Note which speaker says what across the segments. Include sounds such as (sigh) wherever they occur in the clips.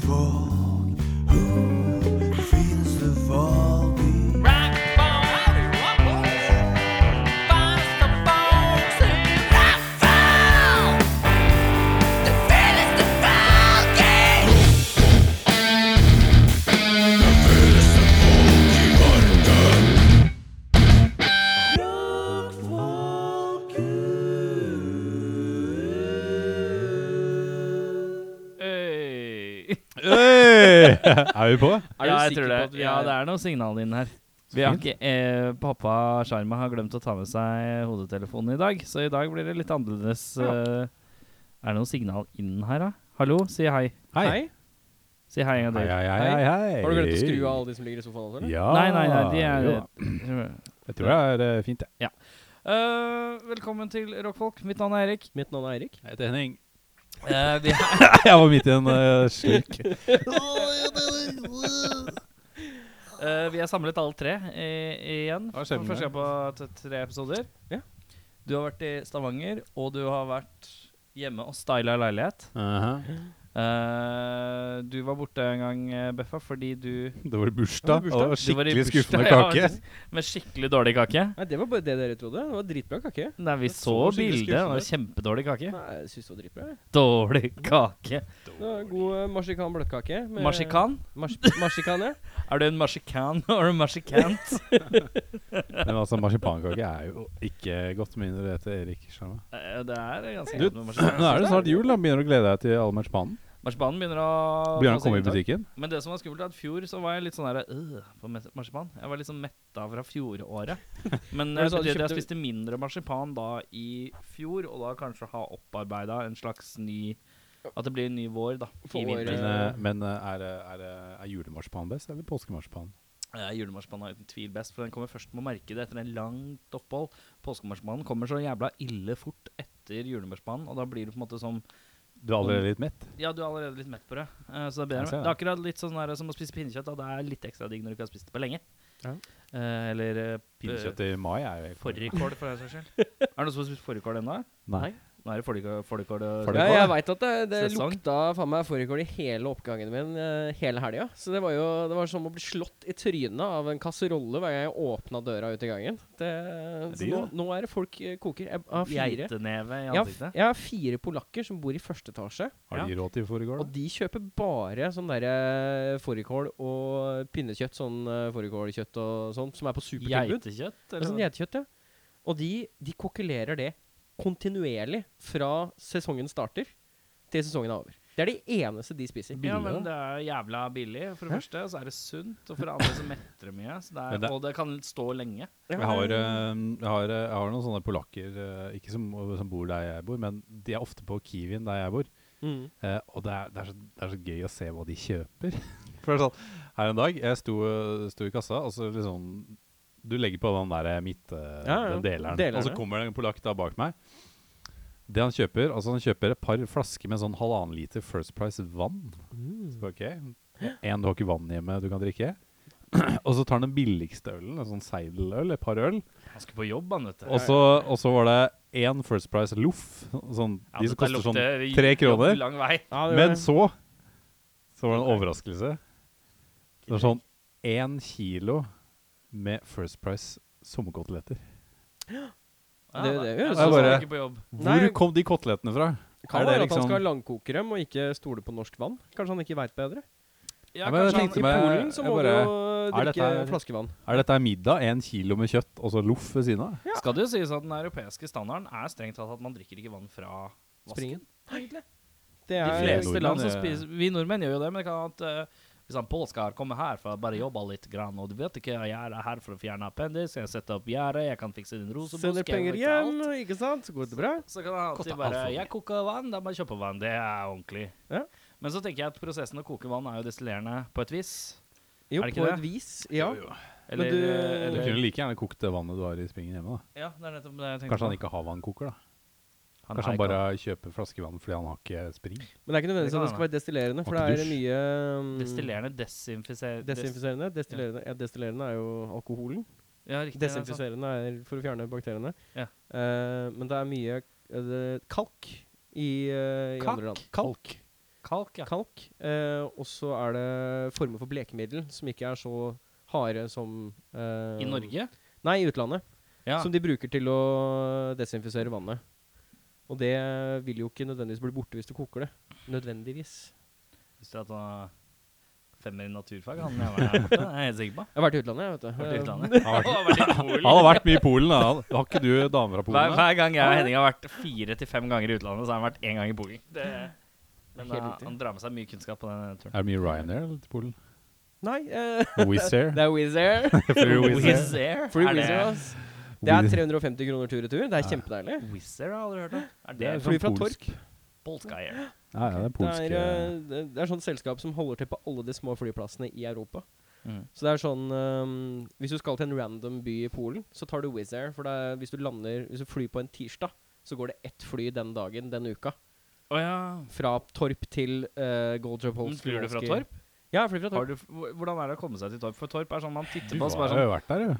Speaker 1: folk? Who feels the fall beat?
Speaker 2: (laughs) Øy.
Speaker 3: Øy! Er vi på?
Speaker 4: (laughs) Er du
Speaker 2: ja, jeg tror
Speaker 4: sikker på
Speaker 2: det.
Speaker 4: at vi
Speaker 2: Ja,
Speaker 4: er-
Speaker 2: det er noe signal inn her. Vi har ikke, eh, pappa Sharma har glemt å ta med seg hodetelefonen i dag, så i dag blir det litt annerledes. eh, er det noe signal inn her, da? Hallo, si hei.
Speaker 3: Hei.
Speaker 4: Hei?
Speaker 2: Si hei en gang
Speaker 3: Hei,
Speaker 2: til.
Speaker 3: hei, hei, hei.
Speaker 4: Har du glemt å skru av alle de som ligger i sofaen også, eller?
Speaker 3: Ja.
Speaker 2: Nei, nei, nei, de
Speaker 3: jo
Speaker 2: er
Speaker 3: da. Jeg tror det er eh, fint, jeg.
Speaker 2: (clears throat) Eh, Velkommen til Rockfolk. Mitt navn er Erik.
Speaker 4: Mitt navn er Eirik.
Speaker 3: Jeg heter (laughs) Henning.
Speaker 2: Eh, vi er
Speaker 3: Jeg var midt i en eh, (laughs) slik.
Speaker 2: Eh, vi er samlet alle tre eh, igjen
Speaker 3: Hva
Speaker 2: for
Speaker 3: er skjebnen
Speaker 2: første gang på t- tre episoder.
Speaker 4: Ja.
Speaker 2: Du har vært i Stavanger, og du har vært hjemme og styla leilighet. Eh, du var borte en gang, eh, Beffa, fordi du
Speaker 3: Det var bursdag.
Speaker 4: Det
Speaker 3: Det
Speaker 4: var
Speaker 2: Du var
Speaker 3: var
Speaker 2: i
Speaker 3: skikkelig
Speaker 2: bursdag,
Speaker 3: skuffende
Speaker 2: (laughs) ja,
Speaker 3: kake.
Speaker 2: faktisk. Med skikkelig dårlig kake.
Speaker 4: Nei, det var bare det dere trodde. Det var dritbra kake.
Speaker 2: Nei, vi
Speaker 3: Det
Speaker 2: så,
Speaker 3: så skikkelig
Speaker 2: bildet. Det var
Speaker 3: skuffende ut.
Speaker 2: kjempedårlig kake.
Speaker 4: Nei, jeg syns det var dritbra. jeg.
Speaker 2: Dårlig kake.
Speaker 4: Det var god eh, marsikan bløtkake. med-
Speaker 2: Marsikan?
Speaker 4: Mars marsikan, ja.
Speaker 2: Er du en marsikan (laughs) or a marsikant?
Speaker 3: (laughs) (laughs) Men altså, marsipankake er jo ikke godt med mindre det heter Erik Sharma.
Speaker 2: Eh, det er ganske
Speaker 3: Du,
Speaker 2: godt med
Speaker 3: (clears throat) Nå
Speaker 2: marsikan.
Speaker 3: er det sånn. snart jul, da. Begynner du å glede deg til all marsipanen?
Speaker 2: Marsipanen begynner å
Speaker 3: Blir
Speaker 2: få
Speaker 3: han
Speaker 2: seg
Speaker 3: komme i
Speaker 2: uttak.
Speaker 3: butikken?
Speaker 2: Men det som var skummelt, er at fjor så var jeg litt sånn der øh, på mes- marsipan. Jeg var liksom metta fra
Speaker 4: (laughs)
Speaker 2: fjoråret. Men eh,
Speaker 4: Var
Speaker 2: det
Speaker 4: det sånn at
Speaker 2: betyr at
Speaker 4: du
Speaker 2: jeg
Speaker 4: kjøpte-
Speaker 2: spiste mindre marsipan da i fjor, og da kanskje ha opparbeida en slags ny At det blir en ny vår, da.
Speaker 4: For
Speaker 2: I vinter.
Speaker 3: Men,
Speaker 4: året.
Speaker 3: eh, men eh, er, det- er, det- er julemarsipan best, eller påskemarsipan?
Speaker 2: Eh, Julemarsipanen er uten tvil best, for den kommer først på markedet etter en langt opphold. Påskemarsipanen kommer så jævla ille fort etter julemarsipanen, og da blir det på en måte som
Speaker 3: Du er allerede litt mett?
Speaker 2: Ja, du er allerede litt mett på det. eh, så det er bedre.
Speaker 3: Jeg ser
Speaker 2: Det
Speaker 3: det.
Speaker 2: er akkurat litt sånn der, som å spise pinnekjøtt. Da. Det er litt ekstra digg når du ikke har spist det på lenge.
Speaker 3: Ja.
Speaker 2: Eh, eller eh,
Speaker 3: Pinnekjøtt i mai er jo helt
Speaker 2: Fårikål, for den saks
Speaker 3: (laughs)
Speaker 2: skyld. er det noen som har spist fårikål ennå?
Speaker 3: Nei.
Speaker 2: Nå er det fårikål- fårikål
Speaker 3: Fårikål?
Speaker 2: og
Speaker 4: Ja, jeg veit at det, det
Speaker 2: Sesong.
Speaker 4: lukta faen meg fårikål i hele oppgangen min eh, hele helga. Så det var jo det var som å bli slått i trynet av en kasserolle hver gang jeg åpna døra ut i gangen. Det, så
Speaker 3: de,
Speaker 4: nå,
Speaker 3: da?
Speaker 4: nå er det folk eh, koker. Jeg har fire.
Speaker 2: geiteneve i
Speaker 4: Jeg har, f-
Speaker 2: ansiktet.
Speaker 4: jeg har fire polakker som bor i første etasje.
Speaker 3: Har de råd til
Speaker 4: Og
Speaker 3: fårikål? da?
Speaker 4: de kjøper bare sånn derre fårikål og pinnekjøtt, sånn eh, fårikålkjøtt og sånn, som er på supertilbud.
Speaker 2: Geitekjøtt?
Speaker 4: Det er
Speaker 2: Eller?
Speaker 4: Sånn geitekjøtt, ja. Og de, de kokkelerer det kontinuerlig fra sesongen starter til sesongen er over. Det er det eneste de spiser.
Speaker 2: Ja,
Speaker 3: billig,
Speaker 2: men det er jævla billig. For det første så er det sunt, og for det andre så metter det mye. Så det
Speaker 3: Men
Speaker 2: er,
Speaker 3: det-
Speaker 2: og det kan stå lenge.
Speaker 3: Jeg har, eh, jeg, har, eh, jeg har noen sånne polakker, eh, ikke som, som bor der jeg bor, men de er ofte på Kiwien der jeg bor.
Speaker 4: Mm.
Speaker 3: Eh, og det er, det, er så, det er så gøy å se hva de kjøper. (laughs) For det er sånn, her en dag, jeg sto, sto i kassa, og så liksom Du legger på den der midt, eh,
Speaker 4: Ja, ja,
Speaker 3: den deleren,
Speaker 4: deleren,
Speaker 3: og så
Speaker 4: ja.
Speaker 3: kommer det en polakk da bak meg. Det han kjøper, altså han kjøper et par flasker med sånn halvannen liter First Price vann.
Speaker 4: Mm.
Speaker 3: Så, ok, En du har ikke vann hjemme du kan drikke. (clears throat) Og så tar han den billigste ølen, en sånn seideløl, et par øl.
Speaker 2: Han skulle på jobb, han, vet du.
Speaker 3: Og så, og så var det én First Price loff. Sånn,
Speaker 2: Ja,
Speaker 3: de som
Speaker 2: dette
Speaker 3: koster sånn
Speaker 2: lukter
Speaker 3: tre kroner.
Speaker 2: Lang vei.
Speaker 4: Ja, det
Speaker 3: Men
Speaker 4: var-
Speaker 3: så Så var det en overraskelse. Det var sånn én kilo med First Price sommerkoteletter.
Speaker 2: Ja,
Speaker 4: Det-
Speaker 2: da-
Speaker 4: det
Speaker 2: ja,
Speaker 4: gjør
Speaker 2: så
Speaker 3: det.
Speaker 2: var han ikke på jobb.
Speaker 3: Hvor
Speaker 4: Nei.
Speaker 3: kom de kotelettene fra?
Speaker 4: kan være
Speaker 3: er det
Speaker 4: at han
Speaker 3: liksom-
Speaker 4: skal langkoke dem og ikke stole på norsk vann. Kanskje han ikke veit bedre.
Speaker 2: Ja,
Speaker 3: Ja, men jeg
Speaker 2: kanskje han-
Speaker 3: tenkte
Speaker 4: I
Speaker 3: meg-
Speaker 4: Polen så
Speaker 3: jeg
Speaker 4: må du
Speaker 3: bare-
Speaker 4: jo
Speaker 3: er
Speaker 4: drikke
Speaker 3: dette-
Speaker 4: flaskevann.
Speaker 3: Er dette middag? Én kilo med kjøtt og så loff ved siden av?
Speaker 2: Skal det jo sies at den europeiske standarden er strengt tatt at man drikker ikke vann fra vasken.
Speaker 4: Springen. Det
Speaker 2: De
Speaker 4: er
Speaker 3: fleste
Speaker 2: fleste land som
Speaker 3: nordmenn, eh,
Speaker 2: spiser Vi nordmenn gjør jo det, men det kan at eh, hvis han påska har kommet her for å bare jobbe litt, grann, og du vet ikke jeg er her for å fjerne appendis, jeg setter opp gjerde, jeg kan fikse din rosebusk
Speaker 4: Sender
Speaker 2: jeg kan
Speaker 4: penger
Speaker 2: fikse
Speaker 4: hjem,
Speaker 2: alt.
Speaker 4: ikke sant? Så går det bra.
Speaker 2: Så kan han alltid
Speaker 4: Koster
Speaker 2: bare
Speaker 4: alt for mye.
Speaker 2: Jeg koker vann, da må jeg kjøpe vann. Det er ordentlig.
Speaker 4: Ja.
Speaker 2: Men så tenker jeg at prosessen å koke vann er jo destillerende på et vis.
Speaker 4: Jo,
Speaker 2: Er det ikke
Speaker 4: på
Speaker 2: det?
Speaker 4: et vis. Ja. Men
Speaker 2: Eller, eh,
Speaker 4: du-
Speaker 3: Du
Speaker 2: eller
Speaker 3: kunne like gjerne kokt det vannet du har i springen hjemme. da
Speaker 2: Ja, det er nettopp det jeg tenkte
Speaker 3: Kanskje han
Speaker 2: på.
Speaker 3: ikke har vannkoker, da.
Speaker 2: Han
Speaker 3: Kanskje
Speaker 2: er
Speaker 3: han
Speaker 2: ikke-
Speaker 3: bare kjøper flaskevann fordi han har
Speaker 4: (laughs)
Speaker 3: ikke spring.
Speaker 4: Men det er ikke nødvendigvis
Speaker 2: Det kan
Speaker 4: at det skal være destillerende, for
Speaker 3: Og
Speaker 4: det er
Speaker 3: til dusj.
Speaker 4: mye um,
Speaker 2: Destillerende desinfiserer...
Speaker 4: Desinfiserende. Destillerende, ja, destillerende er jo alkoholen.
Speaker 2: ja, riktig, det er sant.
Speaker 4: Desinfiserende er for å fjerne bakteriene.
Speaker 2: Ja.
Speaker 4: Eh, men det er mye eh, det- kalk i, eh, i
Speaker 2: Kalk? sånn.
Speaker 4: andre land. Kalk?
Speaker 3: Kalk, ja.
Speaker 4: kalk. Eh, og så er det former for blekemiddel som ikke er så harde som eh,
Speaker 2: I Norge?
Speaker 4: Nei, i utlandet.
Speaker 2: Ja.
Speaker 4: Som de bruker til å desinfisere vannet. Og det vil jo ikke nødvendigvis bli borte hvis du koker det. Nødvendigvis.
Speaker 2: Visste du at han har femmer i naturfag? Han jeg var (laughs) her borte, det er jeg helt sikker på.
Speaker 4: Jeg har vært i utlandet, jeg, vet du.
Speaker 2: Vært i
Speaker 4: Eh,
Speaker 2: utlandet.
Speaker 3: Han har
Speaker 2: Vært i Polen.
Speaker 3: Han har vært mye i Polen. da. Har ikke du damer fra
Speaker 2: Hver,
Speaker 3: Polen? da?
Speaker 2: hver gang jeg og Henning har vært fire til fem ganger i utlandet, så har han vært én gang i Polen. Det, men
Speaker 4: Helt
Speaker 2: da,
Speaker 4: riktig.
Speaker 2: han drar med seg mye kunnskap på den turen.
Speaker 3: Er det mye Ryanair eller til Polen?
Speaker 4: Nei, eh, (laughs)
Speaker 3: Wizz Air? (laughs)
Speaker 4: det er Wizz
Speaker 2: (laughs)
Speaker 4: Air.
Speaker 3: Flyr Wizz Air.
Speaker 2: Wizz Air?
Speaker 4: Free
Speaker 2: Er
Speaker 4: Wizz Air,
Speaker 2: det-
Speaker 4: ass. Det er 350 kroner tur-retur. Det er kjempedeilig.
Speaker 2: Wizz Air har jeg aldri hørt om. Er
Speaker 3: Det er
Speaker 2: det
Speaker 4: Fly fra
Speaker 3: sånn polsk.
Speaker 4: Torp.
Speaker 2: Polska Air?
Speaker 3: Ja, ja, det er
Speaker 4: Det er,
Speaker 3: polske
Speaker 4: eh, det det er sånn selskap som holder til på alle de små flyplassene i Europa.
Speaker 2: Mm.
Speaker 4: Så det er sånn ehm, Hvis du skal til en random by i Polen, så tar du Wizz Air. For det er, hvis du lander Hvis du flyr på en tirsdag, så går det ett fly den dagen, den uka.
Speaker 2: Å ja.
Speaker 4: Fra Torp til uh, Goldjopolsk.
Speaker 2: Flyr du fra Torp?
Speaker 4: Ja, jeg flyr fra
Speaker 2: Har
Speaker 4: Torp.
Speaker 2: du, hvor- hvordan er det å komme seg til Torp? For Torp er sånn man
Speaker 3: Du
Speaker 2: titter på oss
Speaker 3: har
Speaker 2: bare sånn
Speaker 3: jo vært der, jo.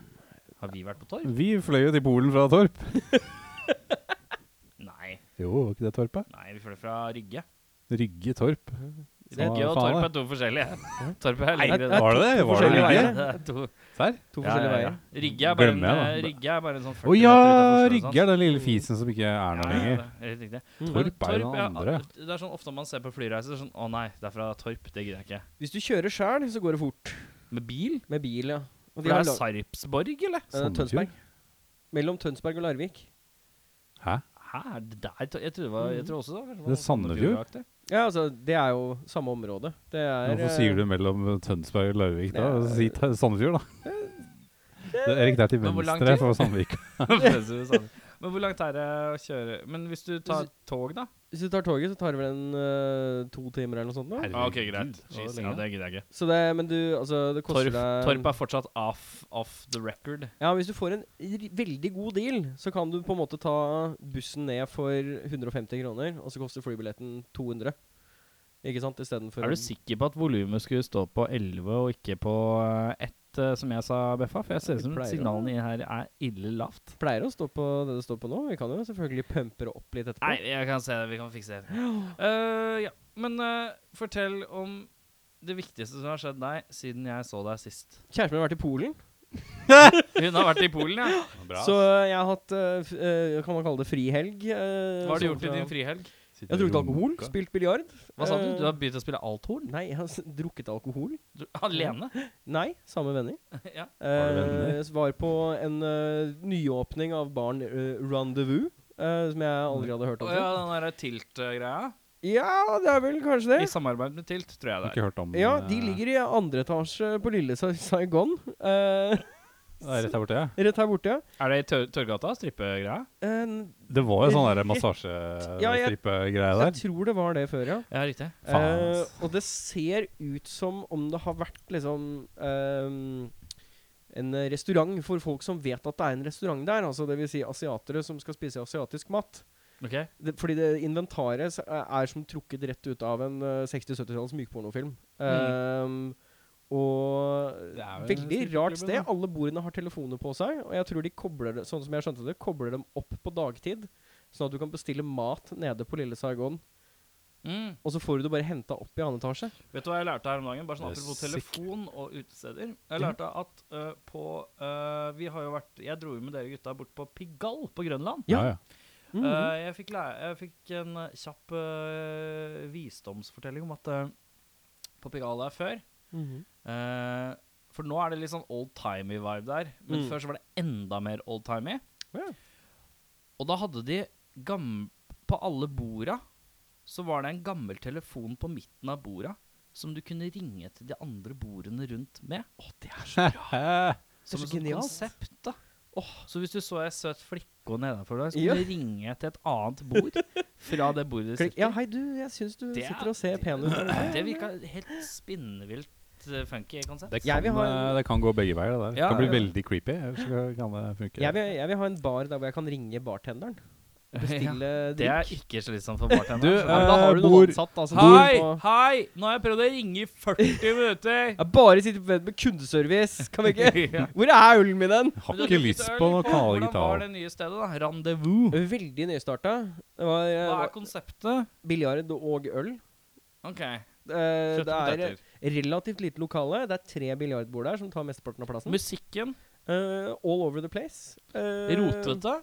Speaker 2: Har vi vært på Torp?
Speaker 3: Vi fløy jo til Polen fra Torp.
Speaker 2: Nei.
Speaker 3: Jo, var ikke det Torpet?
Speaker 2: Nei, vi fløy fra Rygge.
Speaker 3: Rygge Torp.
Speaker 2: Rygge og
Speaker 3: faen,
Speaker 2: Torp
Speaker 3: da.
Speaker 2: er to forskjellige. (laughs) Torp er lengre.
Speaker 4: Nei,
Speaker 3: Var det det? Var det
Speaker 4: forskjellige
Speaker 3: Rygge?
Speaker 4: veier.
Speaker 2: Det er to Ja,
Speaker 4: To
Speaker 3: Serr?
Speaker 4: forskjellige
Speaker 2: ja, ja.
Speaker 4: veier.
Speaker 2: Rygge er bare en,
Speaker 3: Glemmer jeg, da.
Speaker 2: Rygge er bare en sånn 40
Speaker 3: Å ja!
Speaker 2: meter utenfor Oslo,
Speaker 3: Rygge
Speaker 2: sant?
Speaker 3: er den lille fisen som ikke er
Speaker 2: Ja,
Speaker 3: noe
Speaker 2: ja,
Speaker 3: lenger.
Speaker 2: det er helt riktig.
Speaker 4: Mm.
Speaker 3: Torp er jo den
Speaker 2: ja,
Speaker 3: andre.
Speaker 2: Det er sånn ofte man ser på flyreiser sånn Å nei, det er fra Torp. Det gidder jeg ikke.
Speaker 4: Hvis du kjører sjøl, så går det fort.
Speaker 2: Med bil?
Speaker 4: Med bil, ja. Og
Speaker 2: For det er Sarpsborg, eller?
Speaker 4: eh,
Speaker 3: Sandefjord?
Speaker 4: Tønsberg. Mellom Tønsberg og Larvik.
Speaker 3: Hæ?
Speaker 2: Hæ, er det der Tor- Jeg trodde det var Jeg tror også det var-
Speaker 3: Det er
Speaker 2: (laughs)
Speaker 3: Sandefjord.
Speaker 2: Sandefjord-aktig.
Speaker 4: Ja, altså, det er jo samme område. Det er
Speaker 3: Hvorfor sier du mellom Tønsberg og Larvik, da?
Speaker 4: Ja.
Speaker 3: Si Tø- Sandefjord, da. Det- Erik, det er til
Speaker 2: Men hvor lang
Speaker 3: venstre
Speaker 2: tid?
Speaker 3: for Sandvik.
Speaker 2: Men hvor langt er det å kjøre Men hvis du tar tog, da?
Speaker 4: eh, Hvis du tar toget, så tar det vel en eh, to timer eller noe sånt. Da.
Speaker 2: Ah, ok, greit.
Speaker 3: Herregud,
Speaker 2: Jeez,
Speaker 3: så
Speaker 2: ja,
Speaker 3: lenge.
Speaker 2: det gidder jeg ikke.
Speaker 4: Så det, men du, altså, det koster
Speaker 2: Torp,
Speaker 4: deg
Speaker 2: Torp er fortsatt off, off the record.
Speaker 4: Ja, Hvis du får en r veldig god deal, så kan du på en måte ta bussen ned for 150 kroner, og så koster flybilletten 200. Ikke sant? Istedenfor
Speaker 2: Er du sikker på at volumet skulle stå på 11 og ikke på eh, 1, eh, som jeg sa, Beffa? For jeg ser ut som
Speaker 4: Pleier å-
Speaker 2: signalene i her er ille lavt.
Speaker 4: pleier å stå på det det står på nå. Vi kan jo selvfølgelig pumpe det opp litt etterpå.
Speaker 2: Nei, jeg kan se det. Vi kan (gasps) fikse det. Eh, ja. Men eh, fortell om det viktigste som har skjedd deg siden jeg så deg sist.
Speaker 4: Kjæresten min har vært i Polen.
Speaker 2: Hun har vært i Polen, (laughs) ja.
Speaker 4: Så jeg har hatt eh, f eh, Kan man kalle det frihelg? eh,
Speaker 2: Hva har du
Speaker 4: sånn
Speaker 2: gjort i
Speaker 4: fra-
Speaker 2: din frihelg?
Speaker 3: Sitter
Speaker 4: Jeg har drukket
Speaker 3: og
Speaker 4: alkohol,
Speaker 3: runker.
Speaker 4: spilt biljard.
Speaker 2: Hva sa du?
Speaker 4: eh,
Speaker 2: Du har begynt å spille althorn?
Speaker 4: Nei, jeg har s- drukket alkohol.
Speaker 2: Du- Alene?
Speaker 4: Nei, samme venner.
Speaker 2: (laughs) Ja.
Speaker 3: Har du venner?
Speaker 4: Eh, s- var på en eh, nyåpning av baren eh, Rendezvous, eh, som jeg aldri hadde hørt
Speaker 2: Å
Speaker 4: om
Speaker 2: ja,
Speaker 4: før.
Speaker 2: den der Tilt-greia.
Speaker 4: Ja, det er vel kanskje
Speaker 2: I
Speaker 4: det.
Speaker 2: samarbeid med Tilt, tror jeg
Speaker 3: Har
Speaker 2: det er.
Speaker 3: Ikke hørt om
Speaker 4: Ja,
Speaker 3: eh,
Speaker 4: de ligger i andre etasje på lille Sa- Saigon. eh, (laughs)
Speaker 3: det er Rett her borte, ja.
Speaker 4: rett her borte. Eh,
Speaker 2: Er det i Tør- Torgata? Strippegreia?
Speaker 4: En-
Speaker 3: Det var jo sånn der
Speaker 4: Ja, jeg-
Speaker 3: massasjestrippegreie
Speaker 4: jeg
Speaker 3: der.
Speaker 4: tror det var det før, ja.
Speaker 2: Ja, riktig.
Speaker 3: Faen, ass.
Speaker 4: Eh, og det ser ut som om det har vært liksom eh, en restaurant for folk som vet at det er en restaurant der. Altså Dvs. Si asiatere som skal spise asiatisk mat.
Speaker 2: Ok.
Speaker 4: Det, fordi det inventaret s- eh, er som trukket rett ut av en eh, 60-70-talls mykpornofilm. Eh, og
Speaker 3: Mm. Det er vel
Speaker 4: veldig
Speaker 3: sikkert
Speaker 4: rart
Speaker 3: klubben,
Speaker 4: sted.
Speaker 3: da.
Speaker 4: Alle bordene har telefoner på seg, og jeg tror de kobler det, sånn som jeg skjønte det, kobler dem opp på dagtid. Sånn at du kan bestille mat nede på Lille Saigon,
Speaker 2: Mm.
Speaker 4: og så får du det bare henta opp i annen etasje.
Speaker 2: Vet du hva jeg lærte her om dagen? Bare sånn
Speaker 3: Det er Mm.
Speaker 2: Apropos
Speaker 3: sick.
Speaker 2: telefon og utesteder. Jeg lærte at øh, på øh, Vi har jo vært Jeg dro jo med dere gutta bort på Pigalle på Grønland.
Speaker 4: Ja.
Speaker 3: ja. Mm.
Speaker 4: Mhm.
Speaker 2: Øh, jeg, fikk læ- jeg fikk en øh, kjapp øh, visdomsfortelling om at øh, på Pigalle er før
Speaker 4: Mhm.
Speaker 2: øh, For nå er det litt sånn oldtimey vibe der, men
Speaker 4: Mm.
Speaker 2: før så var det enda mer oldtimey.
Speaker 4: Ja.
Speaker 2: Og da hadde de gam På alle borda så var det en gammel telefon på midten av borda som du kunne ringe til de andre bordene rundt med.
Speaker 3: (laughs)
Speaker 4: så
Speaker 2: Som et sånt
Speaker 4: genialt.
Speaker 2: konsept, da.
Speaker 4: Åh.
Speaker 2: Så hvis du så ei søt flikke nedenfor deg, så
Speaker 4: Ja.
Speaker 2: kunne du ringe til et annet bord fra det bordet du
Speaker 4: Klikk.
Speaker 2: sitter
Speaker 4: Ja, hei du, jeg syns du
Speaker 2: Det er-
Speaker 4: sitter og ser
Speaker 2: (clears throat)
Speaker 4: pen ut.
Speaker 2: i. Det virka helt spinnvilt eh, funky konsept.
Speaker 3: Det
Speaker 4: Jeg
Speaker 3: kan,
Speaker 4: vil ha en-
Speaker 3: eh, det kan gå begge veier, det der.
Speaker 2: Ja,
Speaker 3: det kan bli
Speaker 2: ja.
Speaker 3: veldig creepy. eller så kan det funke.
Speaker 4: Jeg vil, jeg vil ha en bar der hvor jeg kan ringe bartenderen. Bestille
Speaker 2: Det er
Speaker 4: drikk.
Speaker 2: ikke slitsomt for bartenderen.
Speaker 3: Du,
Speaker 2: så-
Speaker 4: Ja, men da har
Speaker 3: Eh,
Speaker 4: du noen
Speaker 3: bord-
Speaker 4: ansatt, altså.
Speaker 2: Hei,
Speaker 4: bord på-
Speaker 2: hei! Nå har jeg prøvd å ringe i 40
Speaker 4: (laughs)
Speaker 2: minutter!
Speaker 4: Jeg bare sitter på vent med kundeservice. Kan
Speaker 2: (laughs)
Speaker 4: vi ikke
Speaker 2: Ja.
Speaker 4: Hvor er ølen min hen?
Speaker 3: Har
Speaker 2: Men du
Speaker 3: ikke
Speaker 2: drukket
Speaker 3: lyst
Speaker 2: øl
Speaker 3: på noe
Speaker 2: i går.
Speaker 3: kanal
Speaker 2: Hvordan var
Speaker 3: gitar.
Speaker 2: det nye stedet, da? Rendezvous.
Speaker 4: Veldig nystarta. Det var
Speaker 2: Hva
Speaker 4: eh,
Speaker 2: er konseptet?
Speaker 4: biljard og øl.
Speaker 2: Ok.
Speaker 4: Eh,
Speaker 2: Kjøtt
Speaker 4: det
Speaker 2: og
Speaker 4: er
Speaker 2: poteter.
Speaker 4: relativt lite lokale. Det er tre biljardbord der som tar mesteparten av plassen.
Speaker 2: Musikken.
Speaker 4: Eh, all over the place. Eh,
Speaker 2: Rotete.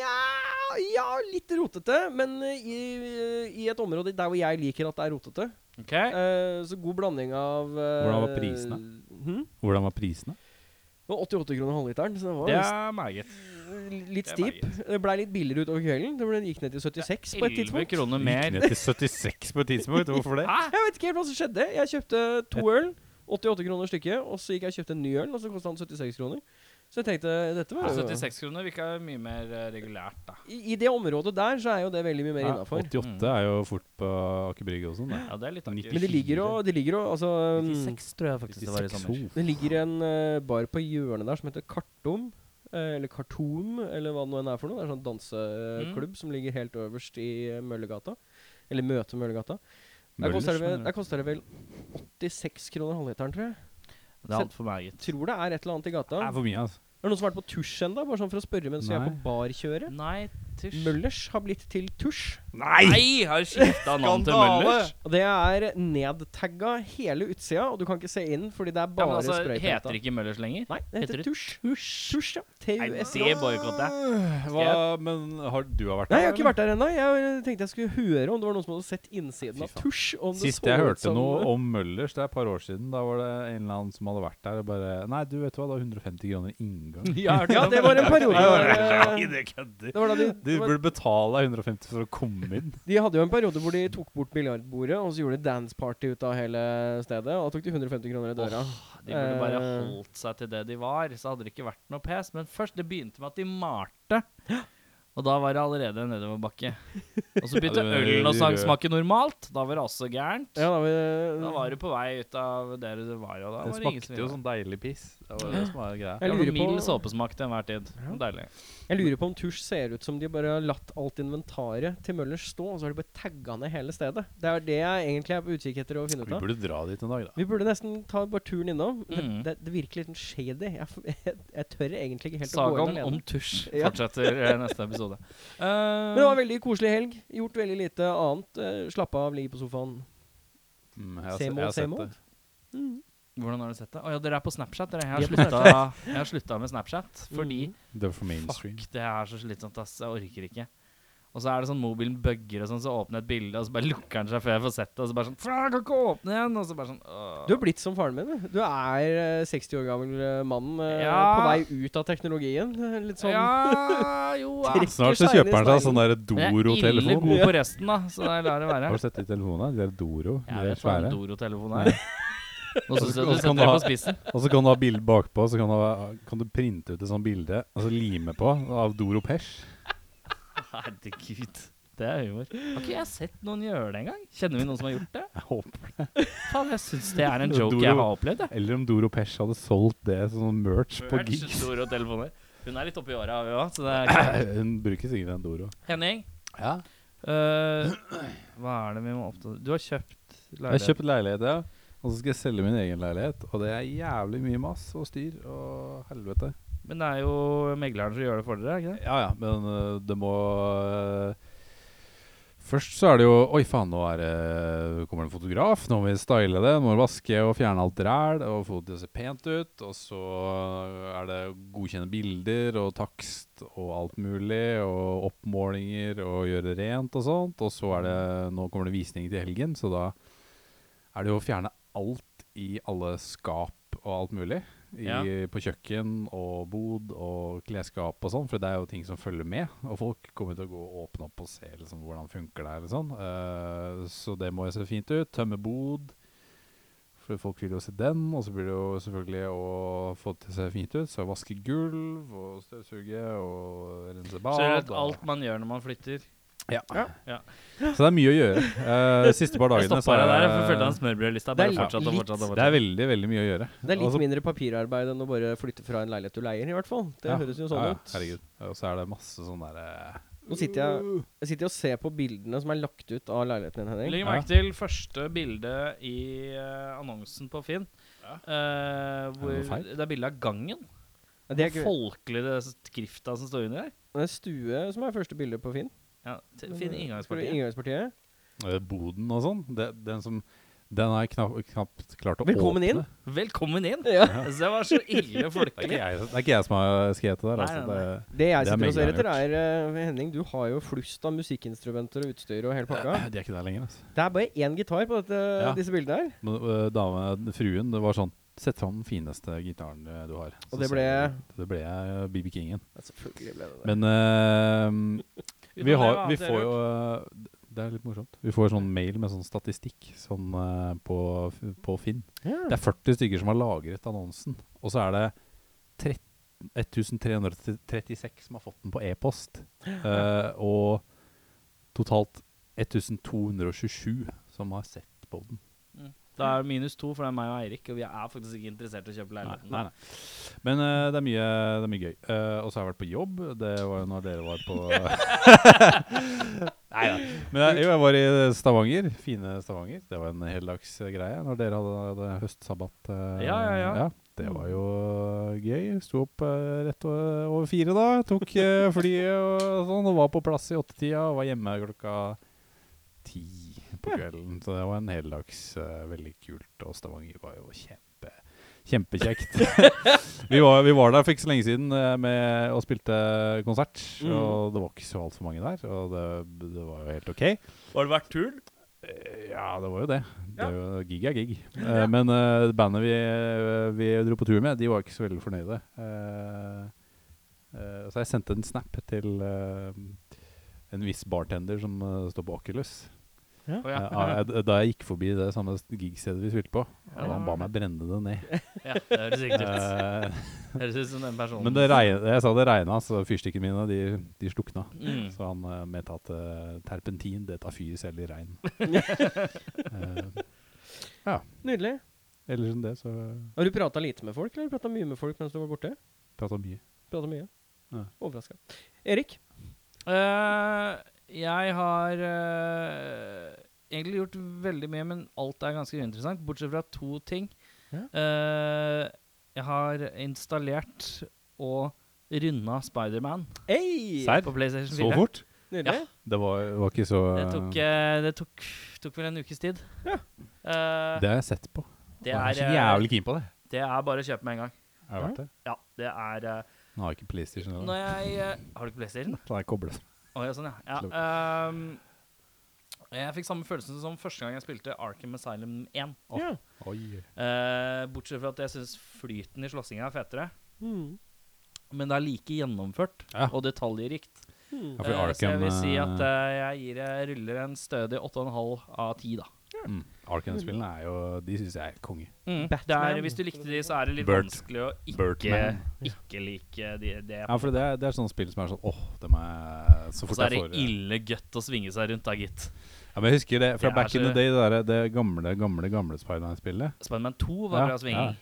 Speaker 4: Nja Ja, litt rotete. Men eh, i, i et område der hvor jeg liker at det er rotete.
Speaker 2: Ok.
Speaker 4: Eh, så god blanding av eh,
Speaker 3: Hvordan var prisene?
Speaker 4: hm?
Speaker 3: Hvordan var prisene?
Speaker 4: Det var 88 kroner halvliteren, så det var
Speaker 2: Det er meget.
Speaker 4: litt- litt
Speaker 2: det er
Speaker 4: steep. Det blei litt billigere utover kvelden. Det ble- gikk ned til 76 på
Speaker 2: 11
Speaker 4: et tidspunkt.
Speaker 2: kroner
Speaker 3: Gikk
Speaker 2: mer.
Speaker 3: ned til 76 på et tidspunkt.
Speaker 2: (laughs)
Speaker 3: Hvorfor det?
Speaker 4: Jeg vet ikke helt hva som skjedde. Jeg kjøpte to øl, 88 kroner stykket, og så gikk jeg og kjøpte en ny øl, og så kostet den 76 kroner. Så jeg tenkte dette var jo
Speaker 2: 76 Altså, kroner virka mye mer eh, regulært, da.
Speaker 4: I, I det området der så er jo det veldig mye mer
Speaker 3: Ja,
Speaker 4: innafor.
Speaker 3: 88 er jo fort på Aker Brygge og sånn.
Speaker 2: Ja, det er litt
Speaker 3: Men
Speaker 2: aktivt.
Speaker 4: Men det ligger jo det ligger jo, altså um,
Speaker 2: tror jeg
Speaker 3: faktisk det var i sommer.
Speaker 4: Det ligger en eh, bar på hjørnet der som heter Kartom. eh, eller Kartom, eller hva det nå enn er for noe. Det er en sånn
Speaker 2: Mm.
Speaker 4: danseklubb som ligger helt øverst i eh, Møllergata. Eller møter Møllergata. Der koster det vel- der koster det vel 86 kroner halvliteren, tror jeg.
Speaker 2: Det er altfor meget.
Speaker 4: Tror det er et eller annet i gata.
Speaker 3: Det er for mye, altså.
Speaker 4: Er det noen som har vært på tusj ennå? Bare sånn for å spørre mens vi er på
Speaker 3: Nei.
Speaker 4: barkjøret.
Speaker 2: Nei, tusj.
Speaker 4: Møllers har blitt til tusj.
Speaker 2: Nei! Har skifta navn til Møllers?
Speaker 4: Og det er nedtagga hele utsida, og du kan ikke se inn fordi det er
Speaker 2: Ja, men
Speaker 4: bare
Speaker 2: altså,
Speaker 4: sprøyterett
Speaker 2: heter
Speaker 4: da.
Speaker 2: det ikke Møllers lenger?
Speaker 4: Nei, det
Speaker 2: heter
Speaker 4: heter,
Speaker 2: det
Speaker 4: tusj. Tusj, ja. TUS.
Speaker 2: det boikotter
Speaker 3: Hva, men har du har vært
Speaker 4: Nei, jeg har ikke
Speaker 3: eller?
Speaker 4: vært der ennå. Jeg tenkte jeg skulle høre om det var noen som hadde sett innsiden
Speaker 3: Fy
Speaker 4: av
Speaker 3: faen.
Speaker 4: tusj. og om det
Speaker 3: Sist
Speaker 4: så
Speaker 3: jeg
Speaker 4: ut
Speaker 3: hørte
Speaker 4: som- (laughs)
Speaker 3: noe
Speaker 2: sånn.
Speaker 3: om Møllers, det er et par år siden, da var det en eller annen som hadde vært der og bare Nei, du vet du hva, det var 150 kroner
Speaker 2: (laughs)
Speaker 3: inngang.
Speaker 4: Ja, det var en periode. der,
Speaker 3: Nei,
Speaker 4: eh,
Speaker 3: det kødder.
Speaker 4: Det var da de,
Speaker 3: Du
Speaker 4: det var,
Speaker 3: burde betale 150 for å komme inn.
Speaker 4: de hadde jo en periode hvor de tok bort biljardbordet, og så gjorde de danceparty ut av hele stedet. Og da tok de 150 kroner i døra.
Speaker 2: De burde bare
Speaker 4: Eh.
Speaker 2: holdt seg til det de var, så hadde det ikke vært noe pes. Men først, det begynte med at de malte. Og da var det allerede nedoverbakke. Og så begynte
Speaker 3: (laughs) Ja, det-
Speaker 2: ølen å
Speaker 3: de-
Speaker 2: sangsmake normalt. Da var det også gærent.
Speaker 4: Ja, da, vi,
Speaker 2: Da var du på vei ut av der du var, og da
Speaker 3: Det
Speaker 2: var det ingen som
Speaker 3: smakte jo
Speaker 2: ville.
Speaker 3: sånn deilig piss. Det var det som var greia.
Speaker 4: Jeg
Speaker 2: Det var
Speaker 4: lurer
Speaker 2: noe mild
Speaker 4: på,
Speaker 2: såpesmak til enhver tid. Deilig.
Speaker 4: jeg lurer på om tusj ser ut som de bare har latt alt inventaret til Møllers stå, og så har de bare tagga ned hele stedet. Det er det jeg egentlig er på utkikk etter å finne ut
Speaker 3: Vi
Speaker 4: av.
Speaker 3: burde dra dit en dag, da.
Speaker 4: Vi burde nesten ta bare turen innom. Det,
Speaker 2: Mhm.
Speaker 4: det, det virker litt sånn shady. Jeg, f- (laughs) jeg, jeg tør egentlig ikke helt å gå inn
Speaker 2: Sagaen
Speaker 4: alene.
Speaker 2: om tusj
Speaker 4: Ja.
Speaker 2: fortsetter eh, neste episode. Eh,
Speaker 4: (laughs) Men det var en veldig koselig helg. Gjort veldig lite annet. Eh, Slappa av, ligge på sofaen.
Speaker 3: Mm, jeg har se-
Speaker 4: Same
Speaker 3: jeg har
Speaker 4: old, same
Speaker 3: sett det.
Speaker 4: old. Mhm.
Speaker 2: hvordan har du sett det? Å ja, dere er på Snapchat, dere. Jeg har
Speaker 4: Vi er på
Speaker 2: slutta- jeg har slutta med Snapchat fordi
Speaker 4: Mhm.
Speaker 3: Det var for mainstream.
Speaker 2: Fuck, det er så slitsomt, ass. Jeg orker ikke. Og så er det sånn mobilen bugger, og sånn, så åpner jeg et bilde, og så bare lukker den seg før jeg får sett det. Og så bare sånn Faen, jeg kan ikke åpne igjen! Og så bare sånn åh.
Speaker 4: Du er blitt som faren min. du. Du er eh, 60 år gammel eh, mann eh,
Speaker 2: Ja.
Speaker 4: på vei ut av teknologien. Eh, Litt sånn
Speaker 2: Ja, jo ja.
Speaker 4: Trikk.
Speaker 3: Snart så
Speaker 4: Steiner,
Speaker 3: kjøper han
Speaker 4: Steiner.
Speaker 3: seg sånn der
Speaker 2: Men jeg er ille
Speaker 3: Doro-telefon.
Speaker 2: god på resten, da, så jeg lar det være.
Speaker 3: Har du sett de telefonene? De der Doro.
Speaker 2: Jeg
Speaker 3: de er
Speaker 2: vet hva en
Speaker 3: svære.
Speaker 2: Doro-telefon er. Nå syns jeg du
Speaker 3: Og så kan
Speaker 2: setter
Speaker 3: du
Speaker 2: deg
Speaker 3: ha-
Speaker 2: på spissen.
Speaker 3: Og så kan du ha bilde bakpå, så kan du, ha- kan du printe ut et sånt bilde og så lime på av Doro Pesh.
Speaker 2: Herregud. Det er humor. Har ikke jeg sett noen gjøre det engang? Kjenner vi noen som har gjort det?
Speaker 3: Jeg håper det.
Speaker 2: Faen, jeg syns det er en joke
Speaker 3: Doro-
Speaker 2: jeg har opplevd, jeg.
Speaker 3: Eller om Doro Pesh hadde solgt det som sånn merch på gigs.
Speaker 2: Doro-telefoner. Hun er litt oppi åra, hun òg, så det
Speaker 3: (clears throat)
Speaker 2: er ikke
Speaker 3: (laughs) Hun bruker sikkert en Doro.
Speaker 2: Henning,
Speaker 3: Ja.
Speaker 2: Eh, hva er det vi må oppta... Du har kjøpt
Speaker 3: Jeg
Speaker 2: leilighet.
Speaker 3: har kjøpt leilighet, ja. Og så skal jeg selge min egen leilighet. Og det er jævlig mye mas og styr og helvete.
Speaker 2: Men det er jo megleren som gjør det for dere, er ikke det?
Speaker 3: Ja ja, men øh, det må øh, Først så er det jo Oi, faen, nå er det, kommer det en fotograf. Nå må vi style det. Nå må vi vaske og fjerne alt ræl og få det til å se pent ut. Og så er det å godkjenne bilder og takst og alt mulig. Og oppmålinger og gjøre rent og sånt. Og så er det Nå kommer det visning til helgen, så da er det jo å fjerne alt i alle skap og alt mulig. I,
Speaker 2: Ja.
Speaker 3: På kjøkken og bod og klesskap og sånn, for det er jo ting som følger med. Og folk kommer til å gå og åpne opp og se liksom, hvordan funker det her. og Sånn. Eh, så det må jo se fint ut. Tømme bod. For folk vil jo se den, og så blir det jo selvfølgelig å få det til å se fint ut. Så vaske gulv og støvsuge og rense bad.
Speaker 2: Ser du
Speaker 3: og-
Speaker 2: alt man gjør når man flytter?
Speaker 3: ja.
Speaker 2: Ja.
Speaker 3: Så det er mye å gjøre. Eh, siste par
Speaker 2: Jeg
Speaker 3: dagene
Speaker 2: stoppa deg der, for jeg
Speaker 3: jeg-
Speaker 2: følte han smørbrødlista
Speaker 4: Det er
Speaker 2: bare
Speaker 4: litt-
Speaker 2: fortsatte og
Speaker 4: litt-
Speaker 2: fortsatte. og
Speaker 3: Det er
Speaker 2: fortsatte.
Speaker 3: veldig veldig mye å gjøre. Altså,
Speaker 4: Det er litt
Speaker 3: Og så-
Speaker 4: mindre papirarbeid enn å bare flytte fra en leilighet du leier, i hvert fall. Det
Speaker 3: Ja.
Speaker 4: høres jo sånn
Speaker 3: Ja, ja,
Speaker 4: ut.
Speaker 3: Herregud. Og så er det masse sånn derre
Speaker 4: Nå sitter jeg, jeg sitter og ser på bildene som er lagt ut av leiligheten din, Henning.
Speaker 2: Legg merke til første bilde i eh, annonsen på Finn. eh, hvor
Speaker 3: Er det noe feil?
Speaker 2: det er bilde av gangen.
Speaker 4: Ja, det er ikke-
Speaker 2: Folkelig det skrifta som står under der.
Speaker 4: Det er stue som er første bilde på Finn.
Speaker 2: Ja, t- Finn
Speaker 4: Skal du
Speaker 2: inngangspartiet.
Speaker 4: Inngangspartiet.
Speaker 3: eh, boden og sånn. Det- Den som Den har jeg knapt, knapt klart å
Speaker 4: Velkommen
Speaker 3: åpne.
Speaker 4: inn.
Speaker 2: Velkommen inn!
Speaker 4: Ja.
Speaker 2: Altså, Det var (laughs) så ille
Speaker 3: (laughs) Det er ikke
Speaker 2: folkelig.
Speaker 3: jeg, det er ikke jeg som har skrevet det der.
Speaker 2: Nei,
Speaker 3: Altså.
Speaker 2: nei,
Speaker 3: Det,
Speaker 4: Det jeg
Speaker 3: Det er
Speaker 4: sitter og ser
Speaker 3: meget
Speaker 4: etter, er eh, Henning, du har jo flust av musikkinstrumenter og utstyr og hele pakka.
Speaker 3: de er ikke der lenger. Altså.
Speaker 4: Det er bare én gitar på dette,
Speaker 3: Ja.
Speaker 4: disse bildene her.
Speaker 3: Men øh, dame, fruen, det var sånn Sett fram den fineste gitaren øh, du har.
Speaker 4: Og det
Speaker 3: ser
Speaker 4: ble-
Speaker 3: du- Det ble øh, BB Kingen.
Speaker 4: Ja, Selvfølgelig ble det det.
Speaker 3: Men øh,
Speaker 2: Utenom
Speaker 3: vi,
Speaker 2: det,
Speaker 3: har,
Speaker 2: hva
Speaker 3: vi
Speaker 2: annet har
Speaker 3: får
Speaker 2: du
Speaker 3: jo
Speaker 2: gjort?
Speaker 3: øh, Det er litt morsomt. Vi får sånn mail med sånn statistikk sånn, øh, på, på Finn. Det
Speaker 4: ja.
Speaker 3: er 40 stykker som har lagret annonsen, og så er det 13 1336 som har fått den på e-post. øh, og totalt 1227 som har sett på den.
Speaker 2: Da er det minus to, for det er meg og Eirik, og vi er faktisk ikke interessert i å kjøpe
Speaker 3: Nei,
Speaker 2: leiligheten.
Speaker 3: nei, nei. Men eh, det, er mye, det er mye gøy. Eh, og så har jeg vært på jobb. Det var jo når dere var på (laughs) Nei da. Men jeg, jo, jeg var i Stavanger. Fine Stavanger. Det var en heldags eh, greie når dere hadde, hadde høstsabbat. eh,
Speaker 2: Ja, ja, ja.
Speaker 3: Det var jo gøy. Sto opp eh, rett o- over fire da. Tok eh, flyet og sånn. Og var på plass i åttetida og var hjemme klokka ti på kvelden. Så det var en heldags eh, veldig kult. Og Stavanger var jo kjempe Kjempekjekt. (laughs) vi, var, vi var der for ikke så lenge siden eh, med, og spilte konsert.
Speaker 4: Mm.
Speaker 3: Og det var ikke så altfor mange der, og det, det var jo helt OK.
Speaker 2: Har det vært tull?
Speaker 3: Eh, Ja, det var jo det. det
Speaker 2: Ja.
Speaker 3: er jo, gig er gig. Eh, Men eh, bandet vi, eh, vi dro på tur med, de var ikke så veldig fornøyde. Eh, eh, så jeg sendte en snap til eh, en viss bartender som eh, står på Oculus.
Speaker 2: Å ja.
Speaker 3: Eh, ah, jeg- da jeg gikk forbi det samme gigstedet vi spilte på,
Speaker 2: Ja,
Speaker 3: og han
Speaker 2: det var
Speaker 3: ba meg brenne det ned.
Speaker 2: (laughs) ja, det høres riktig ut.
Speaker 3: Eh,
Speaker 2: Høres ut som den personen.
Speaker 3: Men det regn- jeg sa det regna, så fyrstikkene mine de, de slukna.
Speaker 2: Mm.
Speaker 3: Så han eh, mente at eh, terpentin det tar fyr selv i
Speaker 2: (laughs)
Speaker 3: regn. Eh,
Speaker 4: Nydelig.
Speaker 3: ellers enn det så
Speaker 4: Har du prata lite med folk, eller har du prata mye med folk mens du var borte?
Speaker 3: prata mye.
Speaker 4: Prata mye.
Speaker 3: Ja.
Speaker 4: Overraska. Erik?
Speaker 2: Eh, jeg har eh, egentlig gjort veldig mye, men alt er ganske uinteressant, bortsett fra to ting.
Speaker 4: Ja.
Speaker 2: Eh, jeg har installert og runda Spiderman
Speaker 4: Hey!
Speaker 3: Serr?
Speaker 2: på PlayStation 4.
Speaker 3: Så fort?
Speaker 4: Nydelig.
Speaker 2: Ja.
Speaker 3: Det var, var ikke så
Speaker 2: Det tok, eh, det tok, tok vel en ukes tid. Eh,
Speaker 3: Det har jeg sett på.
Speaker 2: det,
Speaker 3: jeg er
Speaker 2: er,
Speaker 3: så
Speaker 2: eh,
Speaker 3: jævlig keen på det.
Speaker 2: det er bare å kjøpe med en gang.
Speaker 3: Er det verdt det?
Speaker 2: Ja, det er eh,
Speaker 3: Nå har jeg ikke PlayStation.
Speaker 2: Når
Speaker 3: Eller.
Speaker 2: jeg eh, Har du ikke PlayStation?
Speaker 3: Så jeg koblet.
Speaker 2: Å ja, sånn ja. ja
Speaker 3: Klok.
Speaker 2: ehm, jeg fikk samme følelsen som første gang jeg spilte Arkham Asylum 1.
Speaker 4: Ja.
Speaker 3: Oi.
Speaker 2: Eh, bortsett fra at jeg syns flyten i slåssinga er fetere.
Speaker 4: Mm.
Speaker 2: Men det er like gjennomført
Speaker 3: Ja.
Speaker 2: og detaljrikt.
Speaker 4: Mm.
Speaker 3: Ja,
Speaker 2: Eh, så
Speaker 3: for
Speaker 2: jeg
Speaker 3: Arkham,
Speaker 2: vil si
Speaker 3: eh,
Speaker 2: at eh, jeg gir eh, ruller en stødig 8,5 av 10, da.
Speaker 3: Mm. Arkham-spillene er jo De syns jeg er konge.
Speaker 2: Mm. Det er,
Speaker 4: Batman.
Speaker 2: hvis du likte de, så er det litt
Speaker 3: Bird-
Speaker 2: vanskelig å ikke,
Speaker 3: Birdman.
Speaker 2: ikke like de, det.
Speaker 3: Ja, for det er, det er sånne spill som er sånn åh, dem er så
Speaker 2: Og
Speaker 3: fort
Speaker 2: så er
Speaker 3: jeg
Speaker 2: det
Speaker 3: får
Speaker 2: ille godt å svinge seg rundt, da, gitt.
Speaker 3: Ja, men jeg husker det fra
Speaker 2: Det er
Speaker 3: back in
Speaker 2: så-
Speaker 3: the day, det, der, det gamle, gamle, gamle Spiderman-spillet.
Speaker 2: Spiderman 2 var bra svinging.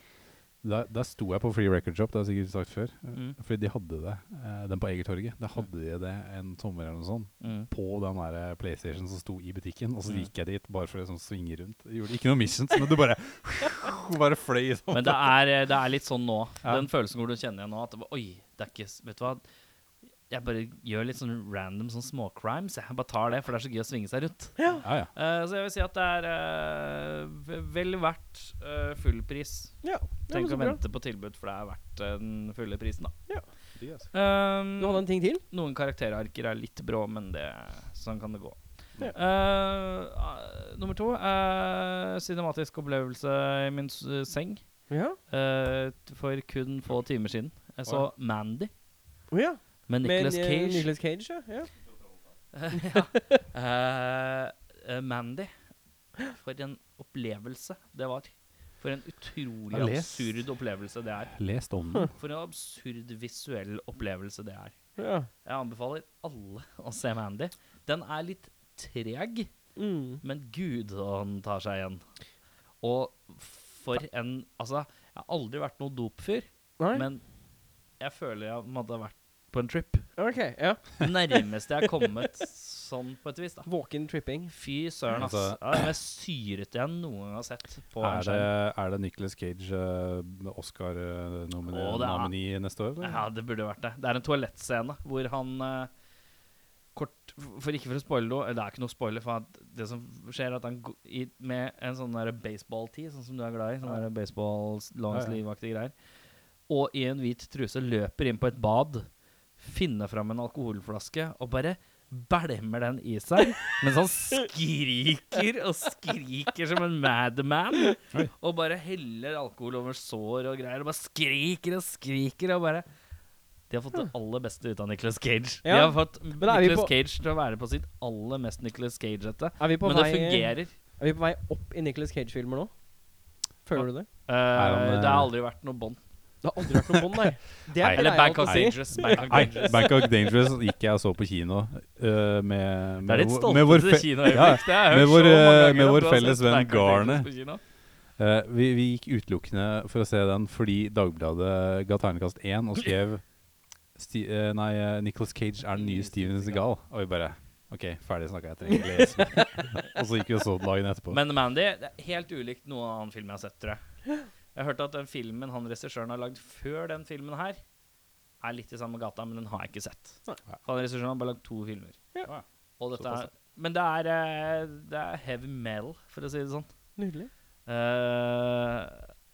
Speaker 3: Der, der sto jeg på Free Record Shop, det har jeg sikkert sagt før. eh,
Speaker 2: Mm.
Speaker 3: Fordi de hadde det, eh, den på Egertorget. Der hadde de det en sommer eller noe sånt.
Speaker 2: Mm.
Speaker 3: På den der eh, PlayStation som sto i butikken. Og så
Speaker 2: Mm.
Speaker 3: gikk jeg dit bare for å liksom svinge rundt. Jeg gjorde ikke noe missions, men du bare (laughs) Bare fløy sånn.
Speaker 2: Men det er, det er litt sånn nå.
Speaker 3: Ja.
Speaker 2: Den følelsen hvor du kjenner igjen nå at det var, Oi, det er ikke s- Vet du hva? Jeg bare gjør litt sånn random sånn småcrimes. Jeg bare tar det, for det er så gøy å svinge seg rundt.
Speaker 3: Ja, ja.
Speaker 2: Eh, så jeg vil si at det er eh, ve- vel verdt eh, full pris.
Speaker 4: Ja. ja men
Speaker 2: Tenk
Speaker 4: så
Speaker 2: å
Speaker 4: bra.
Speaker 2: vente på tilbud, for det er verdt eh, den fulle prisen, da.
Speaker 3: De, altså.
Speaker 2: Um,
Speaker 4: Du hadde en ting til?
Speaker 2: noen karakterarker er litt brå, men det, sånn kan det gå.
Speaker 4: Ja.
Speaker 2: Eh, ah, nummer to eh, cinematisk opplevelse i min s seng.
Speaker 4: Ja.
Speaker 2: Eh, t- for kun få timer siden. Jeg så Mandy
Speaker 4: Å ja.
Speaker 2: med Nicolas
Speaker 4: Med, eh,
Speaker 2: Cage.
Speaker 4: Nicolas Cage, ja. ja.
Speaker 2: (laughs) Eh, eh, Mandy. For en opplevelse det var. For en utrolig
Speaker 3: Jeg har lest.
Speaker 2: absurd opplevelse det er.
Speaker 3: Lest om den.
Speaker 2: For en absurd visuell opplevelse det er.
Speaker 4: ja.
Speaker 2: Jeg anbefaler alle å se Mandy. Den er litt treg,
Speaker 4: Mm.
Speaker 2: men gud, han tar seg igjen. Og for en Altså, jeg har aldri vært noen dopfyr.
Speaker 4: Nei?
Speaker 2: Men jeg føler jeg måtte ha vært på en trip.
Speaker 4: OK. Ja.
Speaker 2: Nærmest jeg har kommet sånn på et vis, da.
Speaker 4: Walk-in tripping.
Speaker 2: Fy søren, ass.
Speaker 3: Altså-
Speaker 2: Ja, det er det mest syrete jeg noen gang har sett på en
Speaker 3: Er det,
Speaker 2: skjerm.
Speaker 3: er det Nicolas Cage eh, Oscar-nomini
Speaker 2: Å, det er-
Speaker 3: nomini neste år? eller?
Speaker 2: Ja, det burde vært det. Det er en toalettscene hvor han eh, kort for- For ikke for å spoile noe, det er ikke noe spoiler, for at det som skjer, er at han go- i, med en sånn der baseball-tee, sånn som du er glad i, sånn der baseball long
Speaker 3: Ja, ja.
Speaker 2: sleeve-aktige greier, og i en hvit truse løper inn på et bad, finner fram en alkoholflaske og bare bælmer den i seg, mens han skriker og skriker som en madman,
Speaker 3: Oi.
Speaker 2: og bare heller alkohol over sår og greier, og bare skriker og skriker og bare de har fått det aller beste ut av Nicolas Cage. De
Speaker 4: Ja.
Speaker 2: har fått
Speaker 4: er vi
Speaker 2: Nicolas
Speaker 4: på-
Speaker 2: Cage til å være på sitt aller mest Nicolas Cage-ete.
Speaker 4: Er vi, på
Speaker 2: Men
Speaker 4: vei,
Speaker 2: det fungerer.
Speaker 4: er vi på vei opp i Nicolas Cage-filmer nå? Føler du det?
Speaker 2: Eh,
Speaker 3: han, eh,
Speaker 2: det har aldri vært noe bånd.
Speaker 4: Det har aldri vært noe bånd, (laughs) nei. Det
Speaker 3: Nei.
Speaker 2: Eller
Speaker 4: pleier jeg
Speaker 2: Bangkok
Speaker 4: alltid å
Speaker 2: Dangerous.
Speaker 4: si.
Speaker 2: Bangkok (laughs)
Speaker 3: Nei,
Speaker 2: Dangerous.
Speaker 3: Bangkok Dangerous gikk jeg og så på kino
Speaker 2: Det
Speaker 3: eh, med,
Speaker 2: er
Speaker 3: med,
Speaker 2: ditt
Speaker 3: vår- med vår
Speaker 2: stolteste
Speaker 3: fe- (laughs) Ja,
Speaker 2: kinoøyeblikk. Det har jeg
Speaker 3: med
Speaker 2: hørt så mange ganger at du har
Speaker 3: vår, eh, med vår
Speaker 2: sett
Speaker 3: felles venn
Speaker 2: Bangkok Dangerous på kino.
Speaker 3: Eh, vi, vi gikk utelukkende for å se den fordi Dagbladet ga terningkast 1 og skrev Sti eh, Nei, eh, Nicolas Cage er den nye Steven Segal. Og vi bare OK, ferdig snakka, jeg trenger ikke
Speaker 2: (laughs)
Speaker 3: lese mer. Og så gikk vi og så den dagen etterpå.
Speaker 2: Men Mandy det er helt ulikt noen annen film jeg har sett, tror jeg. Jeg hørte at den filmen han regissøren har lagd før den filmen her, er litt i samme gata, men den har jeg ikke sett.
Speaker 4: Nei.
Speaker 2: For han regissøren har bare lagd to filmer.
Speaker 3: Ja.
Speaker 2: Og dette
Speaker 3: Såpass,
Speaker 2: er, men det er, eh, det er heavy metal, for å si det sånn.
Speaker 4: Nydelig.
Speaker 2: Eh,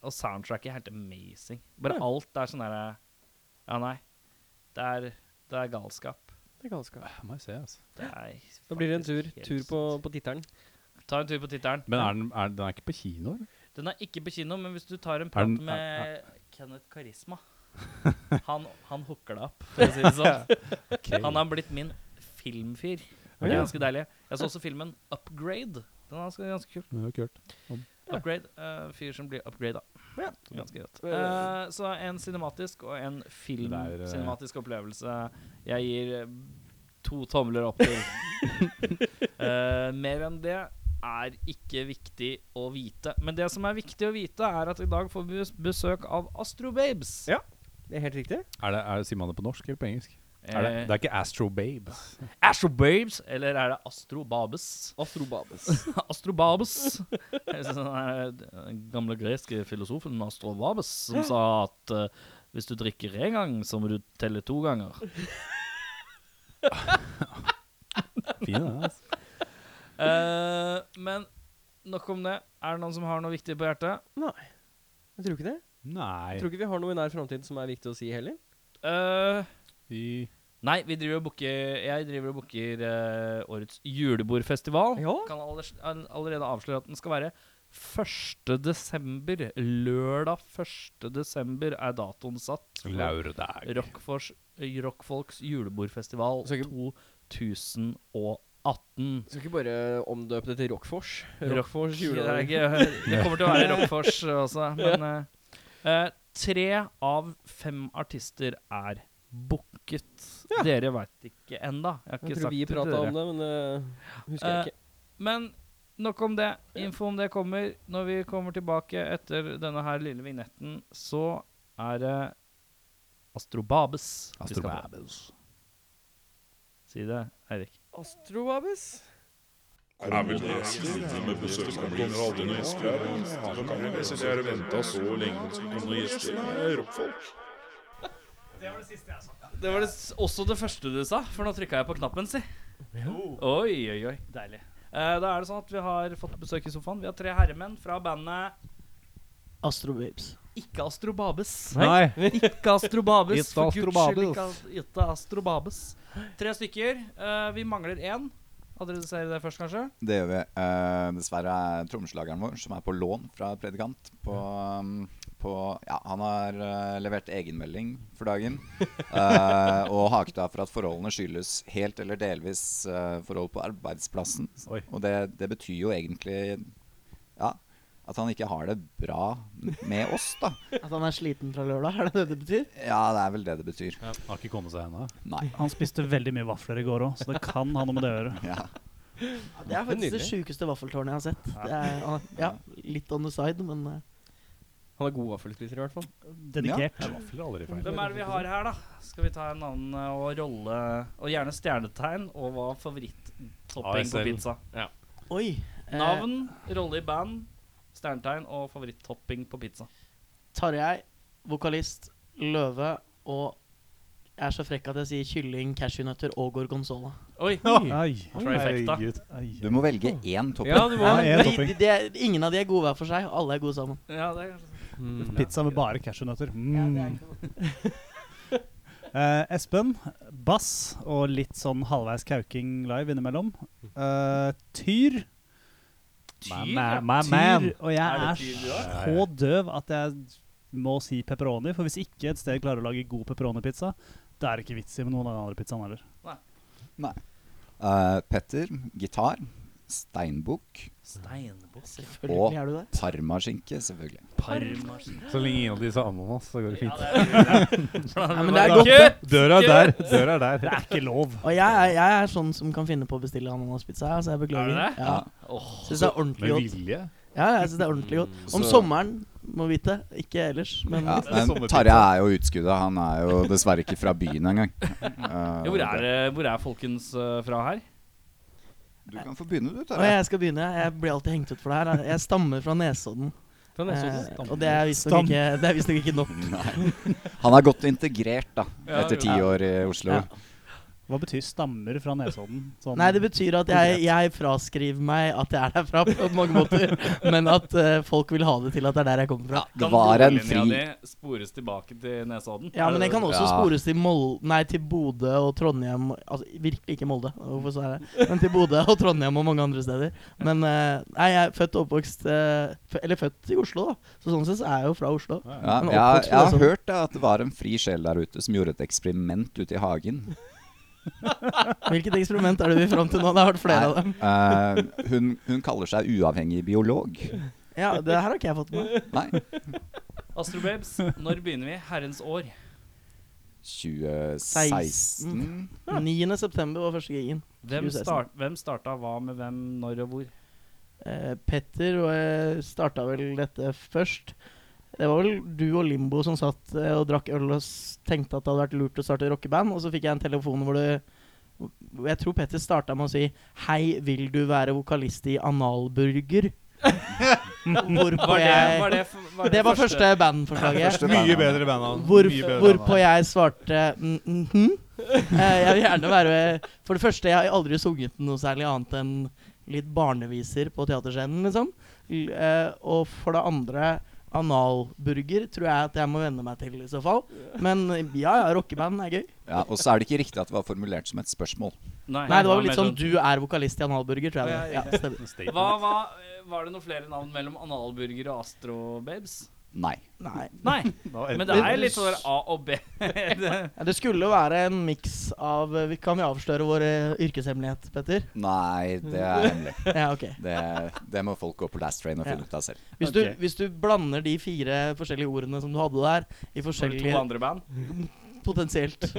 Speaker 2: og soundtracket er helt amazing. Bare
Speaker 4: Ja.
Speaker 2: alt er sånn derre Ja, nei. Det er, det er galskap.
Speaker 4: Det er galskap.
Speaker 3: Jeg må jo se, altså.
Speaker 2: Det er
Speaker 4: Da blir det en
Speaker 2: faktisk
Speaker 4: tur,
Speaker 2: helt
Speaker 4: tur på,
Speaker 2: sykt.
Speaker 4: på tittelen.
Speaker 2: Ta en tur på tittelen.
Speaker 3: Men er den, er, den er ikke på kino, eller?
Speaker 2: Den er ikke på kino, men hvis du tar en
Speaker 3: Er
Speaker 2: prat
Speaker 3: den-
Speaker 2: med
Speaker 3: er-
Speaker 2: Kenneth Karisma Han, han hooker deg opp, for å si det sånn. Han har blitt min filmfyr. Det er
Speaker 3: Ja.
Speaker 2: ganske deilig. Jeg så også filmen Upgrade. Den er ganske, ganske kul.
Speaker 3: Det er jo kult.
Speaker 2: Upgrade. eh, fyr som blir upgrada.
Speaker 4: Ja.
Speaker 2: Ganske godt.
Speaker 4: Eh.
Speaker 2: Eh, så en cinematisk og en
Speaker 3: Det er, eh,
Speaker 2: filmcinematisk opplevelse jeg gir eh, to tomler opp
Speaker 3: (laughs)
Speaker 2: til. Eh, mer enn det er ikke viktig å vite. Men det som er viktig å vite, er at i dag får vi bes- besøk av Astrobabes.
Speaker 4: Ja. Det er helt riktig.
Speaker 3: Er det, er det, sier man det på norsk eller på engelsk? Er det,
Speaker 2: Eh.
Speaker 3: det er ikke Astro Babes.
Speaker 2: Astrobabes, eller er det Astrobabes?
Speaker 4: Astrobabes.
Speaker 2: (laughs) Astrobabes. Sånn, eh, Den gamle greske filosofen Astrobabes som sa at eh, hvis du drikker én gang, så må du telle to ganger.
Speaker 3: Fin, den, altså.
Speaker 2: Eh, men nok om det. Er det noen som har noe viktig på hjertet?
Speaker 4: (laughs) Nei. Jeg tror ikke det.
Speaker 3: Nei
Speaker 4: Jeg tror ikke vi har noe i nær framtid som er viktig å si heller.
Speaker 2: Eh,
Speaker 3: Vi-
Speaker 2: nei, vi driver og booker Jeg driver og booker eh, årets julebordfestival.
Speaker 4: Ja.
Speaker 2: Kan aller- all- allerede avsløre at den skal være 1. desember. Lørdag 1. desember er datoen satt. for
Speaker 3: Lørdag.
Speaker 2: Rockfors, eh, Rockfolks julebordfestival
Speaker 4: Så ikke-
Speaker 2: 2018.
Speaker 4: Skal ikke bare omdøpe det til Rockfors.
Speaker 2: Rockfors
Speaker 4: juledag.
Speaker 2: Det, er ikke- det kommer til å
Speaker 4: (laughs)
Speaker 2: være Rockfors også, men eh, eh, Tre av fem artister er booket. Dere veit ikke ennå. Jeg har ikke
Speaker 4: Jeg
Speaker 2: sagt
Speaker 4: tror vi
Speaker 2: det til
Speaker 4: prata
Speaker 2: dere.
Speaker 4: om det, men det husker jeg
Speaker 2: Eh,
Speaker 4: ikke.
Speaker 2: Men nok om det. Info om det kommer. Når vi kommer tilbake etter denne her lille vignetten, så er det Astrobabes. vi skal på.
Speaker 3: Astrobabes.
Speaker 2: Si det, Eirik.
Speaker 4: Astrobabes?
Speaker 2: Det var det, s- også det første du sa, for nå trykka jeg på knappen, si. Oi, oi, oi. Deilig. Eh, da er det sånn at vi har fått besøk i sofaen. Vi har tre herremenn fra bandet
Speaker 5: Astrobabes.
Speaker 2: Ikke Astrobabes.
Speaker 3: Nei.
Speaker 2: Ikke Astrobabes.
Speaker 3: Ikke
Speaker 2: for guds skyld,
Speaker 3: Astrobabes.
Speaker 2: Ikke, As- ikke Astrobabes. Tre stykker. Eh, vi mangler én. Adresserer det først, kanskje?
Speaker 6: Det gjør vi. Eh, dessverre er trommeslageren vår, som er på lån fra Predikant på, um, på Ja, han har eh, levert egenmelding for dagen. eh, og haket av for at forholdene skyldes helt eller delvis eh, forhold på arbeidsplassen.
Speaker 3: Oi.
Speaker 6: Og det, det betyr jo egentlig ja, at han ikke har det bra med oss, da.
Speaker 5: At han er sliten fra lørdag, er det det det betyr?
Speaker 6: Ja, det er vel det det betyr.
Speaker 3: Ja, Har ikke kommet seg ennå.
Speaker 6: Nei.
Speaker 7: Han spiste veldig mye vafler i går òg, så det kan ha noe med det å gjøre.
Speaker 6: Ja.
Speaker 5: Det er faktisk det
Speaker 4: Nydelig.
Speaker 5: sjukeste vaffeltårnet jeg har sett. Det er, han er- ja, litt on the side, men eh,
Speaker 4: Han er god vaffelspiser, i hvert fall.
Speaker 7: Dedikert.
Speaker 3: Ja, Vafler er aldri feil.
Speaker 2: Hvem er det vi har her, da? Skal vi ta en annen eh, og rolle Og gjerne stjernetegn, og hva er favorittopping på
Speaker 3: ASL.
Speaker 2: pizza?
Speaker 5: Oi. eh,
Speaker 2: Navn, rolle i band, stjernetegn og favorittopping på pizza.
Speaker 5: Tarjei, vokalist, Løve og Jeg er så frekk at jeg sier kylling, cashewnøtter og gorgonzola.
Speaker 2: Oi!
Speaker 7: Ai,
Speaker 2: Trifecta.
Speaker 7: herregud. Ai,
Speaker 6: Du må velge én topping.
Speaker 2: Ja, du må
Speaker 7: Ja,
Speaker 2: ja,
Speaker 7: en
Speaker 5: De,
Speaker 7: topping.
Speaker 5: de, de er, ingen av de er gode hver for seg, og alle er gode sammen.
Speaker 2: det er,
Speaker 4: Mm,
Speaker 7: Pizza med bare cashewnøtter.
Speaker 5: Ja,
Speaker 7: Mm.
Speaker 5: det er ikke noe.
Speaker 7: Eh, Espen, bass og litt sånn halvveis kauking live innimellom. Eh, tyr.
Speaker 3: My,
Speaker 2: Tyr,
Speaker 3: ma-
Speaker 2: ja.
Speaker 3: my
Speaker 7: Tyr.
Speaker 3: man.
Speaker 7: Og jeg
Speaker 2: Er det
Speaker 7: er,
Speaker 2: tyr du har?
Speaker 7: så døv at jeg må si pepperoni. For hvis ikke et sted klarer å lage god pepperonipizza, da er det ikke vits i med noen av de andre pizzaene heller.
Speaker 6: Eh, Petter, gitar, steinbukk,
Speaker 2: Steinbukk.
Speaker 6: Og-
Speaker 5: Selvfølgelig er du det.
Speaker 6: parmaskinke, selvfølgelig.
Speaker 3: Så lenge ingen av disse er ananas, så går det fint.
Speaker 5: men det er godt, det.
Speaker 3: Døra er der! Døra er
Speaker 7: Det
Speaker 3: der.
Speaker 7: er ikke lov.
Speaker 5: Og jeg, er- jeg er sånn som kan finne på å bestille ananaspizza. Altså, jeg
Speaker 2: Er
Speaker 5: beklager.
Speaker 2: du det?
Speaker 5: Ja.
Speaker 2: Åh.
Speaker 5: Syns det er ordentlig
Speaker 3: Med
Speaker 5: godt.
Speaker 3: vilje.
Speaker 5: Ja, jeg synes det er ordentlig godt. Om
Speaker 6: Så-
Speaker 5: sommeren, må vite. Ikke ellers. Men
Speaker 6: Ja, men
Speaker 3: Sommerpizza.
Speaker 6: Tarjei er jo utskuddet. Han er jo dessverre ikke fra byen engang. Eh,
Speaker 2: Ja, hvor, er, det- hvor er folkens eh, fra her?
Speaker 6: Du kan få begynne, du,
Speaker 5: Og
Speaker 6: Tarjei.
Speaker 5: jeg skal begynne. Jeg blir alltid hengt ut for det her. Jeg stammer fra Nesodden.
Speaker 4: Fra Nesodden.
Speaker 5: Eh, og det er visstnok ikke, det er visst nok ikke nok.
Speaker 6: Nei. Han er godt integrert, da,
Speaker 2: Ja,
Speaker 6: etter ti
Speaker 2: ja.
Speaker 6: år i Oslo.
Speaker 5: Ja.
Speaker 7: Hva betyr stammer fra Nesodden? Sånn-
Speaker 5: Nei, det betyr at jeg, jeg fraskriver meg at jeg er derfra på mange måter, men at eh, folk vil ha det til at det er der jeg kommer fra.
Speaker 6: Det var en fri
Speaker 2: Linja di spores tilbake til Nesodden?
Speaker 5: Ja, men den kan også
Speaker 6: Ja.
Speaker 5: spores til, Mol nei, til Bodø og Trondheim Altså virkelig ikke Molde, hvorfor sa jeg det? Men til Bodø og Trondheim og mange andre steder. Men eh, nei, jeg er født og oppvokst eh, fø- Eller født i Oslo, da. Så sånn sett så er jeg jo fra Oslo.
Speaker 6: ja,
Speaker 5: Men
Speaker 6: jeg, har-
Speaker 5: oppvokst
Speaker 6: jeg har
Speaker 5: liksom.
Speaker 6: hørt da, at det var en fri sjel der ute som gjorde et eksperiment ute i hagen.
Speaker 5: Hvilket eksperiment er det vi fram til nå? Det har vært flere av dem.
Speaker 6: Nei, eh, hun, hun kaller seg uavhengig biolog.
Speaker 5: Ja, det her har ikke jeg fått med meg.
Speaker 6: Nei.
Speaker 2: Astrobabes, når begynner vi? Herrens år.
Speaker 6: 2016
Speaker 5: 9. september var første gigen.
Speaker 2: Hvem,
Speaker 5: 2016.
Speaker 2: start, hvem starta hva med hvem, når og hvor?
Speaker 5: Eh, Petter uh, starta vel dette først. Det var vel du og Limbo som satt eh, og drakk øl og s tenkte at det hadde vært lurt å starte rockeband, og så fikk jeg en telefon hvor du hvor Jeg tror Petter starta med å si 'Hei, vil du være vokalist i
Speaker 2: (laughs)
Speaker 5: Analburger?' Hvorpå
Speaker 2: Var det,
Speaker 5: jeg
Speaker 2: var det, f- var det
Speaker 5: Det var første bandforslaget.
Speaker 6: Første bandet.
Speaker 8: bandnavn.
Speaker 5: Hvor,
Speaker 8: Mye bedre
Speaker 5: hvorpå
Speaker 8: bandnavn.
Speaker 5: jeg svarte mm, mhm. Eh, Jeg vil gjerne være For det første, jeg har aldri sunget noe særlig annet enn litt barneviser på teaterscenen, liksom. L- eh, Og for det andre, analburger tror jeg at jeg må venne meg til i så fall. Men ja, ja, rockeband er gøy.
Speaker 6: Ja, og så er det ikke riktig at det var formulert som et spørsmål.
Speaker 5: Nei, det var vel
Speaker 2: mer
Speaker 5: litt sånn du er vokalist i analburger, tror jeg. det var. Ja, stemmer.
Speaker 2: Hva, hva, var det noen flere navn mellom analburger og astrobabes?
Speaker 6: Nei.
Speaker 5: Nei.
Speaker 2: Nei,
Speaker 5: (laughs)
Speaker 2: men det er litt sånn A og B. (laughs)
Speaker 5: Ja, Det skulle jo være en miks av eh, vi- Kan vi avsløre vår eh, yrkeshemmelighet, Petter?
Speaker 6: Nei, det er hemmelig.
Speaker 5: Ja, ok.
Speaker 6: Det, det må folk gå på Last Train og finne ut av selv.
Speaker 5: Hvis,
Speaker 2: Ok.
Speaker 5: du, hvis du blander de fire forskjellige ordene som du hadde der, i
Speaker 2: Selv to
Speaker 5: forskjellige
Speaker 2: andre
Speaker 5: (laughs)
Speaker 2: band. (laughs)
Speaker 5: Potensielt.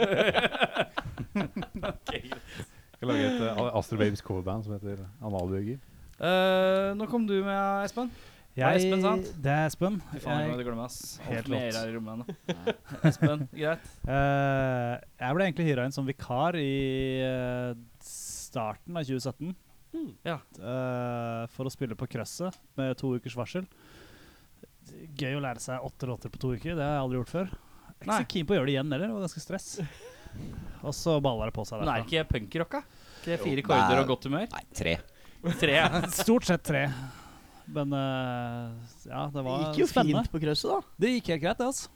Speaker 3: Skal lage et uh, Astro Babes coverband som heter Analbøger.
Speaker 2: Eh, nå kom du med, Espen. Hva er Espen sant?
Speaker 7: Det er Espen.
Speaker 2: Fy faen, jeg
Speaker 7: Jeg,
Speaker 2: det glemmer ass.
Speaker 7: Helt
Speaker 2: Alt mer
Speaker 7: rått.
Speaker 2: her i rommet ennå. Espen, greit.
Speaker 7: eh, jeg ble egentlig hyra inn som vikar i eh, starten av 2017.
Speaker 2: Ja.
Speaker 7: eh, for å spille på krøsset med to ukers varsel. Gøy å lære seg åtte låter på to uker. Det har jeg aldri gjort før. Jeg er Ikke
Speaker 2: Nei.
Speaker 7: så keen på å gjøre det igjen heller. Det var ganske stress. Og så balla det på seg
Speaker 2: Men er
Speaker 7: derfra.
Speaker 2: ikke jeg punkrocka? Ikke det fire
Speaker 6: Jo.
Speaker 2: korder og
Speaker 6: Nei.
Speaker 2: godt humør?
Speaker 6: Nei, tre.
Speaker 2: Tre.
Speaker 7: Stort sett tre. Men eh, ja, det
Speaker 5: Det
Speaker 7: var
Speaker 5: gikk jo
Speaker 7: spennende.
Speaker 5: fint på krøsset, da.
Speaker 7: Det gikk helt greit, det, altså.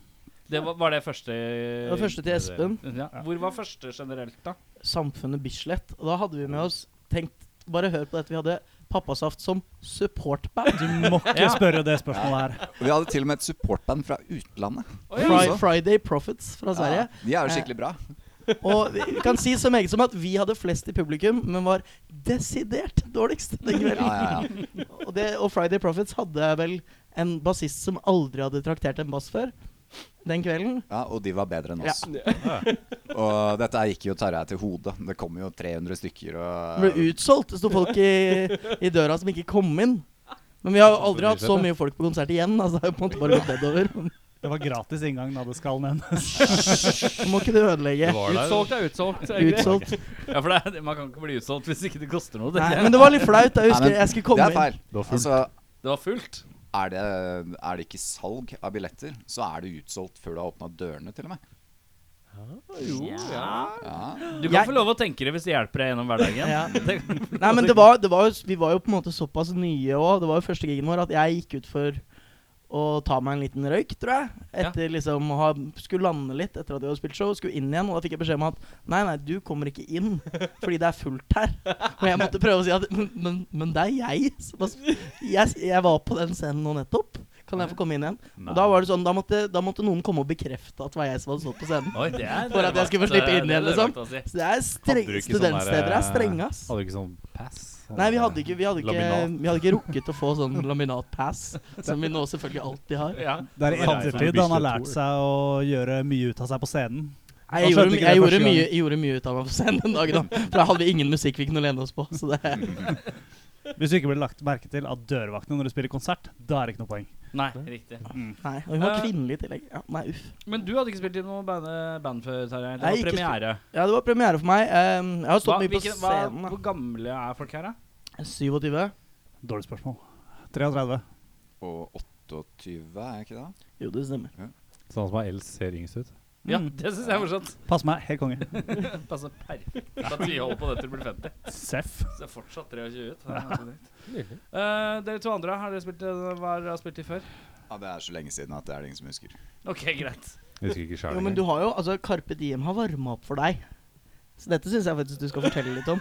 Speaker 2: Det var, var det første
Speaker 5: Det var første til Espen.
Speaker 2: Ja. Hvor var første generelt, da?
Speaker 5: Samfunnet Bislett. Og da hadde vi med oss Tenk, bare hør på dette. Vi hadde Pappasaft som supportband.
Speaker 7: Du må ikke spørre det spørsmålet her.
Speaker 6: Og vi hadde til og med et supportband fra utlandet.
Speaker 5: Fri Friday Profits fra Sverige.
Speaker 6: altså. Ja, de er jo skikkelig bra.
Speaker 5: Og vi vi kan si så meget som at vi hadde flest i publikum, men var desidert dårligst den
Speaker 6: Ja,
Speaker 5: kvelden.
Speaker 6: ja, ja.
Speaker 5: (laughs) Og, det, og Friday Profits hadde vel en bassist som aldri hadde traktert en bass før den kvelden.
Speaker 6: ja Og de var bedre enn oss. Og dette her gikk jo Tarjei til hodet. Det kom jo 300 stykker
Speaker 5: Den
Speaker 6: og
Speaker 5: ble utsolgt. Det sto folk i, i døra som ikke kom inn. Men vi har jo aldri hatt så mye folk på konsert igjen. Altså, det har jo på en måte bare gått nedover.
Speaker 7: Det var gratis inngang da det skal ned.
Speaker 5: Må ikke du ødelegge.
Speaker 2: Utsolgt er utsolgt.
Speaker 5: Utsolgt.
Speaker 2: (laughs) Ja, for det, er- man kan ikke bli utsolgt hvis ikke det koster noe.
Speaker 5: Nei,
Speaker 2: tenker
Speaker 5: men
Speaker 2: jeg.
Speaker 5: det var litt flaut. Jeg
Speaker 6: Nei,
Speaker 5: husker
Speaker 6: men
Speaker 5: jeg skulle
Speaker 6: Det
Speaker 5: komme
Speaker 6: er
Speaker 5: inn.
Speaker 6: feil.
Speaker 3: Det var fullt.
Speaker 6: Altså,
Speaker 2: Det var fullt.
Speaker 6: er det, er det ikke salg av billetter, så er det utsolgt før du har åpna dørene, til og med.
Speaker 4: Jo, ja.
Speaker 6: Ja.
Speaker 2: Du kan
Speaker 5: Jeg-
Speaker 2: få lov å tenke det hvis det hjelper deg gjennom hverdagen.
Speaker 5: Ja.
Speaker 2: Det-
Speaker 5: Nei,
Speaker 3: Altså,
Speaker 5: men det var, det var jo, vi var jo på en måte såpass nye òg. Det var jo første gigen vår at jeg gikk ut for å ta meg en liten røyk, tror jeg. Etter liksom å ha, Skulle lande litt etter at vi hadde spilt show, skulle inn igjen. Og da fikk jeg beskjed om at nei, nei, du kommer ikke inn
Speaker 3: (laughs)
Speaker 5: fordi det er fullt her. Og jeg måtte prøve å si at men, men, men det er jeg. som har sp- jeg. Jeg var på den scenen nå nettopp. Kan jeg få komme inn igjen? Og da var det sånn, da måtte, da måtte noen komme og bekrefte at det var jeg som hadde stått på scenen.
Speaker 2: Oi, det er
Speaker 5: For at jeg skulle få slippe inn
Speaker 2: det er
Speaker 5: igjen, liksom.
Speaker 2: rart å si.
Speaker 5: Så det er
Speaker 3: Hadde
Speaker 5: streng,
Speaker 3: du ikke sånn der,
Speaker 5: studentsteder er strenge, ass.
Speaker 3: Hadde du ikke sånn pass?
Speaker 5: Nei, vi hadde ikke, vi hadde ikke,
Speaker 3: Laminat.
Speaker 5: vi hadde ikke rukket å få sånn laminatpass, som vi nå selvfølgelig alltid har.
Speaker 2: Ja.
Speaker 7: Det er sånn i
Speaker 3: Samfunn-
Speaker 7: ettertid han har lært
Speaker 3: Bislett-tour.
Speaker 7: seg å gjøre mye ut av seg på scenen.
Speaker 5: Nei,
Speaker 7: Da
Speaker 5: jeg,
Speaker 7: skjønte
Speaker 5: gjorde,
Speaker 7: ikke
Speaker 5: jeg,
Speaker 7: det
Speaker 5: gjorde
Speaker 7: første
Speaker 5: mye,
Speaker 7: gang.
Speaker 5: jeg gjorde mye ut av meg på scenen den dagen, da. For da hadde vi ingen musikk vi kunne lene oss på. Så det
Speaker 7: Hvis du ikke blir lagt merke til av dørvaktene når du spiller konsert, da er det ikke noe poeng.
Speaker 2: Nei, riktig.
Speaker 5: Nei. Og hun var
Speaker 2: Eh.
Speaker 5: kvinnelig i tillegg. Ja, nei, uff.
Speaker 2: Men du hadde ikke spilt i noe band, eh, band før, Terje. Det
Speaker 5: Nei,
Speaker 2: var
Speaker 5: ikke
Speaker 2: premiere.
Speaker 5: Ja, det var premiere for meg. Ehm, Jeg har
Speaker 2: Hva,
Speaker 5: stått mye på
Speaker 2: hvilken- hva,
Speaker 5: scenen.
Speaker 2: hvor gamle er folk her, da?
Speaker 5: da. 27?
Speaker 7: Dårlig spørsmål. 33.
Speaker 6: Og 28, er jeg ikke det?
Speaker 5: Jo, det stemmer.
Speaker 3: Sånn som er eldst ser yngst ut.
Speaker 7: Mm.
Speaker 2: Ja, det syns jeg er morsomt.
Speaker 7: Pass meg, helt konge.
Speaker 2: (laughs) Passer perfekt at vi holder på det til du blir 50.
Speaker 7: (laughs) Seff.
Speaker 2: Så jeg er fortsatt 23 ut. Det
Speaker 8: (laughs)
Speaker 2: er ganske dritt. Eh, dere to andre, har dere spilt, eh, hva har dere spilt i før?
Speaker 6: Ja, Det er så lenge siden at det er det ingen som husker.
Speaker 2: Ok, greit.
Speaker 3: Jeg husker ikke
Speaker 5: Jo,
Speaker 3: sjæl
Speaker 5: men du har jo, altså Carpe Diem har varma opp for deg. Så dette syns jeg faktisk du skal fortelle litt om.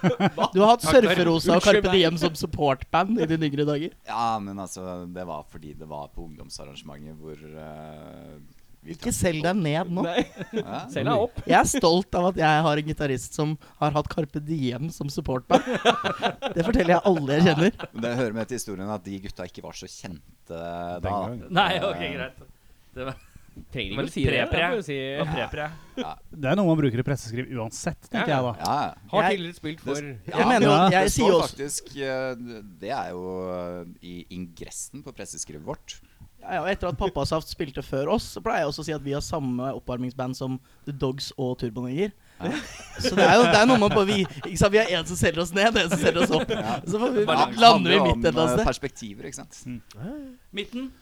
Speaker 5: Du har hatt
Speaker 2: Takk, Terje.
Speaker 5: Surferosa og Carpe Diem som supportband i dine yngre dager.
Speaker 6: Ja, men altså, det var fordi det var på ungdomsarrangementet hvor (laughs) eh, vi
Speaker 5: Ikke selg deg ned nå.
Speaker 6: Ja,
Speaker 2: Selv er opp.
Speaker 5: Jeg er stolt av at jeg har en gitarist som har hatt Carpe Diem som supportband. Det forteller jeg alle jeg kjenner.
Speaker 6: men det hører med til historien at de gutta ikke var så kjente da.
Speaker 3: den gang.
Speaker 2: Nei, ok, greit.
Speaker 8: Trenger ikke
Speaker 2: Men
Speaker 8: å si det.
Speaker 2: pre-pre.
Speaker 8: det er bare å si-
Speaker 2: Det var pre-pre.
Speaker 7: Det er noe man bruker i presseskriv uansett, tenker
Speaker 8: Ja,
Speaker 7: jeg da.
Speaker 6: Ja, ja.
Speaker 8: Har
Speaker 5: Jeg-
Speaker 8: tidligere spilt for
Speaker 5: Jeg mener jo,
Speaker 7: Ja,
Speaker 5: jeg
Speaker 6: det
Speaker 5: sier
Speaker 6: står
Speaker 5: jo også
Speaker 6: faktisk eh, Det er jo eh, i ingressen på presseskrivet vårt.
Speaker 5: ja, ja, Etter at Pappasaft spilte før oss, så pleier jeg også å si at vi har samme oppvarmingsband som The Dogs og Turboneger. Så det er jo det er noe man bare Vi, ikke sant, vi har en som selger oss ned, en som selger oss opp. Så får vi,
Speaker 6: Balanse
Speaker 5: lander
Speaker 6: handler
Speaker 5: vi
Speaker 6: jo
Speaker 5: midt et
Speaker 6: om,
Speaker 5: eller
Speaker 6: eh,
Speaker 5: annet sted.
Speaker 6: Perspektiver, ikke sant.
Speaker 2: Midten.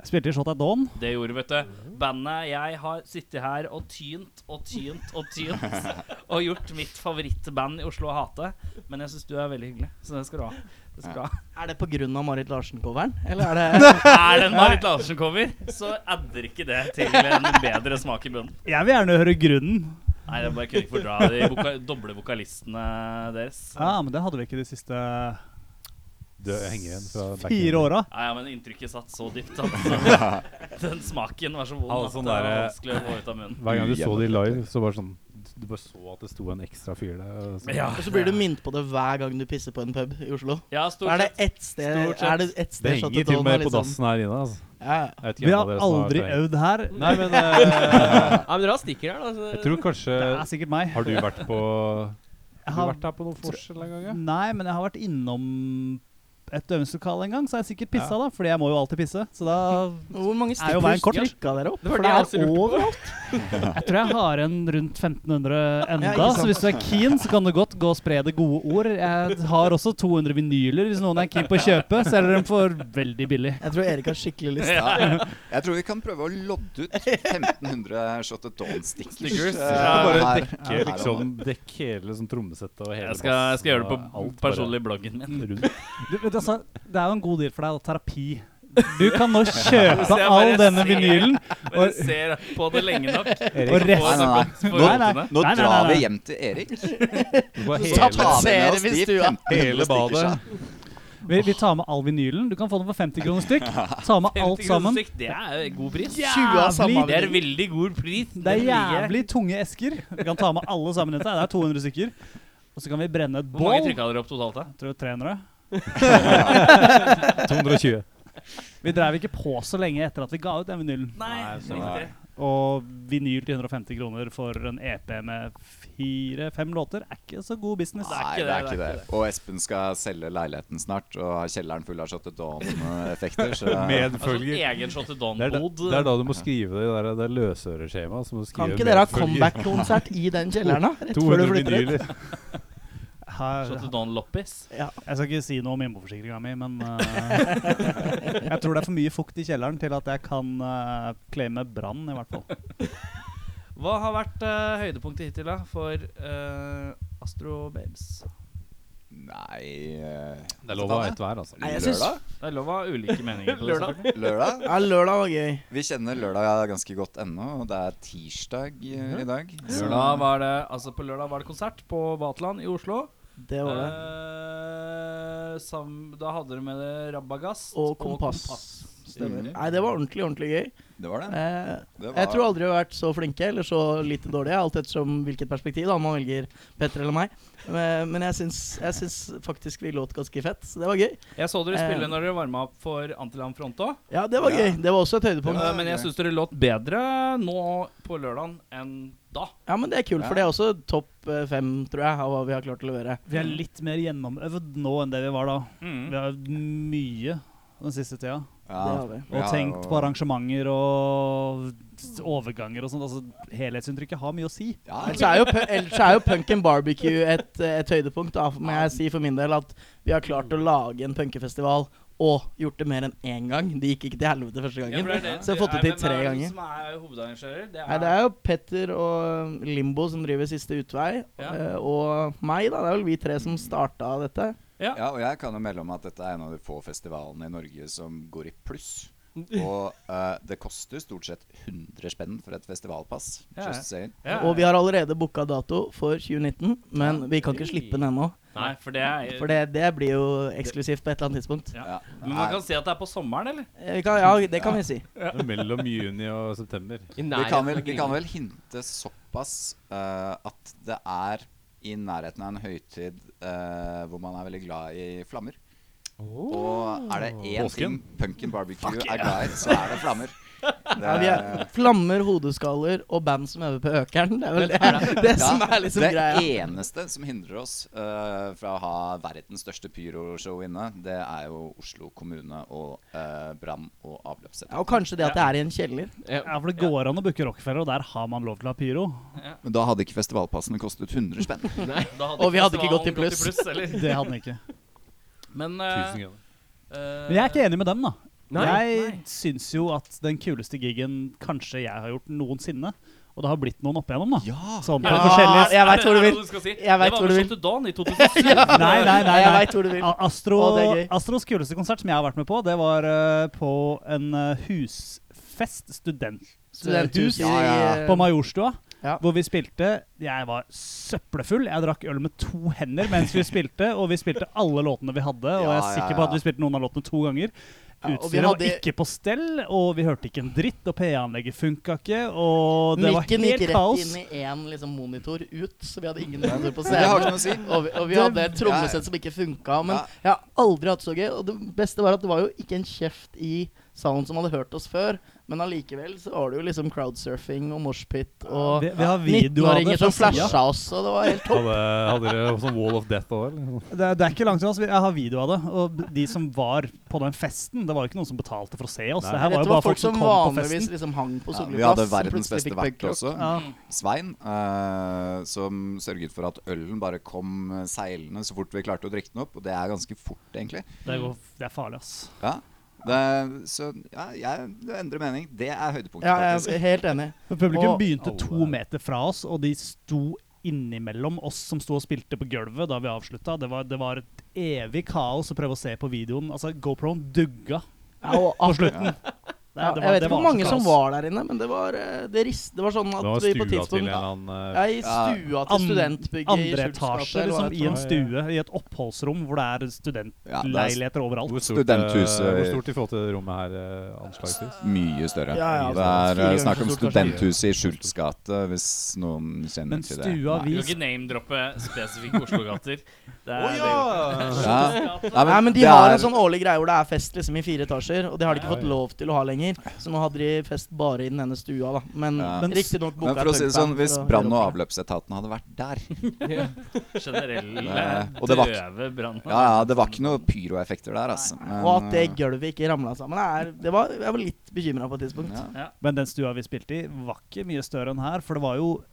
Speaker 7: Jeg spilte i Shot at Dawn.
Speaker 2: Det gjorde, vet du.
Speaker 8: Mhm.
Speaker 2: Bandet jeg har sittet her og tynt og tynt og
Speaker 8: (laughs)
Speaker 2: tynt og gjort mitt favorittband i Oslo å hate. Men jeg syns du er veldig hyggelig, så det skal du ha. Det skal du ha.
Speaker 5: Er det pga. Marit Larsen-coveren, eller er det
Speaker 2: (laughs) Er det en Marit Larsen-cover, så adder ikke det til en bedre smak i munnen.
Speaker 7: Jeg vil gjerne høre grunnen.
Speaker 2: Nei, jeg bare kunne ikke fordra de voka doble vokalistene deres.
Speaker 7: Ja, men det hadde vi ikke de siste
Speaker 3: Du henger igjen fra back in.
Speaker 7: fire åra.
Speaker 2: Ah, Ja, ja, men inntrykket satt så dypt at (laughs) den smaken var så vond
Speaker 3: Ja,
Speaker 2: at
Speaker 3: sånn
Speaker 2: det var
Speaker 3: der-
Speaker 2: vanskelig å få ut av
Speaker 3: (laughs)
Speaker 2: munnen.
Speaker 3: Hver gang du så de live, så bare sånn Du bare så at det sto en ekstra fyr der. og sånn.
Speaker 2: Ja,
Speaker 5: Og så blir du minnet på det hver gang du pisser på en pub i Oslo.
Speaker 2: ja,
Speaker 5: Er
Speaker 2: stort
Speaker 5: det
Speaker 2: sett.
Speaker 5: ett sted
Speaker 2: Stort sett.
Speaker 5: Er det ett sted liksom-
Speaker 3: Det henger til og med på dassen her inne. Altså.
Speaker 5: Ja, ja.
Speaker 3: Jeg vet ikke
Speaker 7: Vi
Speaker 3: hvem
Speaker 7: har
Speaker 3: av dere som
Speaker 7: aldri
Speaker 3: vært der.
Speaker 7: øvd her.
Speaker 3: Nei, men eh,
Speaker 8: Ja, men dere har stikker her, da. Så
Speaker 3: jeg tror kanskje
Speaker 7: Det er sikkert meg.
Speaker 3: Har du vært på Har du
Speaker 7: Jeg har,
Speaker 3: vært der på noen forskjell en gang? Ja?
Speaker 7: nei, men jeg har vært innom et øvingslokale en gang, så har jeg sikkert pissa, da. Fordi jeg må jo alltid pisse. Så da
Speaker 5: Hvor mange
Speaker 7: Er jo veien
Speaker 5: stikkers
Speaker 7: kort?
Speaker 5: trykka dere opp?
Speaker 8: Det var
Speaker 5: For
Speaker 8: det
Speaker 5: det
Speaker 8: jeg
Speaker 5: er
Speaker 8: også lurte på.
Speaker 5: overalt.
Speaker 7: Jeg tror jeg har en rundt 1500 enda,
Speaker 5: Ja, ikke sant.
Speaker 7: så hvis du er keen, så kan du godt gå og spre det gode ord. Jeg har også 200 vinyler, hvis noen er keen på å kjøpe. Selger dem for veldig billig.
Speaker 5: Jeg tror Erik har skikkelig lyst.
Speaker 6: Ja. Jeg tror vi kan prøve å lodde ut 1500 Shot of Dawn-stickers. eh,
Speaker 3: bare
Speaker 6: her-
Speaker 3: dekke,
Speaker 6: her og nå.
Speaker 3: liksom, dekke hele liksom, trommesettet og hele
Speaker 2: Jeg skal, jeg skal gjøre det
Speaker 3: bassen
Speaker 2: på
Speaker 3: og alt bare
Speaker 2: personlig bloggen min.
Speaker 3: (laughs) rundt.
Speaker 7: Du, vet du, altså, det er jo en god deal for deg, da, terapi. Du kan nå kjøpe
Speaker 2: bare
Speaker 7: all denne
Speaker 2: ser-
Speaker 7: vinylen.
Speaker 2: Bare ser på det lenge nok.
Speaker 7: Erik,
Speaker 2: Og
Speaker 7: Nei,
Speaker 6: Nei, nei, nei.
Speaker 2: resten
Speaker 7: Nei, nei.
Speaker 2: nei.
Speaker 6: Nå
Speaker 7: Nei, nei, nei,
Speaker 6: drar
Speaker 7: nei.
Speaker 6: vi hjem til Erik.
Speaker 3: Du får
Speaker 5: Så
Speaker 3: hele,
Speaker 6: Tar vi med
Speaker 5: tapper- Tapetserer
Speaker 6: oss
Speaker 5: vi
Speaker 6: de
Speaker 5: stua.
Speaker 6: 1500
Speaker 3: hele badet.
Speaker 6: stickersa.
Speaker 7: Vi, vi tar med all vinylen. Du kan få den for 50 kroner stykk. Ta med
Speaker 2: (laughs)
Speaker 7: alt sammen.
Speaker 2: Det er god pris.
Speaker 5: 20 av samme
Speaker 2: Det er
Speaker 5: avdeling.
Speaker 2: veldig god pris.
Speaker 7: Det er jævlig tunge esker. Vi kan ta med alle sammen. dette. Det er 200 stykker. Og så kan vi brenne et
Speaker 2: Hvor mange
Speaker 7: bål.
Speaker 2: trykka dere opp totalt? da?
Speaker 7: Jeg tror 300.
Speaker 3: 220.
Speaker 7: Vi drev ikke på så lenge etter at vi ga ut den vinylen.
Speaker 2: Nei, Altså, riktig.
Speaker 7: Og vinyl til 150 kroner for en EP med fire-fem låter er ikke så god business.
Speaker 6: Nei,
Speaker 2: ikke
Speaker 6: det er
Speaker 2: det,
Speaker 6: ikke
Speaker 2: det er
Speaker 6: det. Og Espen skal selge leiligheten snart og har kjelleren full av Shot of Dawn-effekter.
Speaker 3: (laughs)
Speaker 6: Så
Speaker 2: Altså,
Speaker 3: Medfølger.
Speaker 2: egen shot til
Speaker 3: Det er, da,
Speaker 2: Don-bod.
Speaker 3: det er da du må skrive det der, det løsøreskjemaet. så må du
Speaker 5: Kan
Speaker 3: skrive
Speaker 5: ikke dere ha
Speaker 3: medfølger.
Speaker 5: comeback-konsert i den kjelleren, da? Rett før du
Speaker 3: 200
Speaker 5: flytter ut?
Speaker 3: vinyler.
Speaker 7: Her,
Speaker 2: Shot til Don-loppis.
Speaker 5: Ja.
Speaker 7: jeg skal ikke si noe om innboforsikringa mi, men eh, (laughs) jeg tror det er for mye fukt i kjelleren til at jeg kan eh, claime brann, i hvert fall.
Speaker 2: Hva har vært eh, høydepunktet hittil da for eh, Astro Babes?
Speaker 6: Nei eh,
Speaker 3: Det er lov å ha ett hver, altså.
Speaker 5: Nei, jeg syns-
Speaker 6: Lørdag?
Speaker 2: Det er lov å ha ulike meninger. (laughs) på det, selvfølgelig.
Speaker 6: Lørdag?
Speaker 5: Ja, lørdag var gøy.
Speaker 6: Vi kjenner lørdag ganske godt ennå, og det er tirsdag eh,
Speaker 5: Mhm.
Speaker 6: i dag. Så-
Speaker 2: Lørdag var det, altså på lørdag var det konsert på Vaterland i Oslo.
Speaker 5: Det var det.
Speaker 2: Eh, sam, da hadde du med det Rabagast
Speaker 5: Og Kompass.
Speaker 2: Stemmer.
Speaker 5: Nei, det var ordentlig, ordentlig gøy.
Speaker 6: Det var det.
Speaker 5: Eh,
Speaker 6: det var,
Speaker 5: Jeg tror aldri vi har vært så flinke eller så lite dårlige, alt ettersom hvilket perspektiv da man velger Petter eller meg. Eh, Men men jeg syns, jeg syns faktisk vi låt ganske fett, så det var gøy.
Speaker 2: Jeg så dere spille
Speaker 5: Eh.
Speaker 2: når dere varma opp for Antiland Front òg.
Speaker 5: Ja, det var
Speaker 6: Ja.
Speaker 5: gøy. Det var også et høydepunkt.
Speaker 6: var
Speaker 2: Men jeg
Speaker 6: gøy.
Speaker 2: syns dere låt bedre nå på lørdagen enn da.
Speaker 5: Ja, men det er kult,
Speaker 6: Ja.
Speaker 5: for det er også topp eh, fem, tror jeg, av hva vi har klart å levere.
Speaker 7: Vi er litt mer gjennomøvd nå enn det vi var da. Vi har øvd mye den siste tida.
Speaker 6: ja,
Speaker 5: Det har vi.
Speaker 6: vi
Speaker 7: Og
Speaker 6: har
Speaker 7: tenkt
Speaker 6: jo-
Speaker 7: på arrangementer og overganger og sånt. Altså, helhetsinntrykket har mye å si.
Speaker 6: Ja,
Speaker 5: Ellers er jo, pu- ellers er jo punken barbecue et, et høydepunkt, da, må jeg si for min del, at vi har klart å lage en punkefestival og gjort det mer enn én gang. Det gikk ikke til helvete første gangen. Så jeg har fått det til tre ganger.
Speaker 2: Hvem er det som er hovedarrangører? Det
Speaker 5: Nei,
Speaker 2: er,
Speaker 5: det er jo Petter og Limbo som driver Siste utvei,
Speaker 2: Ja.
Speaker 5: eh, og meg, da. Det er vel vi tre som starta dette.
Speaker 6: ja, og jeg kan jo melde om at dette er en av de få festivalene i Norge som går i pluss.
Speaker 5: Mm.
Speaker 6: Og eh, det koster stort sett 100 spenn for et festivalpass.
Speaker 2: Ja, ja.
Speaker 6: Just saying.
Speaker 2: Ja.
Speaker 5: Og vi har allerede booka dato for 2019, men vi kan ikke
Speaker 2: Oi.
Speaker 5: slippe den ennå.
Speaker 2: Nei, for det er
Speaker 5: For det, det blir jo eksklusivt på et eller annet tidspunkt.
Speaker 2: Ja.
Speaker 6: Ja.
Speaker 2: Men man kan si at det er på sommeren,
Speaker 5: (laughs)
Speaker 2: eller?
Speaker 5: Eh, Vi kan, ja, det kan vi si.
Speaker 3: Mellom juni og september.
Speaker 8: I
Speaker 6: Vi kan, vel,
Speaker 8: nærheten av
Speaker 6: vi kan
Speaker 8: Grünerløkka.
Speaker 6: vel hinte såpass eh, at det er i nærheten av en høytid eh, hvor man er veldig glad i flammer. Og er det én ting
Speaker 3: Påsken?
Speaker 6: punken barbecue er glad i, så er det (laughs) flammer. Det
Speaker 5: Ja, vi er flammer, hodeskaller og band som øver på Økeren. Det er vel det, det som er liksom
Speaker 6: det
Speaker 5: greia.
Speaker 6: eneste som hindrer oss eh, fra å ha verdens største pyroshow inne, det er jo Oslo kommune og eh, brann- og
Speaker 5: Ja, og
Speaker 6: avløpsetat.
Speaker 5: kanskje det at det er i en kjeller.
Speaker 7: Ja, for det går an å booke Rockefeller, og der har man lov til å ha pyro.
Speaker 6: Men da hadde ikke festivalpassene kostet 100 spenn.
Speaker 5: (laughs)
Speaker 2: Da hadde
Speaker 5: Og vi
Speaker 2: ikke
Speaker 5: hadde ikke gått i
Speaker 2: festivalen
Speaker 5: pluss.
Speaker 2: eller?
Speaker 7: Det hadde den ikke.
Speaker 2: Men, eh,
Speaker 3: Tusen kroner.
Speaker 7: Men jeg er ikke enig med dem, da.
Speaker 8: Nei.
Speaker 7: jeg syns jo at den kuleste gigen kanskje jeg har gjort noensinne, og det har blitt noen opp igjennom, da. Sånn på
Speaker 2: Ja,
Speaker 7: forskjellige
Speaker 5: Ah, jeg vet hvor du vil.
Speaker 2: Si.
Speaker 5: Jeg vet hvor du
Speaker 2: Det var
Speaker 5: vil. (laughs)
Speaker 2: med Shot to Dawn i 2007.
Speaker 7: Nei, nei, nei.
Speaker 5: Jeg
Speaker 7: nei.
Speaker 5: vet hvor du vil.
Speaker 7: A- Astro,
Speaker 5: Å, det er gøy.
Speaker 7: Astros kuleste konsert som jeg har vært med på, det var eh, på en eh, husfest, student,
Speaker 5: Studenthus i
Speaker 6: Ja, ja,
Speaker 7: på Majorstua,
Speaker 5: Eh. Ja.
Speaker 7: hvor vi spilte. Jeg var søppelfull. Jeg drakk øl med to hender mens vi spilte, og vi spilte alle låtene vi hadde, og jeg
Speaker 6: Ja, ja,
Speaker 7: er sikker
Speaker 6: ja.
Speaker 7: på at vi spilte noen av låtene to ganger.
Speaker 5: Ja, og vi
Speaker 7: Utstyret var
Speaker 5: hadde-
Speaker 7: ikke på stell, og vi hørte ikke en dritt, og PA-anlegget funka ikke, og det var
Speaker 5: Mikken gikk
Speaker 7: helt
Speaker 5: rett
Speaker 7: kaos.
Speaker 5: inn i én liksom, monitor ut, så vi hadde ingen monitor på
Speaker 6: Det har ikke noe
Speaker 5: scenen.
Speaker 6: å si.
Speaker 5: Og vi, og vi hadde et trommesett som ikke funka. Men
Speaker 6: Ja.
Speaker 5: jeg har aldri hatt så gøy. Og det beste var at det var jo ikke en kjeft i salen som hadde hørt oss før. Men allikevel så var det jo liksom crowdsurfing og moshpit og
Speaker 7: Vi, vi har video av det.
Speaker 5: 19-åringer som
Speaker 7: fra siden.
Speaker 5: flasha oss, og det var helt topp.
Speaker 3: Hadde, hadde dere sånn Wall of Death òg, eller?
Speaker 7: Det, er- det er ikke langt unna. så vi- Jeg har video av det. Og de som var på den festen, det var jo ikke noen som betalte for å se oss.
Speaker 3: Nei.
Speaker 7: Det her var
Speaker 5: Dette
Speaker 7: jo bare folk som kom på
Speaker 5: vanligvis
Speaker 7: festen.
Speaker 5: liksom hang på
Speaker 6: Ja,
Speaker 5: Solli
Speaker 6: vi hadde
Speaker 5: plass, som
Speaker 6: verdens
Speaker 5: plutselig
Speaker 6: beste
Speaker 5: fikk
Speaker 6: vert
Speaker 5: punk rock.
Speaker 6: også.
Speaker 7: Ja.
Speaker 6: Svein, eh, som sørget for at ølen bare kom eh, seilende så fort vi klarte å drikke den opp. Og det er ganske fort, egentlig.
Speaker 7: Det, går, det er farlig, ass.
Speaker 6: Ja. Det, så ja, jeg det endrer mening. Det er høydepunktet,
Speaker 5: Ja, jeg
Speaker 6: faktisk.
Speaker 5: er helt enig.
Speaker 7: Men Publikum
Speaker 5: Og-
Speaker 7: begynte to
Speaker 3: Alle.
Speaker 7: meter fra oss, og de sto innimellom oss som sto og spilte på gulvet da vi avslutta. Det var, det var et evig kaos å prøve å se på videoen. Altså, GoProen dugga.
Speaker 5: Ja, og
Speaker 7: På
Speaker 5: at-
Speaker 7: slutten. Det-
Speaker 5: Ja,
Speaker 7: det var-
Speaker 5: jeg vet
Speaker 7: det
Speaker 5: ikke
Speaker 7: var
Speaker 5: hvor
Speaker 7: så
Speaker 5: mange som
Speaker 7: kaos.
Speaker 5: var der inne, men det var, eh, det rist, det var sånn
Speaker 3: Det
Speaker 5: at
Speaker 3: var stua
Speaker 5: vi på
Speaker 3: til en
Speaker 5: tidspunkt
Speaker 3: eller annen eh,
Speaker 5: Ja, i stua til
Speaker 7: An-
Speaker 5: studentbygget i
Speaker 7: Andre etasje, liksom, i en
Speaker 3: heter.
Speaker 7: stue, i et oppholdsrom hvor det
Speaker 6: Ja,
Speaker 7: er
Speaker 6: det er
Speaker 7: studentleiligheter overalt.
Speaker 3: Hvor stort,
Speaker 6: Studenthuset.
Speaker 3: eh, hvor stort i forhold til det rommet her, eh, anslagsvis?
Speaker 6: Mye større.
Speaker 5: Ja, ja,
Speaker 6: det
Speaker 5: altså,
Speaker 6: er
Speaker 5: fire
Speaker 6: eh,
Speaker 5: ganger
Speaker 6: snakk om
Speaker 5: så stort, kanskje.
Speaker 6: studenthuset i Schultz gate, hvis noen kjenner
Speaker 7: Men
Speaker 6: til det.
Speaker 7: stua
Speaker 6: Nei.
Speaker 2: Du kan
Speaker 7: vi
Speaker 2: ikke name-droppe spesifikke Oslo-gater. Det er
Speaker 6: ja.
Speaker 5: Nei, men, de
Speaker 6: det
Speaker 5: har
Speaker 6: er-
Speaker 5: en sånn årlig greie hvor det er fest liksom i fire etasjer, og det har de ikke fått lov til å ha lenger. Så nå hadde de fest bare i den ene stua, da. Men
Speaker 6: Ja.
Speaker 5: men riktignok
Speaker 6: Men
Speaker 5: booka
Speaker 6: for å si det sånn, hvis
Speaker 5: punkband for å
Speaker 6: brann- og
Speaker 5: gjøre opp for det.
Speaker 6: avløpsetaten hadde vært der
Speaker 2: generelle,
Speaker 6: Eh, og det var ikke-
Speaker 2: døve brann.
Speaker 6: Ja, ja, det var ikke noe pyroeffekter der, altså. Men,
Speaker 5: Og at det
Speaker 6: eh,
Speaker 5: gulvet ikke ramla sammen, er, det var, jeg var litt bekymra på et tidspunkt.
Speaker 6: ja.
Speaker 7: Men den stua vi spilte i, var ikke mye større enn her. For det var jo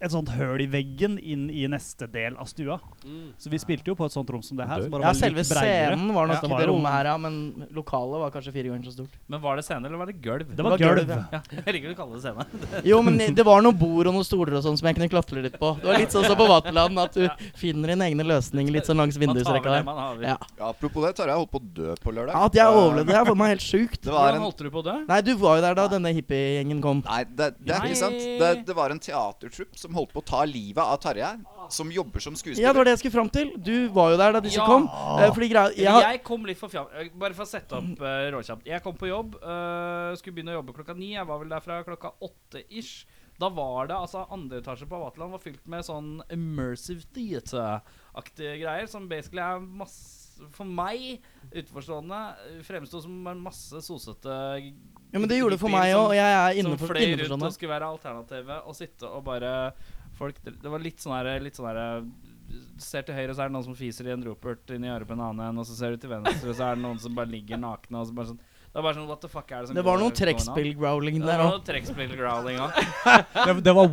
Speaker 7: et sånt høl i veggen inn i neste del av stua.
Speaker 5: Mm.
Speaker 7: Så vi spilte jo på et sånt rom som det her.
Speaker 3: Dør.
Speaker 7: Som bare
Speaker 5: Ja,
Speaker 7: var
Speaker 5: selve
Speaker 7: litt bredere.
Speaker 5: scenen var
Speaker 7: Ja,
Speaker 5: nok
Speaker 7: det
Speaker 5: i
Speaker 7: var
Speaker 5: det
Speaker 7: jo-
Speaker 5: rommet her, ja. Men lokalet var kanskje fire ganger så stort.
Speaker 8: Men var det scene, eller var det gulv?
Speaker 7: Det var gulv.
Speaker 5: ja.
Speaker 8: Ja, jeg liker å kalle det scene.
Speaker 5: Jo, men det var noen bord og noen stoler og sånn som jeg kunne klatre litt på. Det var litt sånn som på Vaterland, at du finner dine egne løsninger litt sånn langs
Speaker 8: Man tar vel
Speaker 5: vindusrekka
Speaker 8: det
Speaker 5: der.
Speaker 8: man har. vel.
Speaker 5: Ja.
Speaker 6: Ja, apropos det, Tarjei holdt på å dø på lørdag.
Speaker 5: Ja, At jeg
Speaker 6: Eh,
Speaker 5: overlevde, det er for meg helt sjukt.
Speaker 6: Det var
Speaker 8: Hvordan
Speaker 6: en
Speaker 8: holdt du på å dø?
Speaker 5: Nei, du var jo der da denne hippiegjengen kom.
Speaker 6: Nei, det, det er
Speaker 8: Nei.
Speaker 6: ikke sant. Det, det var en teatertrupp som holdt på å ta livet av Tarjei, som jobber som skuespiller.
Speaker 5: Ja, det var det jeg skulle fram til. Du var jo der da disse
Speaker 8: Ja.
Speaker 5: kom. Eh, Fordi greia jeg, har-
Speaker 8: Jeg kom litt for fjam... eh, Bare for å sette opp eh, råkjapt. Jeg kom på jobb. eh, skulle begynne å jobbe klokka ni. Jeg var vel der fra klokka åtte ish. Da var det altså Andre etasje på Vaterland var fylt med sånn immersive theater-aktige greier. Som basically er masse For meg, utenforstående, eh, fremsto som en masse sosete
Speaker 5: Ja, men det gjorde det for
Speaker 8: hippier
Speaker 5: meg
Speaker 8: som-
Speaker 5: òg, og jeg er
Speaker 8: som
Speaker 5: innenfor,
Speaker 8: fløy rundt
Speaker 5: innenforstående.
Speaker 8: og skulle være alternativet og sitte og bare folk, Det var litt sånn her, litt sånn her Ser til høyre, så er det noen som fiser i en ropert inni øret på en annen en, og så ser du til venstre, så er det noen som bare ligger nakne og så bare sånn Det er bare sånn What the fuck er det som
Speaker 5: Det var
Speaker 8: går-
Speaker 5: noen
Speaker 8: går nå?
Speaker 5: trekkspill-growling
Speaker 8: Det
Speaker 5: der
Speaker 8: var
Speaker 5: òg.
Speaker 8: noe trekkspill-growling (laughs) òg.
Speaker 7: Det, det var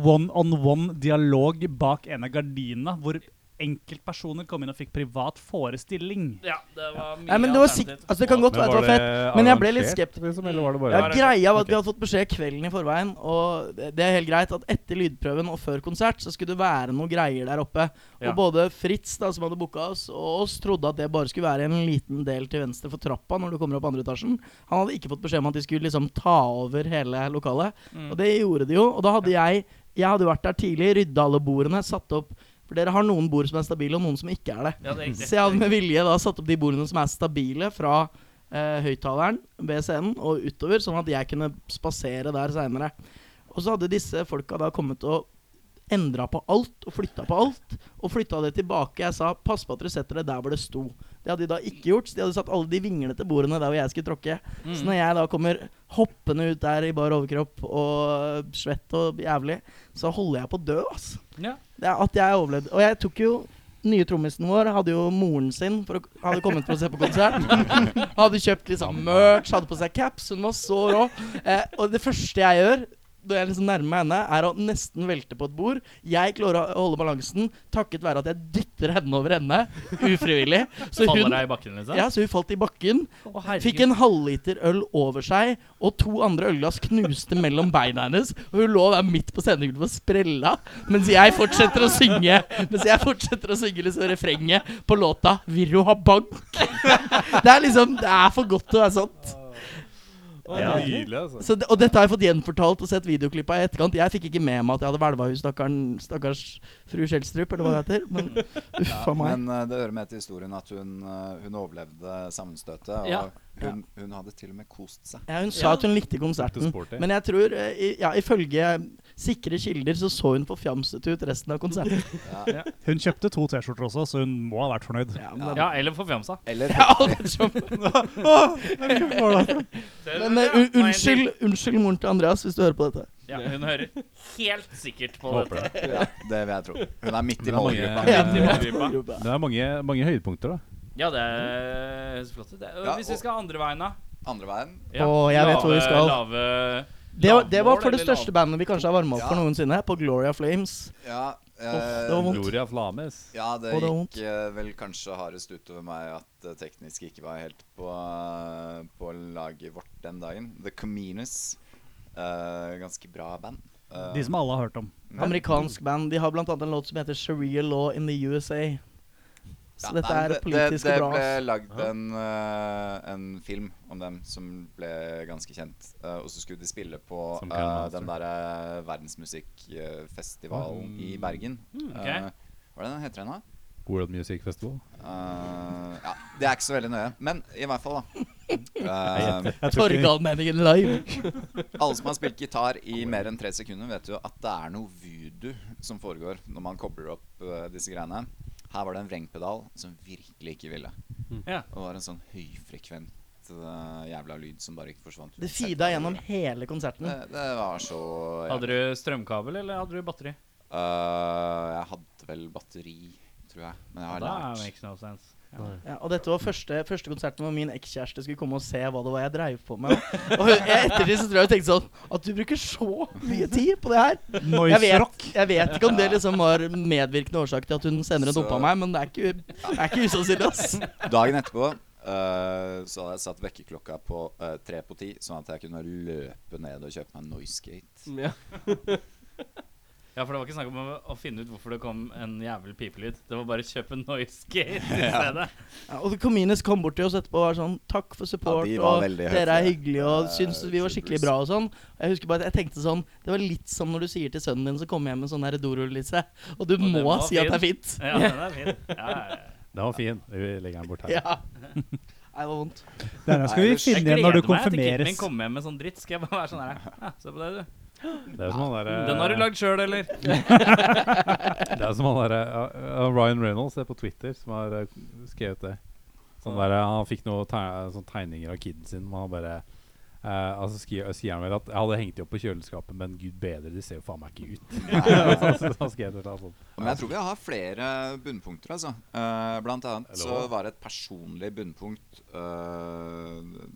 Speaker 7: one-on-one-dialog bak en av gardina, hvor enkeltpersoner kom inn og fikk privat forestilling.
Speaker 8: Ja, det var mye
Speaker 5: Nei, men det var sikt,
Speaker 8: alternativ.
Speaker 5: altså det kan godt være at det var fett. men jeg ble litt
Speaker 3: arrangert, Liksom, eller var det bare
Speaker 5: Ja,
Speaker 8: det-
Speaker 5: greia var at
Speaker 3: ok.
Speaker 5: vi hadde fått beskjed kvelden i forveien, og det det er helt greit at etter lydprøven og før konsert så skulle det være noe greier der oppe.
Speaker 8: Ja.
Speaker 5: Og både Fritz, da, som hadde booka oss, og oss trodde at det bare skulle være en liten del til venstre for trappa når du kommer opp andre etasjen. Han hadde ikke fått beskjed om at de skulle liksom ta over hele lokalet,
Speaker 8: Mm.
Speaker 5: og det gjorde de jo. Og da hadde jeg Jeg hadde vært der tidlig, rydda alle bordene, satt opp For dere har noen bord som er stabile, og noen som ikke er det.
Speaker 8: Ja, det er riktig.
Speaker 5: Så jeg hadde med vilje da satt opp de bordene som er stabile fra eh, høyttaleren ved scenen og utover, sånn at jeg kunne spasere der seinere. Og så hadde disse folka da kommet og endra på alt og flytta på alt. Og flytta det tilbake. Jeg sa 'pass på at dere setter det der hvor det sto'. Det hadde de da ikke gjort, så de hadde satt alle de vinglete bordene der hvor jeg skulle tråkke.
Speaker 8: Mm.
Speaker 5: Så når jeg da kommer hoppende ut der i bar overkropp og svett og jævlig, så holder jeg på å dø, altså.
Speaker 8: Ja.
Speaker 5: Det er at jeg overlevde. Og jeg tok jo nye trommisen vår hadde jo moren sin for å, hadde kommet for å se på konsert.
Speaker 8: (laughs)
Speaker 5: hadde kjøpt liksom merch, hadde på seg caps. Hun var så rå. Eh, og det første jeg gjør når jeg liksom nærmer meg henne, er å nesten velte på et bord. Jeg klarer å holde balansen takket være at jeg dytter henne over ende ufrivillig. Så
Speaker 8: Faller
Speaker 5: hun,
Speaker 8: deg i bakken, liksom?
Speaker 5: ja, så hun falt i bakken.
Speaker 8: Å, herregud.
Speaker 5: Fikk en halvliter øl over seg, og to andre ølglass knuste mellom beina hennes. Og hun lå der midt på scenegulvet og sprella, mens jeg fortsetter å synge Mens jeg fortsetter å synge liksom refrenget på låta 'Vil du ha bank'? Det er liksom Det er for godt til å være sant.
Speaker 3: Ja, nydelig, altså.
Speaker 5: Så det, og dette har jeg fått gjenfortalt og sett videoklippet i etterkant. Jeg fikk ikke med meg at jeg hadde hvelva hun stakkaren- stakkars fru Skjelstrup, eller hva det heter. Men uff a meg.
Speaker 6: Men eh, det hører med til historien at hun, eh, hun overlevde sammenstøtet. Og
Speaker 8: Ja.
Speaker 6: hun, hun hadde til og med kost seg.
Speaker 5: Ja, hun sa at hun likte konserten.
Speaker 3: Litt sporty.
Speaker 5: Men jeg tror, eh, i- ja, ifølge sikre kilder, så så hun forfjamset ut resten av
Speaker 7: (laughs)
Speaker 5: konserten.
Speaker 7: Hun kjøpte to T-skjorter også, så hun må ha vært fornøyd.
Speaker 5: Ja,
Speaker 6: men-
Speaker 8: Ja, eller forfjamsa. (laughs)
Speaker 6: Eller
Speaker 5: Ja, det er sånn.
Speaker 7: altså.
Speaker 5: Men eh, un unnskyld, unnskyld moren til Andreas, hvis du hører på dette.
Speaker 8: Ja, hun hører helt sikkert på
Speaker 3: Håper
Speaker 8: dette.
Speaker 6: ja, Det vil jeg tro. Hun er midt
Speaker 3: Det
Speaker 6: i
Speaker 3: er mange-
Speaker 6: målgruppa.
Speaker 5: (laughs) Ja.
Speaker 3: Det er mange, mange høydepunkter, da.
Speaker 8: Ja, det høres Eh, flott ut. det. Og
Speaker 6: Ja,
Speaker 8: Hvis
Speaker 6: og-
Speaker 8: vi skal andre veien, da?
Speaker 6: Andre veien.
Speaker 8: Ja.
Speaker 5: Å, jeg vet hvor vi
Speaker 8: Lave-
Speaker 5: skal.
Speaker 8: Lave
Speaker 5: Det var, det var
Speaker 8: Lavmål
Speaker 5: for det
Speaker 8: eller
Speaker 5: største bandet vi kanskje har varma opp for
Speaker 6: Ja.
Speaker 5: noensinne, på Gloria Flames.
Speaker 6: Ja,
Speaker 5: Uff, det var
Speaker 6: eh,
Speaker 5: vondt.
Speaker 3: Gloria Flames.
Speaker 6: ja, det
Speaker 5: Og det var
Speaker 6: gikk eh, vel kanskje hardest utover meg at det teknisk ikke var helt på, eh, på laget vårt den dagen. The Communers. Eh, ganske bra band. Eh,
Speaker 7: De som alle har hørt om.
Speaker 5: Amerikansk band. De har blant annet en låt som heter 'Sharia Law in the USA'. Så
Speaker 6: Ja,
Speaker 5: dette
Speaker 6: nei,
Speaker 5: er
Speaker 6: det- det,
Speaker 5: politisk
Speaker 6: det
Speaker 5: bra.
Speaker 6: ble
Speaker 5: ass.
Speaker 6: lagd en, eh, en film om dem som ble ganske kjent. Eh, og så skulle de spille på
Speaker 3: Som
Speaker 6: eh,
Speaker 3: Cannonball
Speaker 6: den derre verdensmusikkfestivalen i Bergen.
Speaker 8: ok.
Speaker 6: Eh, hva er det den heter igjen, da?
Speaker 3: World Music Festival.
Speaker 6: Eh, ja, det er ikke så veldig nøye. Men i hvert fall, da. Eh,
Speaker 7: Jeg tror ikke-
Speaker 5: Torgallmenningen live.
Speaker 6: alle som har spilt gitar i mer enn tre sekunder, vet jo at det er noe voodoo som foregår når man kobler opp eh, disse greiene. Her var det en vrengpedal som virkelig ikke ville.
Speaker 8: Ja.
Speaker 6: Og det var en sånn høyfrekvent eh, jævla lyd som bare ikke forsvant.
Speaker 5: Det
Speaker 6: uansett
Speaker 5: feeda
Speaker 6: hva du
Speaker 5: gjennom
Speaker 6: gjorde.
Speaker 5: hele konserten.
Speaker 6: det, det var så
Speaker 8: Hadde du
Speaker 6: jævlig.
Speaker 8: strømkabel, eller hadde du batteri?
Speaker 6: Eh, Jeg hadde vel batteri, tror jeg. Men jeg har
Speaker 8: Da
Speaker 6: lært.
Speaker 8: makes no sense.
Speaker 5: Ja, og dette var første, første konserten hvor min ekskjæreste skulle komme og se hva det var jeg dreiv på med. Og jeg, etter det så tror jeg hun tenkte sånn At du bruker så mye tid på det her! Jeg
Speaker 7: Noise rock.
Speaker 5: vet, jeg vet ikke om det liksom var medvirkende årsak til at hun senere
Speaker 6: Så-
Speaker 5: dumpa meg, men det er ikke, det er ikke usannsynlig, ass.
Speaker 6: Dagen etterpå eh, så hadde jeg satt vekkerklokka på eh, tre på ti, sånn at jeg kunne løpe ned og kjøpe meg en Noisegate.
Speaker 4: Ja.
Speaker 2: Ja, for det var ikke snakk om å- å finne ut hvorfor det kom en jævel pipelyd. Det var bare kjøpe noise gate i stedet.
Speaker 5: Ja, og Comines kom bort til oss etterpå og var sånn Takk for support,
Speaker 6: Ja, de var
Speaker 5: og
Speaker 6: veldig
Speaker 5: dere er
Speaker 6: høflige.
Speaker 5: hyggelige og
Speaker 6: Eh,
Speaker 5: syns vi var skikkelig
Speaker 6: supers.
Speaker 5: bra og sånn. Og jeg husker bare at jeg tenkte sånn Det var litt som når du sier til sønnen din som kommer hjem med sånn her dorullisse, og du
Speaker 2: det
Speaker 5: må
Speaker 2: var
Speaker 5: si at det er fint.
Speaker 2: Ja, den er
Speaker 7: (laughs)
Speaker 2: fin. Ja, ja, ja.
Speaker 3: Den var fin. Vi legger den bort her.
Speaker 5: Ja. Nei, det var vondt.
Speaker 7: Denne skal vi
Speaker 6: Jeg
Speaker 7: finne igjen når du konfirmeres.
Speaker 2: min kommer hjem med sånn dritt. Skal jeg bare være sånn her ja, Se på det, du.
Speaker 3: Det er som han der, eh,
Speaker 2: Den har du lagd sjøl, eller?
Speaker 3: Det er som han der, eh, eh, Ryan Reynolds det er på Twitter som har eh, skrevet det. Sånn der, eh, han fikk noen teg sånn tegninger av kiden sin. Men han bare eh, altså skri- sier han vel at 'Jeg hadde hengt de opp på kjøleskapet, men gud bedre, de ser jo faen meg ikke ut'. (laughs) så, han skrev det sånn.
Speaker 6: Men jeg tror vi har flere bunnpunkter, altså. Eh, blant annet så
Speaker 3: Hello.
Speaker 6: var det et personlig bunnpunkt eh,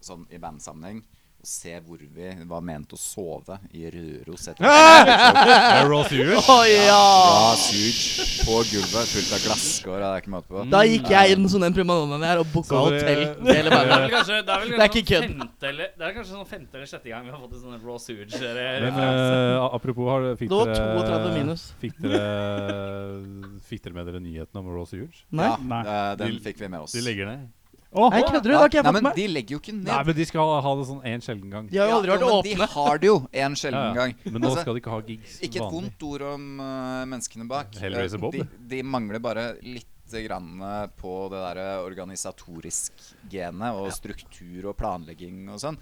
Speaker 6: sånn i bandsammenheng å se hvor vi var ment å sove i Røros etter
Speaker 3: Eh, Raw Sewers?
Speaker 5: Å ja!
Speaker 6: Bra sug på gulvet, fullt av glasskår. Det er ikke måte på.
Speaker 5: Da gikk jeg inn som den primadonnaen jeg er, og booka
Speaker 3: Så det-
Speaker 5: hotell til hele
Speaker 2: Det er
Speaker 5: bandet.
Speaker 2: vel kanskje, det er vel
Speaker 5: Det er
Speaker 2: kanskje
Speaker 5: ikke
Speaker 2: sånn femte eller, det er kanskje sånn femte eller sjette gang vi har fått en sånn raw sewage. eller-
Speaker 3: Men eh, apropos, har, fikk
Speaker 5: Det var
Speaker 3: dere
Speaker 5: 32 minus.
Speaker 3: Fikk dere, (laughs) fikk dere med dere nyheten om Raw Sewers?
Speaker 5: Nei,
Speaker 6: Ja,
Speaker 7: Nei.
Speaker 6: eh, den
Speaker 3: De-
Speaker 6: fikk vi med oss.
Speaker 3: De legger ned.
Speaker 7: Åh,
Speaker 5: Nei, kødder du? Det har ikke jeg
Speaker 6: Nei,
Speaker 5: fått med
Speaker 6: men
Speaker 5: meg.
Speaker 6: de legger jo ikke ned.
Speaker 3: Nei, men de skal ha det sånn en sjelden gang.
Speaker 5: De har jo aldri
Speaker 6: Ja,
Speaker 5: vært
Speaker 6: jo, men
Speaker 5: åpne.
Speaker 6: De har det jo en sjelden
Speaker 3: Ja, ja.
Speaker 6: gang.
Speaker 3: Men nå
Speaker 6: Altså,
Speaker 3: skal de ikke ha gigs som
Speaker 6: ikke et
Speaker 3: vanlig.
Speaker 6: vondt ord om eh, menneskene bak.
Speaker 3: Hellraiser
Speaker 6: Eh,
Speaker 3: Bob.
Speaker 6: De, de mangler bare lite grann eh, på det derre organisatorisk-genet og struktur og planlegging og sånn.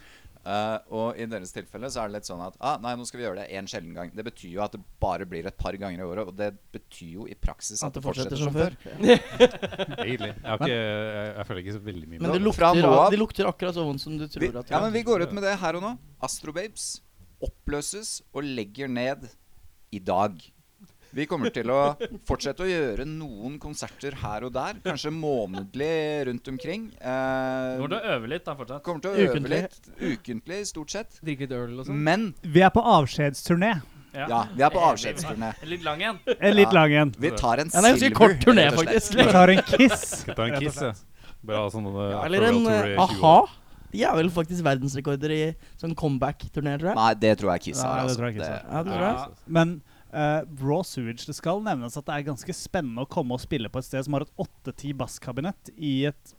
Speaker 6: Eh, og i deres tilfelle så er det litt sånn at ah, nei, nå skal vi gjøre det en sjelden gang. Det betyr jo at det bare blir et par ganger i året, og det betyr jo i praksis at,
Speaker 5: sånn At det fortsetter som før.
Speaker 3: Egentlig. Jeg, har ikke, jeg, jeg føler ikke så veldig mye
Speaker 5: Men
Speaker 3: med
Speaker 5: det
Speaker 3: det.
Speaker 6: Fra
Speaker 5: lukter,
Speaker 6: nå av-
Speaker 5: det lukter akkurat så vondt som du tror
Speaker 6: Vi,
Speaker 5: at det
Speaker 6: ja,
Speaker 5: gjør.
Speaker 6: men vi går ut med det her og nå. Astrobabes oppløses og legger ned i dag. Vi kommer til å fortsette å gjøre noen konserter her og der, kanskje månedlig rundt omkring.
Speaker 2: Du
Speaker 6: Eh,
Speaker 2: kommer til å øve litt da fortsatt.
Speaker 6: kommer til å øve
Speaker 5: Ukentlig.
Speaker 6: litt ukentlig, stort sett.
Speaker 4: Drikke litt øl og sånn.
Speaker 6: Men
Speaker 7: vi er på avskjedsturné.
Speaker 6: ja, vi er på avskjedsturné.
Speaker 2: En Litt lang en.
Speaker 7: En litt
Speaker 6: Ja.
Speaker 7: lang en.
Speaker 6: Vi tar en
Speaker 5: Ja, det er ganske
Speaker 6: silver,
Speaker 5: kort turné,
Speaker 6: rett og slett.
Speaker 5: faktisk.
Speaker 7: Vi tar en kiss.
Speaker 3: Skal ta en kiss, jeg. Bare ha sånn eh,
Speaker 5: Eller
Speaker 3: Afro World
Speaker 5: en
Speaker 3: Tour i 20
Speaker 5: eh, a-ha.
Speaker 3: år.
Speaker 5: De er vel faktisk verdensrekorder i sånn comeback-turné, tror jeg.
Speaker 6: Nei, det tror jeg Kiss har.
Speaker 7: Nei, det
Speaker 6: Altså.
Speaker 7: tror jeg Kiss
Speaker 6: Det-
Speaker 5: Ja, det tror jeg.
Speaker 7: Men eh, Raw Sewage, det skal nevnes at det er ganske spennende å komme og spille på et sted som har et 8-10 basskabinett i et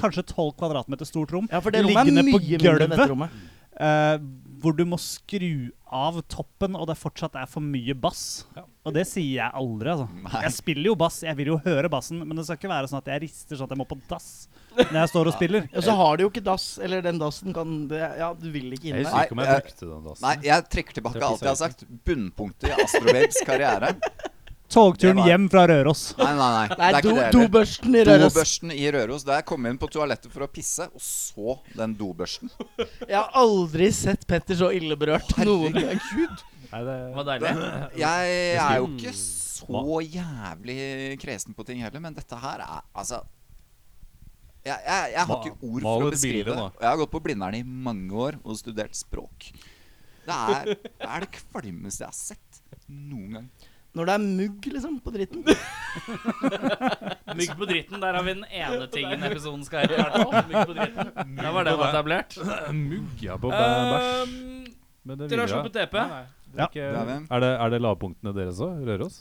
Speaker 7: kanskje 12 kvadratmeter stort rom,
Speaker 5: Ja, for det rommet er
Speaker 7: Liggende
Speaker 5: mye
Speaker 7: på
Speaker 5: mindre enn dette
Speaker 7: gulvet.
Speaker 5: rommet.
Speaker 7: eh, hvor du må skru av toppen, og det fortsatt er for mye bass. Og det sier jeg aldri, altså.
Speaker 6: Nei.
Speaker 7: Jeg spiller jo bass, jeg vil jo høre bassen, men det skal ikke være sånn at jeg rister sånn at jeg må på dass når jeg står og spiller.
Speaker 5: Og så har de jo ikke dass, eller den dassen kan det, Ja, du vil ikke
Speaker 3: Jeg
Speaker 5: inn
Speaker 3: husker
Speaker 5: der.
Speaker 6: Nei,
Speaker 3: ikke om jeg
Speaker 6: eh,
Speaker 3: brukte den altså. dassen.
Speaker 6: Nei, jeg trekker tilbake alt jeg har sagt. Bunnpunktet i Astrobabes karriere. Det
Speaker 7: Togturen
Speaker 6: var-
Speaker 7: hjem fra Røros.
Speaker 6: Nei, nei, nei. Det
Speaker 5: Nei,
Speaker 6: er
Speaker 5: do,
Speaker 6: ikke det heller.
Speaker 5: dobørsten i Røros.
Speaker 6: Dobørsten i Røros. Da jeg kom inn på toalettet for å pisse, og så den dobørsten.
Speaker 5: Jeg har aldri sett Petter så illeberørt noen gang.
Speaker 3: Nei, det,
Speaker 2: Det var deilig.
Speaker 6: Jeg er jo ikke så jævlig kresen på ting heller, men dette her er altså jeg, jeg, jeg har
Speaker 3: Ma-
Speaker 6: ikke ord
Speaker 3: mal
Speaker 6: for å
Speaker 3: et bilde,
Speaker 6: beskrive det.
Speaker 3: da.
Speaker 6: Og Jeg har gått på Blindern i mange år og studert språk. Det er det, er det kvalmeste jeg har sett noen gang.
Speaker 5: Når det er mugg, liksom, på dritten.
Speaker 2: Mygg på dritten, der har vi den ene tingen episoden skal hete. i hvert fall. Mygg på dritten. Da var det etablert. Eh,
Speaker 3: Mugga på bæ- bæsj.
Speaker 2: Um,
Speaker 3: Men det
Speaker 2: dere har
Speaker 3: videre.
Speaker 2: sluppet E TP.
Speaker 5: E
Speaker 3: Det er, ikke,
Speaker 6: Det er vi.
Speaker 3: er, det, er det lavpunktene deres òg? Røros?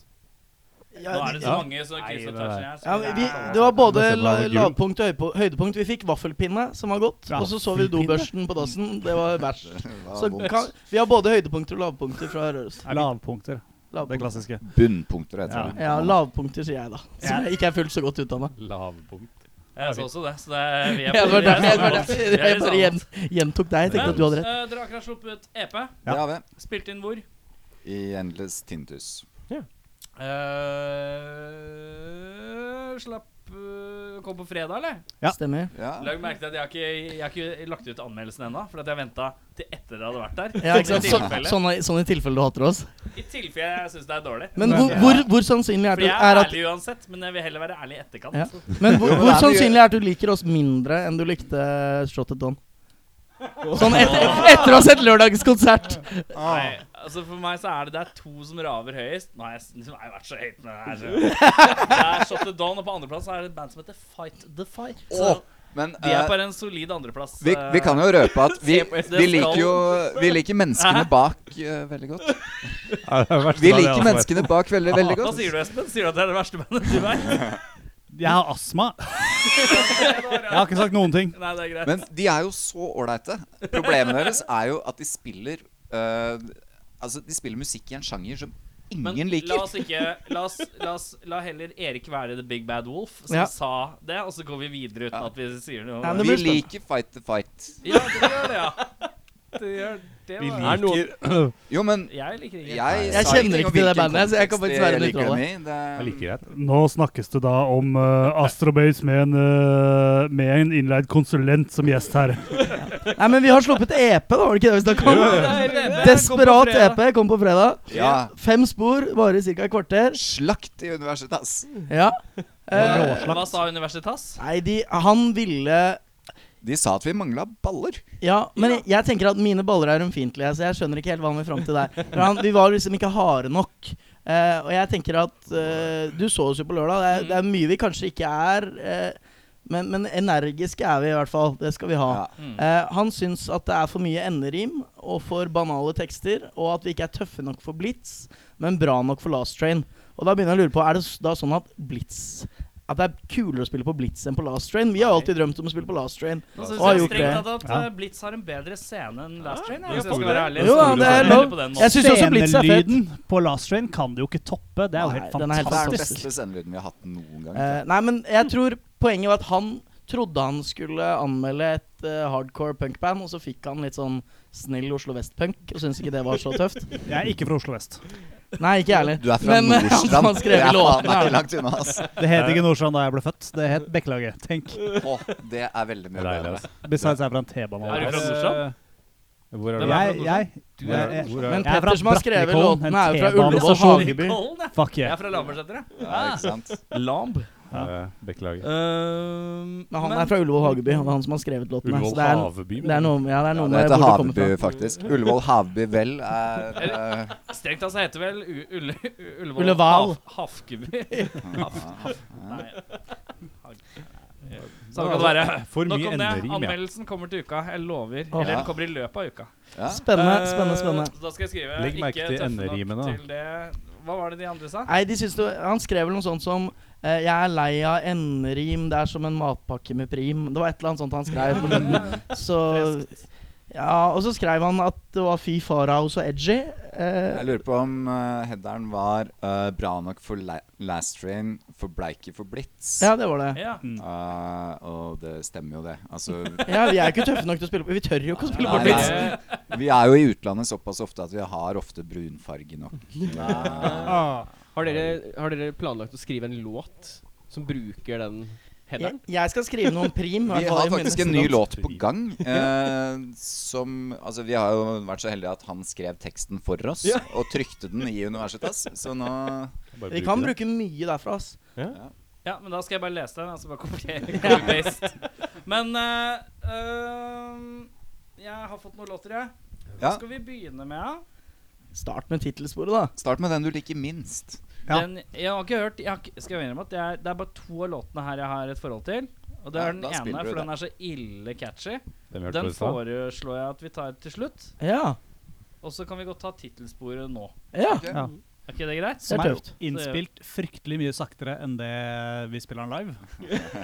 Speaker 5: Ja,
Speaker 2: Nå er det så
Speaker 3: Ja.
Speaker 2: mange så
Speaker 3: Nei,
Speaker 2: kryss og tvers
Speaker 3: det er-
Speaker 2: her. så
Speaker 8: sånn.
Speaker 5: ja,
Speaker 2: det er-
Speaker 5: vi, det var både
Speaker 3: Det ser
Speaker 5: la,
Speaker 3: bra ut.
Speaker 5: lavpunkt og høypo- høydepunkt. Vi fikk vaffelpinne, som var godt. Og så så vi
Speaker 7: Vaffelpinne?
Speaker 5: dobørsten på dassen. Det var verst.
Speaker 6: Det var
Speaker 5: Så
Speaker 6: vondt.
Speaker 5: kan, vi har både høydepunkter og lavpunkter fra Røros.
Speaker 7: Lavpunkter. Det
Speaker 5: Lavpunkter.
Speaker 7: klassiske.
Speaker 6: Bunnpunkter, heter det.
Speaker 5: Ja, lavpunkter, sier jeg da. Som jeg ikke er fullt så godt utdanna.
Speaker 3: Lavpunkt.
Speaker 2: Jeg så også det, så det er, vi er
Speaker 5: Ja, det var
Speaker 2: vi er
Speaker 5: derfor jeg, det var
Speaker 2: sammen.
Speaker 5: derfor
Speaker 2: Vi er
Speaker 5: jeg bare
Speaker 2: sammen.
Speaker 5: gjen, gjentok deg. Jeg tenkte at du hadde rett.
Speaker 2: eh, dere har akkurat sluppet EP.
Speaker 6: Det har vi.
Speaker 2: Spilt inn hvor?
Speaker 6: I Endless Tintus.
Speaker 2: Eh, slapp øh, kom på fredag, eller?
Speaker 7: Ja.
Speaker 5: Stemmer.
Speaker 6: Ja.
Speaker 2: Lag merke til at jeg har ikke, jeg har ikke lagt ut anmeldelsen ennå, for at jeg venta til etter det hadde vært der.
Speaker 5: Ja, ikke sant?
Speaker 2: I
Speaker 5: Så,
Speaker 2: tilfelle-
Speaker 5: sånn, i- sånn i tilfelle du hater oss.
Speaker 2: I tilfelle jeg syns det er dårlig.
Speaker 5: Men hvor, hvor, hvor sannsynlig er
Speaker 2: For
Speaker 5: det
Speaker 2: jeg er
Speaker 5: er at
Speaker 2: ærlig uansett, men jeg vil heller være ærlig i etterkant.
Speaker 5: Ja. Men
Speaker 6: Jo,
Speaker 5: hvor,
Speaker 6: men
Speaker 5: hvor
Speaker 6: det er mye-
Speaker 5: sannsynlig er det du liker oss mindre enn du likte Shotted Don? Sånn etter, etter å ha sett lørdagens konsert.
Speaker 2: Nei, altså For meg så er det det er to som raver høyest. Nå har jeg, s- nå har jeg vært så høyt med det her. så- Det er Shot the Dawn, og på andreplass er det et band som heter Fight the Fight. Så
Speaker 6: Men
Speaker 2: de er
Speaker 6: eh,
Speaker 2: bare en solid andreplass.
Speaker 6: vi, vi kan jo røpe at
Speaker 2: (laughs)
Speaker 6: vi,
Speaker 2: Se på SD
Speaker 6: vi liker
Speaker 2: skal-
Speaker 6: jo Vi liker
Speaker 2: (laughs)
Speaker 6: menneskene
Speaker 2: Hæ?
Speaker 6: bak eh, veldig godt.
Speaker 3: Ja, det er verst
Speaker 6: Vi
Speaker 3: da, det,
Speaker 6: liker
Speaker 3: altså.
Speaker 6: menneskene bak veldig, veldig
Speaker 2: Hva
Speaker 6: godt.
Speaker 2: sier du, Espen? Sier du at det er det verste bandet du vet?
Speaker 7: Jeg har astma. Jeg har ikke sagt noen ting.
Speaker 2: Nei, det er greit.
Speaker 6: Men de er jo så ålreite. Problemet deres er jo at de spiller eh, Altså, de spiller musikk i en sjanger som ingen
Speaker 2: Men
Speaker 6: liker.
Speaker 2: La oss ikke la, oss, la, oss, la heller Erik være The Big Bad Wolf, som
Speaker 5: Ja.
Speaker 2: sa det, og så går vi videre uten
Speaker 6: Ja.
Speaker 2: at vi sier noe.
Speaker 5: Nei,
Speaker 2: om det.
Speaker 5: det
Speaker 6: Vi
Speaker 5: blir spennende.
Speaker 6: liker Fight the Fight.
Speaker 2: Ja, det gjør det, ja. Det gjør det.
Speaker 3: Vi
Speaker 2: Var.
Speaker 4: Er noen-
Speaker 3: liker
Speaker 6: Jo, men
Speaker 2: Jeg liker ikke
Speaker 6: jeg,
Speaker 5: Jeg
Speaker 6: sa
Speaker 5: kjenner
Speaker 6: ingenting
Speaker 5: ikke
Speaker 6: om
Speaker 5: til det
Speaker 6: hvilken
Speaker 5: bandet, så jeg kan
Speaker 6: kontekst
Speaker 5: faktisk være
Speaker 6: jeg
Speaker 5: litt
Speaker 6: liker
Speaker 5: av
Speaker 6: dem i. Det-
Speaker 3: (clears throat) Jeg liker det.
Speaker 9: Nå snakkes det da om uh, Astrobase med en, eh, med en innleid konsulent som gjest her.
Speaker 5: Nei, men vi har sluppet EP, da, var det ikke det vi snakka om?
Speaker 2: Nei, det kom på
Speaker 5: Desperat
Speaker 2: fredag.
Speaker 5: EP kom på fredag.
Speaker 6: Ja.
Speaker 5: Fem spor, varer ca. et kvarter.
Speaker 6: Slakt i universet, ass.
Speaker 5: Ja. Eh,
Speaker 2: Hva sa Universitas?
Speaker 5: nei, de Han ville
Speaker 6: De sa at vi mangla baller.
Speaker 5: Ja, men jeg, jeg tenker at mine baller er ømfintlige, så jeg skjønner ikke helt hva han vil fram til der. For han, vi var liksom ikke harde nok. Eh, og jeg tenker at eh, Du så oss jo på lørdag. Det er, det er mye vi kanskje ikke er. eh, men, men energiske er vi i hvert fall. Det skal vi ha.
Speaker 6: Ja.
Speaker 2: Mm.
Speaker 5: Eh, han syns at det er for mye enderim og for banale tekster, og at vi ikke er tøffe nok for Blitz, men bra nok for Last Train. Og da begynner jeg å lure på, er det s- da sånn at Blitz At det er kulere å spille på Blitz enn på Last Train? Vi har jo alltid drømt om å spille på Last Train.
Speaker 2: Nå synes
Speaker 5: Og har
Speaker 2: jeg
Speaker 5: gjort
Speaker 2: strengt
Speaker 5: det.
Speaker 2: tatt at
Speaker 7: Ja.
Speaker 2: eh, Blitz har en bedre scene enn Last Train.
Speaker 3: det
Speaker 2: Hvis
Speaker 3: er
Speaker 2: jeg skal
Speaker 3: store.
Speaker 2: være ærlig.
Speaker 5: Jo, ja, det er
Speaker 2: Store
Speaker 5: lov.
Speaker 2: på den måten.
Speaker 5: Jeg synes også Blitz er fett.
Speaker 7: Scenelyden på Last Train kan du jo ikke toppe. Det er jo
Speaker 5: Nei,
Speaker 7: helt
Speaker 5: den er helt
Speaker 6: Det er den
Speaker 7: fantastisk.
Speaker 6: beste sendelyden vi har hatt noen gang.
Speaker 5: Eh, nei, men jeg tror poenget var at han trodde han skulle anmelde et eh, hardcore punkband, og så fikk han litt sånn snill Oslo Vest-punk, og syntes ikke det var så tøft.
Speaker 7: Jeg er ikke fra Oslo vest.
Speaker 5: Nei, ikke jeg heller.
Speaker 6: Du er fra
Speaker 5: Men, eh, (laughs) han som
Speaker 6: Nordstrand.
Speaker 5: har
Speaker 6: Det
Speaker 5: skrevet
Speaker 6: er faen
Speaker 5: låtene,
Speaker 6: meg
Speaker 5: er
Speaker 6: ikke langt unna, ass.
Speaker 7: Det het ikke Nordstrand da jeg ble født. Det het Bekkelaget. Tenk.
Speaker 6: Å, det er veldig mye
Speaker 3: Det er deilig,
Speaker 6: bedre.
Speaker 3: altså.
Speaker 7: Besides, jeg er fra
Speaker 2: Er
Speaker 7: en
Speaker 2: du fra
Speaker 7: T-bane.
Speaker 2: Nordstrand?
Speaker 3: Hvor er
Speaker 2: Hvem
Speaker 3: du?
Speaker 2: er fra
Speaker 7: Jeg, jeg,
Speaker 3: Hvor er-
Speaker 7: jeg-
Speaker 3: hvor er-
Speaker 5: Men
Speaker 7: Jeg er fra
Speaker 5: Petter som har skrevet
Speaker 7: Brattekollen,
Speaker 5: låtene, er jo fra
Speaker 7: en T-bane-
Speaker 5: Ullevål
Speaker 7: stasjon.
Speaker 5: Hageby.
Speaker 2: Kollen, jeg.
Speaker 7: Fuck
Speaker 2: Jeg
Speaker 7: yeah.
Speaker 2: er fra Lambertseter, jeg.
Speaker 6: Ja,
Speaker 5: Ah.
Speaker 6: ikke sant?
Speaker 2: Lamb.
Speaker 3: Eh, Bekkelaget.
Speaker 5: Men han er fra Ullevål Hageby, og det er han som har skrevet låtene.
Speaker 3: Ullevål
Speaker 5: så det er,
Speaker 3: Haveby.
Speaker 5: det er noe, ja, det er
Speaker 6: Ja,
Speaker 5: noe
Speaker 6: det
Speaker 5: med
Speaker 6: heter
Speaker 5: hvor det kommer
Speaker 6: Havby,
Speaker 5: fra.
Speaker 6: faktisk. Ullevål Havby Vel er eh,
Speaker 2: Strengt tatt så heter vel U- Ulle- U- Ullevål
Speaker 5: Ullevål.
Speaker 2: Haf-
Speaker 5: (laughs)
Speaker 2: Hafkeby.
Speaker 6: ja.
Speaker 2: Nei. Samme Sånn kan det være.
Speaker 3: For
Speaker 2: Nok
Speaker 3: mye
Speaker 2: om det.
Speaker 3: enderim, ja.
Speaker 2: Anmeldelsen kommer til uka. Jeg lover.
Speaker 5: Åh.
Speaker 2: Eller
Speaker 6: Ja.
Speaker 2: den kommer i løpet av uka.
Speaker 6: Ja.
Speaker 5: Spennende,
Speaker 2: Eh,
Speaker 5: spennende, spennende.
Speaker 2: Da skal jeg skrive
Speaker 3: Legg merke
Speaker 2: ikke
Speaker 3: til
Speaker 2: tøffe nok
Speaker 3: enderimene.
Speaker 2: til det. Hva var det de andre sa?
Speaker 5: Nei, de syns det, Han skrev vel noe sånt som eh, 'Jeg er lei av enderim, det er som en matpakke med prim'. Det var et eller annet sånt han skrev. på den. (laughs) Så Ja, og så skrev han at det var fy farao så edgy. Eh,
Speaker 6: Jeg lurer på om eh, headeren var eh, bra nok for la Last Train, for Bleike for Blitz.
Speaker 5: ja, det var det.
Speaker 2: Ja.
Speaker 6: Eh, og det stemmer jo, det.
Speaker 5: (laughs)
Speaker 6: Altså,
Speaker 5: Ja, Vi er jo ikke tøffe nok til å spille på Vi tør jo ikke å spille på
Speaker 6: Nei,
Speaker 5: Blitz.
Speaker 6: nei. vi er jo i utlandet såpass ofte at vi har ofte brunfarge nok. Eh,
Speaker 4: Har dere, har dere planlagt å skrive en låt som bruker den
Speaker 5: Jeg,
Speaker 4: headeren?
Speaker 5: jeg skal skrive noe om prim. i hvert
Speaker 6: vi
Speaker 5: fall,
Speaker 6: har
Speaker 5: i min
Speaker 6: faktisk en
Speaker 5: neste
Speaker 6: ny
Speaker 5: dans.
Speaker 6: låt på
Speaker 5: (laughs)
Speaker 6: gang. eh, som Altså, vi har jo vært så heldige at han skrev teksten for oss, og trykte den i
Speaker 5: (laughs)
Speaker 6: Universitas. Så nå
Speaker 3: Bare
Speaker 5: Vi kan
Speaker 3: det.
Speaker 5: bruke mye derfra. ass
Speaker 2: Ja, men da skal jeg bare lese den. Altså bare kopiere (laughs) copy-paste. Men eh, ehm, jeg har fått noen låter, jeg. Hva
Speaker 6: Ja.
Speaker 2: skal vi begynne med?
Speaker 5: Start med tittelsporet, da.
Speaker 6: Start med den du liker minst.
Speaker 2: Ja? Den, jeg har ikke hørt jeg har, ikke- Skal jeg innrømme at det er, det er bare to av låtene her jeg har et forhold til. Og det
Speaker 6: Ja,
Speaker 2: er den
Speaker 6: da spiller
Speaker 2: ene,
Speaker 6: du
Speaker 2: for
Speaker 6: det.
Speaker 2: den er så ille catchy.
Speaker 3: Den vi hørte på
Speaker 2: Den
Speaker 3: i stad.
Speaker 2: foreslår jeg at vi tar til slutt.
Speaker 5: Ja.
Speaker 2: Og så kan vi godt ta tittelsporet nå.
Speaker 5: Ja.
Speaker 7: Ja.
Speaker 2: Er ikke det greit?
Speaker 5: Det
Speaker 7: Som
Speaker 5: er
Speaker 7: er
Speaker 5: tøft.
Speaker 7: innspilt fryktelig mye saktere enn det vi spiller den (laughs) live.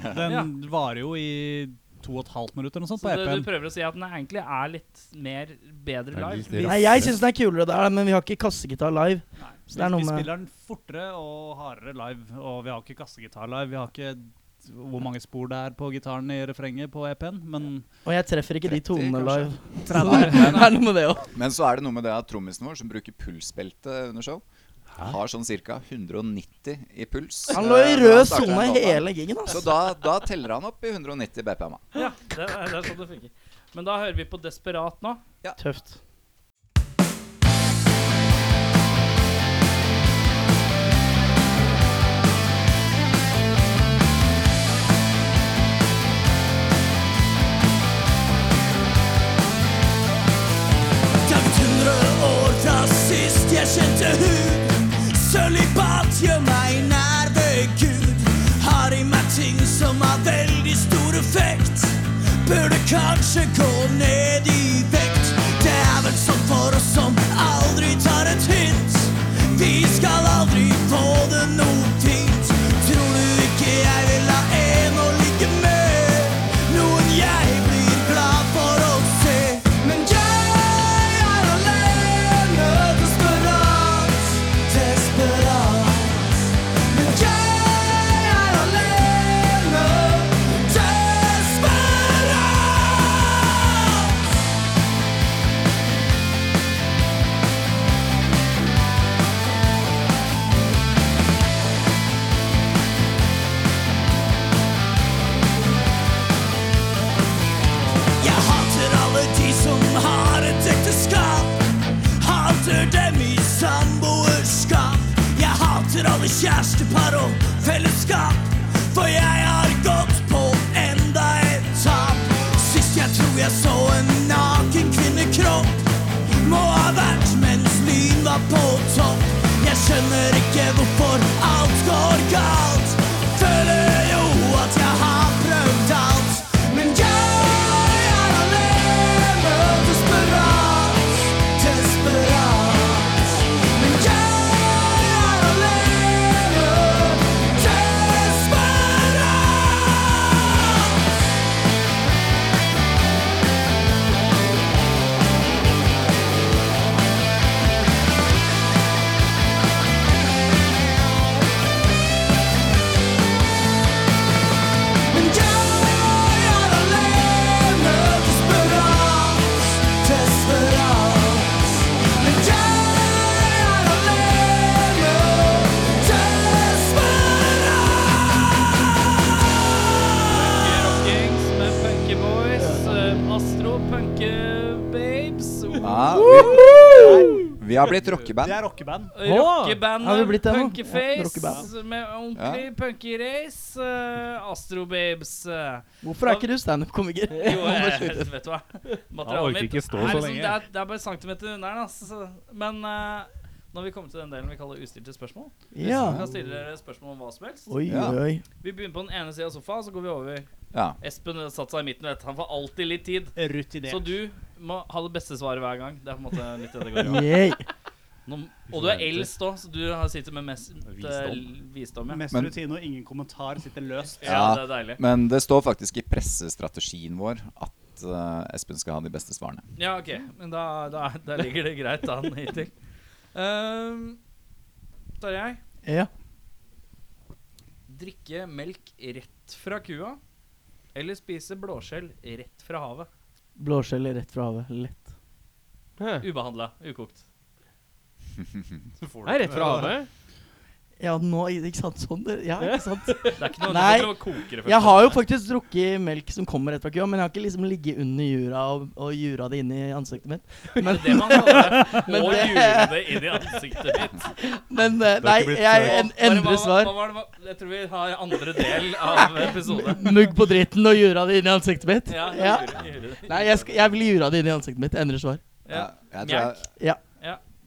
Speaker 2: Ja.
Speaker 7: Den varer jo i to og et halvt minutt eller noe sånt
Speaker 2: Så
Speaker 7: på
Speaker 2: det, du
Speaker 7: EP-en.
Speaker 2: prøver å si at den egentlig er litt mer bedre
Speaker 3: Det er
Speaker 2: live?
Speaker 3: litt raskere.
Speaker 5: Nei, jeg syns den er kulere der, men vi har ikke kassegitar live.
Speaker 2: Nei.
Speaker 5: Så det er noe
Speaker 7: vi
Speaker 5: med
Speaker 7: spiller den fortere og hardere live, og vi har ikke kassegitar live. Vi har ikke hvor mange spor det er på gitaren i refrenget på EP-en, men
Speaker 5: Og jeg treffer ikke de
Speaker 6: 30
Speaker 5: tonene
Speaker 6: kanskje.
Speaker 5: live. Så det er noe med det òg.
Speaker 6: Men så er det noe med det at trommisen vår, som bruker pulsbelte under show Har sånn ca. 190 i puls.
Speaker 5: Han lå i
Speaker 6: eh, når
Speaker 5: rød
Speaker 6: han starter
Speaker 5: sone
Speaker 6: den låta.
Speaker 5: hele gigen, ass.
Speaker 6: Så da, da teller han opp i 190 BPM. -a.
Speaker 8: Ja, det er, det er sånn det funker. Men da hører vi på Desperat nå.
Speaker 5: Tøft.
Speaker 1: Takt 100 år fra sist jeg kjente hud. Sølibat gjør meg nær ved Gud. Har i meg ting som har veldig stor effekt. Burde kanskje gå ned i vekt. Det er vel sånn for oss som aldri tar et hint. Vi skal aldri få det noe fint. Tror du ikke jeg vil ha en å ligge med? Noen jeg blir glad for å se. Men jeg er alene, desperat, desperat. Men jeg er alene, desperat. Jeg hater alle de som har et ekteskap. Hater dem i samboerskap. Jeg hater alle kjærestepar og fellesskap. For jeg har gått på enda et tap. Sist jeg tror jeg så en naken kvinnekropp. Må ha vært mens lyn var på topp. Jeg skjønner ikke hvorfor alt går galt. Føler jo at jeg har prøvd alt. Men jeg er alene, desperat, desperat. Men jeg er alene, desperat. Men jeg er alene, desperat, desperat. Men jeg er alene, desperat.
Speaker 8: Rockings med Punky Boys. eh, Astro Punky Babes.
Speaker 6: Ja, vi, vi har blitt rockeband.
Speaker 7: Det er rockeband.
Speaker 5: har vi blitt
Speaker 8: Rockebandet
Speaker 5: det nå? Ja,
Speaker 8: Punkyface
Speaker 5: rockeband.
Speaker 8: med ordentlig Punky Race. eh, Astro Babes. eh.
Speaker 5: Hvorfor er ikke du standup-komiker?
Speaker 8: Jo,
Speaker 2: Eh,
Speaker 8: jeg, vet du hva. Materialet
Speaker 3: orker
Speaker 8: mitt
Speaker 3: ikke stå
Speaker 8: er
Speaker 3: så
Speaker 8: liksom-
Speaker 3: lenge.
Speaker 8: Det er, det er bare centimeter unna den.
Speaker 2: altså.
Speaker 8: ass. Så- Men eh, når vi kommer til den delen vi kaller ustilte spørsmål
Speaker 5: Ja.
Speaker 8: Vi kan stille dere spørsmål om hva som helst.
Speaker 5: Oi,
Speaker 6: Ja.
Speaker 5: oi, oi.
Speaker 8: Vi begynner på den ene sida av sofaen, så går vi over.
Speaker 6: Ja.
Speaker 8: Espen satte seg i midten, vet du. Han får alltid litt tid.
Speaker 7: Rutinert.
Speaker 8: Så du må ha det beste svaret hver gang. Det er på en måte litt det det (laughs) går i.
Speaker 5: Yay.
Speaker 8: Nå, og du er eldst òg, så du har- sitter med mest eh, visdom. ja.
Speaker 7: Mest
Speaker 6: Men-
Speaker 7: rutine og ingen kommentar sitter løst.
Speaker 8: Ja, det er deilig.
Speaker 6: Men det står faktisk i pressestrategien vår at eh, Espen skal ha de beste svarene.
Speaker 8: Ja, ok. Men da, da, da (laughs) ligger det greit an hittil. Um, Tarjei.
Speaker 5: Ja.
Speaker 8: Drikke melk rett fra kua eller spise blåskjell rett fra havet?
Speaker 5: Blåskjell rett fra havet. Lett.
Speaker 8: Ubehandla, ukokt.
Speaker 2: Nei, rett fra havet.
Speaker 5: Ja, nå, ikke sant? Sånn, det- ja, ikke
Speaker 8: (laughs)
Speaker 5: sant?
Speaker 8: Det er ikke noe
Speaker 5: Nei.
Speaker 8: det er ikke noe å koke det først.
Speaker 5: Jeg har jo faktisk drukket melk som kommer rett fra kua, men jeg har ikke liksom ligget under jura og, og jura det inn i ansiktet mitt. Men,
Speaker 8: Det er det man kaller (laughs)
Speaker 5: Men
Speaker 8: å
Speaker 5: det-
Speaker 8: jule det inn i ansiktet mitt.
Speaker 5: men eh, nei,
Speaker 3: blitt
Speaker 5: jeg en,
Speaker 8: Bare hva-
Speaker 5: endrer svar.
Speaker 8: Hva var det, hva- jeg tror vi har andre del av episoden.
Speaker 5: Mugg på dritten og jura det inn i ansiktet mitt.
Speaker 8: Ja,
Speaker 5: Ja.
Speaker 8: jule- jule det.
Speaker 5: Nei, jeg, skal, jeg vil jura det inn i ansiktet mitt. Endrer svar.
Speaker 8: Ja.
Speaker 6: jeg tror jeg,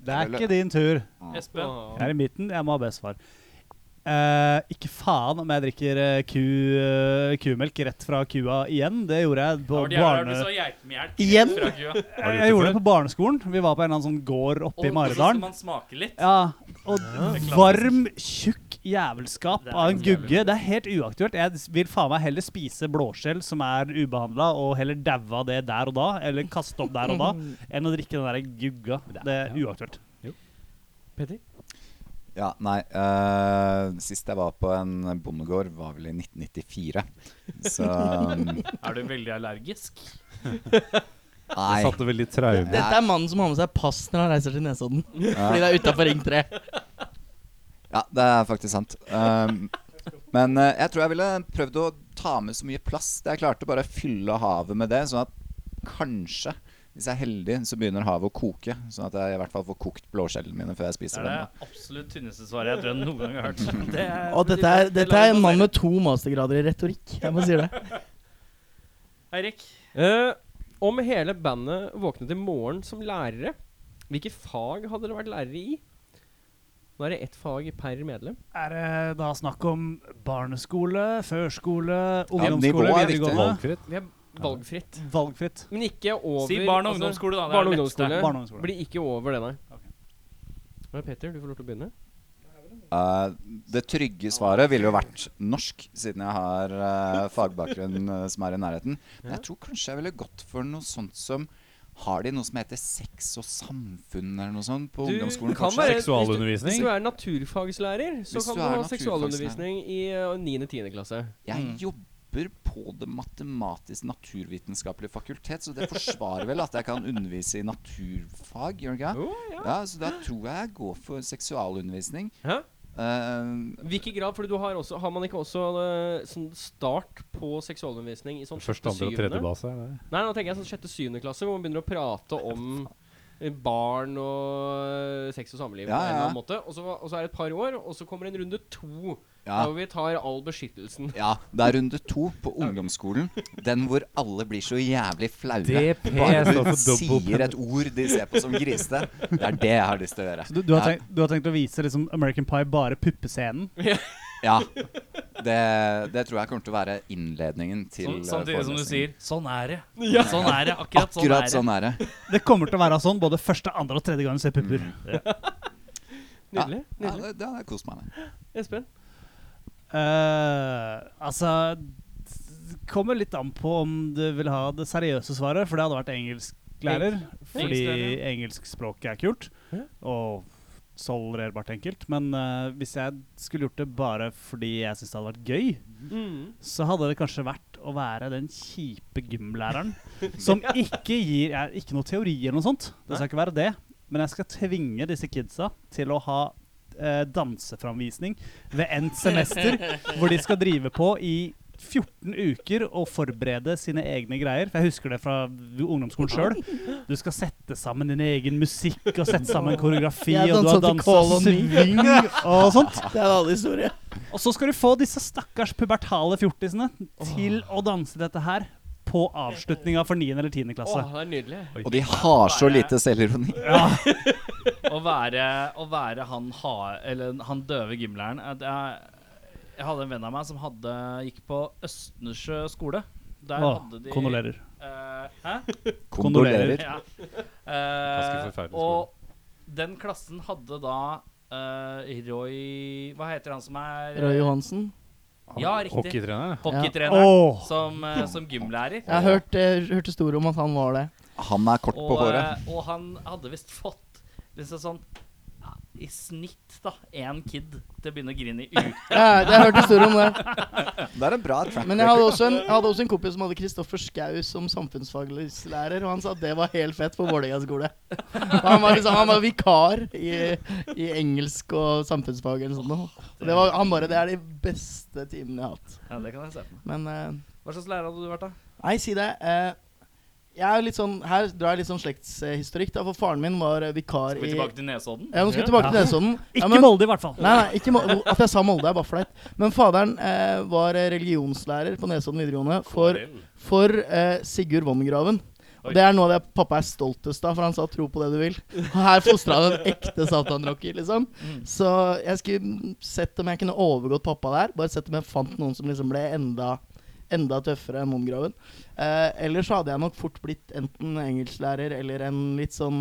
Speaker 7: Det er ikke din tur.
Speaker 8: Espen.
Speaker 7: Jeg er i midten. Jeg må ha best svar. Eh, ikke faen om jeg drikker eh, ku, eh, kumelk rett fra kua igjen. Det gjorde jeg på,
Speaker 8: Da var det jævla
Speaker 7: barne...
Speaker 8: du sa geitmjølk
Speaker 5: Igjen?
Speaker 8: fra kua.
Speaker 3: Har du
Speaker 7: jeg gjorde det
Speaker 3: før?
Speaker 7: på barneskolen. Vi var på en eller annen sånn gård oppe
Speaker 8: Og så
Speaker 7: i
Speaker 8: skal
Speaker 7: Maridalen.
Speaker 8: man smake litt.
Speaker 7: Ja, og varm, tjukk jævelskap
Speaker 8: Det er
Speaker 7: av en
Speaker 8: helt
Speaker 7: gugge. Det er helt uaktuelt. Jeg vil faen meg heller spise blåskjell som er ubehandla, og heller daue av det der og da, eller kaste opp der og da, enn å drikke den der gugga. Det er uaktuelt.
Speaker 2: Petter?
Speaker 6: Ja, nei eh, Sist jeg var på en bondegård, var vel i 1994. Så mm,
Speaker 8: Er du veldig allergisk?
Speaker 3: Det
Speaker 6: Nei.
Speaker 3: satte veldig traume.
Speaker 5: Dette er mannen som har med seg pass når han reiser til Nesodden. Fordi det er utafor Ring 3.
Speaker 6: Ja, det er faktisk sant. Um, men eh, jeg tror jeg ville prøvd å ta med så mye plass. Jeg klarte bare å fylle havet med det, sånn at kanskje, hvis jeg er heldig, så begynner havet å koke. Sånn at jeg i hvert fall får kokt blåskjellene mine før jeg
Speaker 2: Det er
Speaker 6: spiser dem. da.
Speaker 2: det absolutt tynneste svaret jeg tror jeg noen gang har hørt. (laughs) Det er-
Speaker 5: Og dette er, dette er en mann
Speaker 2: Eirik.
Speaker 5: med to mastergrader i retorikk. Jeg må si (laughs) det.
Speaker 2: Eirik,
Speaker 4: Eh, om hele bandet våknet i morgen som lærere, hvilke fag hadde dere vært lærere i? Nå er det ett fag per medlem.
Speaker 7: Er det da snakk om barneskole, førskole,
Speaker 6: Ja,
Speaker 7: ungdomsskole,
Speaker 6: nivået er viktig.
Speaker 7: videregående?
Speaker 3: Valgfritt.
Speaker 4: Vi er valgfritt.
Speaker 7: Valgfritt.
Speaker 4: Men ikke over
Speaker 2: si barn- og
Speaker 4: altså,
Speaker 2: ungdomsskole, da. Det er
Speaker 4: Barne- og
Speaker 2: det
Speaker 4: ungdomsskole.
Speaker 2: letteste.
Speaker 7: Barne- og ungdomsskole.
Speaker 4: Blir ikke over det, nei.
Speaker 7: Ok.
Speaker 4: Ja, Petter, du får lov til å begynne.
Speaker 6: Eh, det trygge svaret ville jo vært norsk, siden jeg har eh, fagbakgrunn eh, som er i nærheten. Men jeg tror kanskje jeg ville gått for noe sånt som Har de noe som heter sex og samfunn eller noe sånt på
Speaker 4: Du
Speaker 6: ungdomsskolen?
Speaker 4: kan
Speaker 6: kanskje?
Speaker 4: være- Hvis
Speaker 3: Seksualundervisning.
Speaker 4: du er naturfagslærer, så
Speaker 6: Hvis
Speaker 4: kan
Speaker 6: du
Speaker 4: du
Speaker 6: er
Speaker 4: ha
Speaker 6: naturfagslærer.
Speaker 4: seksualundervisning i 9.-10. klasse.
Speaker 6: Jeg
Speaker 4: Mm.
Speaker 6: jobber på Det matematisk-naturvitenskapelige fakultet, så
Speaker 4: (laughs)
Speaker 6: det forsvarer vel at jeg kan undervise i naturfag, gjør det ikke?
Speaker 4: Jo, ja.
Speaker 6: Ja, så da tror jeg jeg går for seksualundervisning.
Speaker 4: Hæ?
Speaker 6: Eh,
Speaker 4: Hvilken grad? Fordi du har, også, har man ikke også eh, sånn start på seksualundervisning i sånn
Speaker 3: Første, andre og
Speaker 4: syvende?
Speaker 3: tredje base. er det?
Speaker 4: Nei, nå tenker jeg sånn sjette-syvende klasse, hvor man begynner å prate om eh, barn og eh, sex og samliv.
Speaker 6: Ja,
Speaker 4: på en eller
Speaker 6: ja.
Speaker 4: annen måte. Og så, og så er det et par år, og så kommer en runde to.
Speaker 6: ja.
Speaker 4: Der hvor vi tar all beskyttelsen. (laughs)
Speaker 6: Ja, det er runde to på ungdomsskolen. Den hvor alle blir så jævlig flaue.
Speaker 3: DP
Speaker 6: Bare
Speaker 3: står
Speaker 6: du
Speaker 3: for double
Speaker 6: sier et ord de ser på som grisete. Det er det jeg har lyst til å gjøre.
Speaker 7: Så du, du, har
Speaker 6: Ja.
Speaker 7: tenkt, du har tenkt å vise liksom American Pie bare puppescenen?
Speaker 6: Ja, Det, det tror jeg kommer til å være innledningen til
Speaker 2: Sånn- samtidig som du
Speaker 6: forelesningen.
Speaker 2: sier 'sånn er det'. Sånn er det, akkurat sånn
Speaker 6: Akkurat
Speaker 2: er det.
Speaker 6: sånn er det.
Speaker 7: Det kommer til å være sånn både første, andre og tredje gang du ser pupper.
Speaker 4: Nydelig.
Speaker 6: Ja,
Speaker 4: nydelig.
Speaker 6: det, det har jeg kost meg med.
Speaker 4: Espen?
Speaker 7: Eh, altså Det kommer litt an på om du vil ha det seriøse svaret, for det hadde vært engelsklærer. Fordi
Speaker 2: Engelsklærer,
Speaker 7: engelskspråket er kult.
Speaker 4: Ja.
Speaker 7: Og tolererbart enkelt. Men eh, hvis jeg skulle gjort det bare fordi jeg syns det hadde vært gøy,
Speaker 4: Mm.
Speaker 7: så hadde det kanskje vært å være den kjipe gymlæreren som ikke gir jeg, Ikke noe teori eller noe sånt. Det skal ikke være det. Men jeg skal tvinge disse kidsa til å ha eh, danseframvisning ved endt semester, hvor de skal drive på i 14 uker og forberede sine egne greier. For jeg husker det fra ungdomsskolen sjøl. Du skal sette sammen din egen musikk og sette sammen koreografi,
Speaker 5: Jeg
Speaker 7: og du har
Speaker 5: dansa til Call
Speaker 7: dansa
Speaker 5: on Me.
Speaker 7: swing og sånt.
Speaker 5: Det er en annen historie.
Speaker 7: Og så skal du få disse stakkars pubertale fjortisene til å danse dette her på avslutninga for 9. eller 10.
Speaker 4: Åh,
Speaker 7: klasse.
Speaker 4: det er nydelig.
Speaker 6: Og de har så lite selvironi.
Speaker 2: Å være, å være han, ha, eller han døve gymlæreren at jeg, jeg hadde en venn av meg som hadde, gikk på Østensjø skole. Der
Speaker 7: Åh,
Speaker 2: hadde de
Speaker 7: kondolerer.
Speaker 2: Eh, hæ?
Speaker 6: Kondolerer.
Speaker 2: Ja.
Speaker 3: Ganske
Speaker 2: Eh,
Speaker 3: forferdelig skole.
Speaker 2: og den klassen hadde da eh, Roy Hva heter han som er
Speaker 5: Roy Johansen.
Speaker 2: Ja, riktig.
Speaker 3: Hockeytreneren.
Speaker 2: Hockeytreneren
Speaker 7: Åh,
Speaker 2: som, eh, som gymlærer.
Speaker 5: Jeg har hørt, jeg hørte store om at han var det.
Speaker 6: Han er kort på
Speaker 2: Og,
Speaker 6: håret.
Speaker 2: eh, og han hadde visst fått liksom sånn ja, i snitt da én kid til å begynne å grine i uka.
Speaker 5: Jeg, jeg hørte store om det.
Speaker 2: eh,
Speaker 6: Det er en bra track.
Speaker 5: Men jeg hadde også en, jeg hadde også en kompis som hadde Kristoffer Schau som samfunnsfaglærer, og han sa at det var helt fett på Vålerenga skole. Og Han var, liksom, han var vikar i, i engelsk og samfunnsfag eller sånt noe. Og det var, han bare Det er de beste timene jeg har hatt.
Speaker 2: Ja, det kan jeg se på.
Speaker 5: Men eh,
Speaker 2: Hva slags lærer hadde du vært, da?
Speaker 5: Nei, si det. Eh, jeg er jo litt sånn, her drar jeg litt sånn slektshistorikk, da, for faren min var eh, vikar
Speaker 2: Skal vi
Speaker 5: i
Speaker 2: tilbake til Nesodden?
Speaker 5: Ja, nå skal vi tilbake til Nesodden. Ja,
Speaker 7: ikke
Speaker 5: men-
Speaker 7: Molde, i hvert fall.
Speaker 5: Nei, nei, ikke må, at jeg sa Molde er bare flaut. Men faderen eh, var eh, religionslærer på Nesodden videregående for, for eh, Sigurd Vongraven. Og det er noe av det pappa er stoltest av, for han sa 'tro på det du vil'. Og her fostra han en ekte satanrocker, liksom.
Speaker 2: Mm.
Speaker 5: Så jeg skulle sett om jeg kunne overgått pappa der. Bare sett om jeg fant noen som liksom ble enda Enda tøffere enn Mongraven. Eh, ellers så hadde jeg nok fort blitt enten engelsklærer eller en litt sånn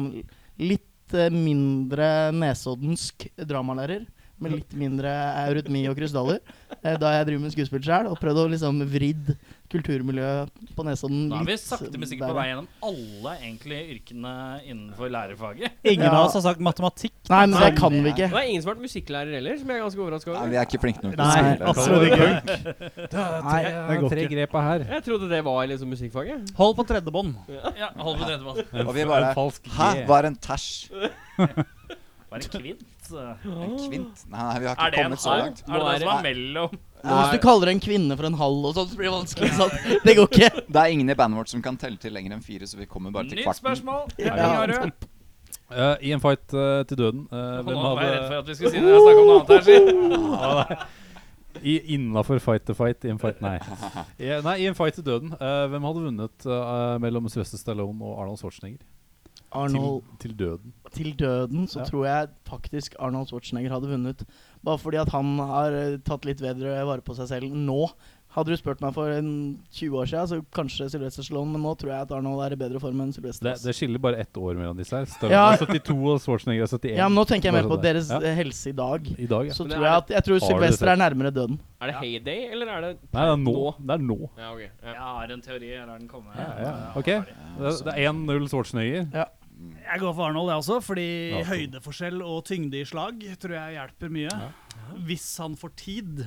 Speaker 5: Litt eh, mindre nesoddensk dramalærer med litt mindre eurytmi og krystaller. eh, Da jeg driver med skuespill sjøl, og prøvde å liksom vridd kulturmiljøet på Nesodden
Speaker 2: Da er vi
Speaker 5: litt
Speaker 2: sakte, men sikkert på
Speaker 5: der.
Speaker 2: vei gjennom alle egentlig yrkene innenfor
Speaker 7: (laughs)
Speaker 2: lærerfaget.
Speaker 7: Ingen
Speaker 5: Ja.
Speaker 7: av oss har sagt matematikk.
Speaker 5: Nei, men det kan vi
Speaker 4: Og
Speaker 5: ikke.
Speaker 4: det er ingen som har vært musikklærer heller, som jeg er ganske overraska
Speaker 6: Nei,
Speaker 4: over.
Speaker 6: vi er ikke flinke nok til å
Speaker 7: Nei,
Speaker 6: spille.
Speaker 7: absolutt ikke.
Speaker 3: Nei,
Speaker 7: det går
Speaker 3: tre
Speaker 7: ikke.
Speaker 3: grepa her.
Speaker 4: Jeg trodde det var liksom musikkfaget.
Speaker 7: Hold på tredje bånd.
Speaker 2: Ja, hold på tredje mann.
Speaker 6: Og vi bare
Speaker 3: En falsk G.
Speaker 6: Hæ, var en tæsj?
Speaker 2: Var det kvint?
Speaker 6: En kvint? Nei, nei, vi har
Speaker 2: Er
Speaker 6: ikke
Speaker 2: det en
Speaker 6: kommet så
Speaker 2: halv? Er
Speaker 6: langt.
Speaker 2: det den som er mellom?
Speaker 5: Hvis du kaller en kvinne for en halv og sånt, så blir det vanskelig. Sant? Det går ikke.
Speaker 6: Det er ingen i bandet vårt som kan telle til lenger enn fire, så vi kommer bare til
Speaker 2: Nytt
Speaker 6: kvarten.
Speaker 2: spørsmål.
Speaker 5: Ja.
Speaker 2: Henning Harø.
Speaker 3: Eh, I en fight eh, til døden eh,
Speaker 2: Nå
Speaker 3: Hvem
Speaker 2: var jeg redd for
Speaker 3: hadde
Speaker 2: at vi skulle si det og snakke om noe annet her, si.
Speaker 3: i- Innafor fight to fight, i en fight Nei. I, nei, i en fight til døden. eh, hvem hadde vunnet eh, mellom Sylvester Stallone og Arnold Schwarzenegger? Til,
Speaker 5: Arnold
Speaker 3: til døden.
Speaker 5: til døden, så
Speaker 3: Ja.
Speaker 5: tror jeg faktisk Arnold Schwarzenegger hadde vunnet. Bare fordi at han har eh, tatt litt bedre vare på seg selv nå. Hadde du spurt meg for en 20 år siden, så kanskje Sylvester Stallone, men nå tror jeg at Arnold er i bedre form enn Sylvester.
Speaker 3: Det,
Speaker 5: ass.
Speaker 3: det skiller bare ett år mellom disse her. Stallone
Speaker 5: Ja.
Speaker 3: er 72 og Schwarzenegger er 71.
Speaker 5: ja, men nå tenker jeg mer
Speaker 3: Bare
Speaker 5: på
Speaker 3: sånn der.
Speaker 5: deres
Speaker 3: Ja.
Speaker 5: eh, helse i dag.
Speaker 3: I dag, ja.
Speaker 5: Så
Speaker 8: Men
Speaker 5: tror
Speaker 8: er
Speaker 5: jeg at jeg tror
Speaker 3: Har du det
Speaker 5: Sylvester
Speaker 3: sett?
Speaker 5: er nærmere døden.
Speaker 8: Er det heyday, eller er det
Speaker 3: Nei, det er nå. Det er nå.
Speaker 8: Ja, ok.
Speaker 2: Jeg
Speaker 8: Ja.
Speaker 2: har en teori. Jeg lar den komme.
Speaker 3: Ja,
Speaker 2: (laughs)
Speaker 3: ja. Ok, det, det er 1-0 Schwarzenegger. (laughs)
Speaker 7: Jeg går for Arnold, jeg også, fordi
Speaker 3: Ja, cool.
Speaker 7: høydeforskjell og tyngde i slag tror jeg hjelper mye. Hvis han får tid.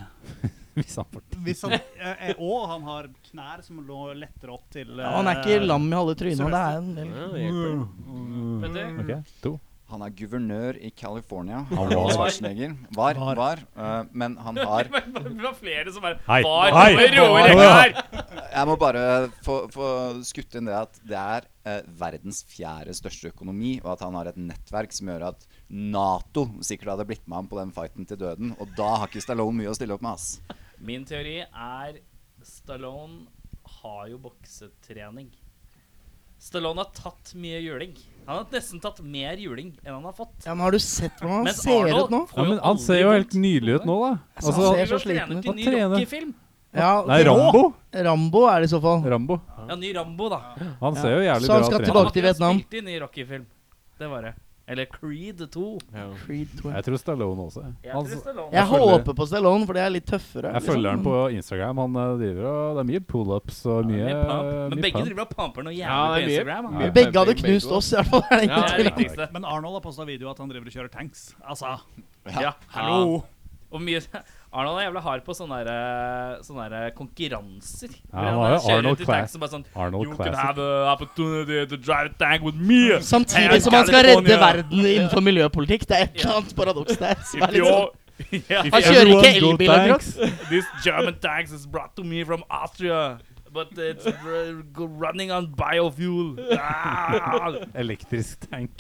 Speaker 3: Hvis han får
Speaker 7: Hvis han, (laughs) eh, eh, og han har knær som lå lettere opp til eh,
Speaker 5: Ja, han er ikke lam i halve trynet. Det er en del.
Speaker 8: Ja, det hjelper.
Speaker 5: Mm.
Speaker 2: Petter?
Speaker 3: Ok, to.
Speaker 6: Han er guvernør i California.
Speaker 3: var.
Speaker 6: Arnold Schwarzenegger. Var,
Speaker 7: Var.
Speaker 6: var. eh, men han har
Speaker 2: Det var flere som bare
Speaker 3: Hei.
Speaker 2: Var
Speaker 3: Hei.
Speaker 2: over roer ikke
Speaker 3: Hei.
Speaker 2: her!
Speaker 6: Jeg må bare få, få skutt inn det at det er eh, verdens fjerde største økonomi, og at han har et nettverk som gjør at Nato sikkert hadde blitt med ham på den fighten til døden. Og da har ikke Stallone mye å stille opp med, ass.
Speaker 2: Min teori er Stallone har jo boksetrening. Stallone har tatt mye juling. Han har nesten tatt mer juling enn han har fått.
Speaker 5: Ja, men har du sett hvordan han
Speaker 2: Mens
Speaker 5: ser
Speaker 2: Arnold
Speaker 5: ut nå?
Speaker 2: får
Speaker 3: Ja,
Speaker 2: jo
Speaker 3: men han
Speaker 2: aldri
Speaker 3: ser jo
Speaker 2: vondt.
Speaker 3: helt nydelig ut nå, da.
Speaker 5: Altså,
Speaker 3: Altså,
Speaker 5: han ser
Speaker 2: Driver
Speaker 5: så
Speaker 2: og trener
Speaker 5: sliten ut.
Speaker 2: til
Speaker 3: Han
Speaker 2: ny
Speaker 3: trener.
Speaker 2: Rocky-film.
Speaker 5: Ja,
Speaker 3: Nei,
Speaker 5: ok.
Speaker 3: Rambo.
Speaker 5: Rambo er det i så fall.
Speaker 3: Rambo.
Speaker 2: Ja, ny Rambo, da.
Speaker 3: Han ser jo jævlig
Speaker 5: Så
Speaker 3: bra
Speaker 5: han skal
Speaker 3: ut.
Speaker 5: tilbake
Speaker 2: Han
Speaker 3: trener.
Speaker 2: hadde
Speaker 5: til
Speaker 2: jo
Speaker 5: Vietnam.
Speaker 2: Spilt i ny Rocky-film. Det var det. Eller Creed 2.
Speaker 8: Ja.
Speaker 5: Creed two.
Speaker 3: Jeg tror Stallone også.
Speaker 2: Jeg
Speaker 3: Han,
Speaker 2: tror Stallone
Speaker 5: Jeg
Speaker 3: følger-
Speaker 5: håper på Stallone, for det er litt tøffere.
Speaker 3: jeg
Speaker 5: liksom.
Speaker 3: følger han på Instagram. Han eh, driver og Det er mye pullups og mye,
Speaker 2: Mye pump.
Speaker 3: eh,
Speaker 2: Men
Speaker 3: mye
Speaker 2: begge
Speaker 3: pump.
Speaker 2: driver og pumper noe jævlig
Speaker 8: Ja,
Speaker 2: på
Speaker 8: det er mye-
Speaker 2: Instagram. da.
Speaker 8: mye-
Speaker 5: Begge hadde
Speaker 8: Begge
Speaker 5: knust
Speaker 8: to.
Speaker 5: oss, i hvert fall. Er det
Speaker 8: Ja,
Speaker 5: ingen
Speaker 2: Det
Speaker 5: tvil
Speaker 2: er
Speaker 5: om.
Speaker 2: det viktigste.
Speaker 7: Men Arnold har posta video at han driver og kjører tanks. Altså,
Speaker 2: Ja,
Speaker 7: hallo!
Speaker 2: Og mye Arnold er jævlig hard på sånne, der, sånne der konkurranser.
Speaker 3: Ja, han har jo
Speaker 2: kjører
Speaker 3: Arnold
Speaker 2: ut i tanks
Speaker 3: Class-
Speaker 2: og bare sånn
Speaker 3: Arnold
Speaker 2: You can
Speaker 3: Classic.
Speaker 2: have a opportunity to drive a tank with
Speaker 5: (laughs)
Speaker 2: me.
Speaker 5: Samtidig som han skal redde verden innenfor miljøpolitikk. Det er et eller annet paradoks der. som er
Speaker 2: If
Speaker 5: litt sånn-
Speaker 2: you're, (laughs) yeah,
Speaker 5: Han kjører ikke
Speaker 3: Everyone go
Speaker 5: elbil og cross.
Speaker 2: (laughs) this German tanks is brought to me from Austria. But it's r- go- running on biofuel. Ah.
Speaker 3: Elektrisk (laughs) tank.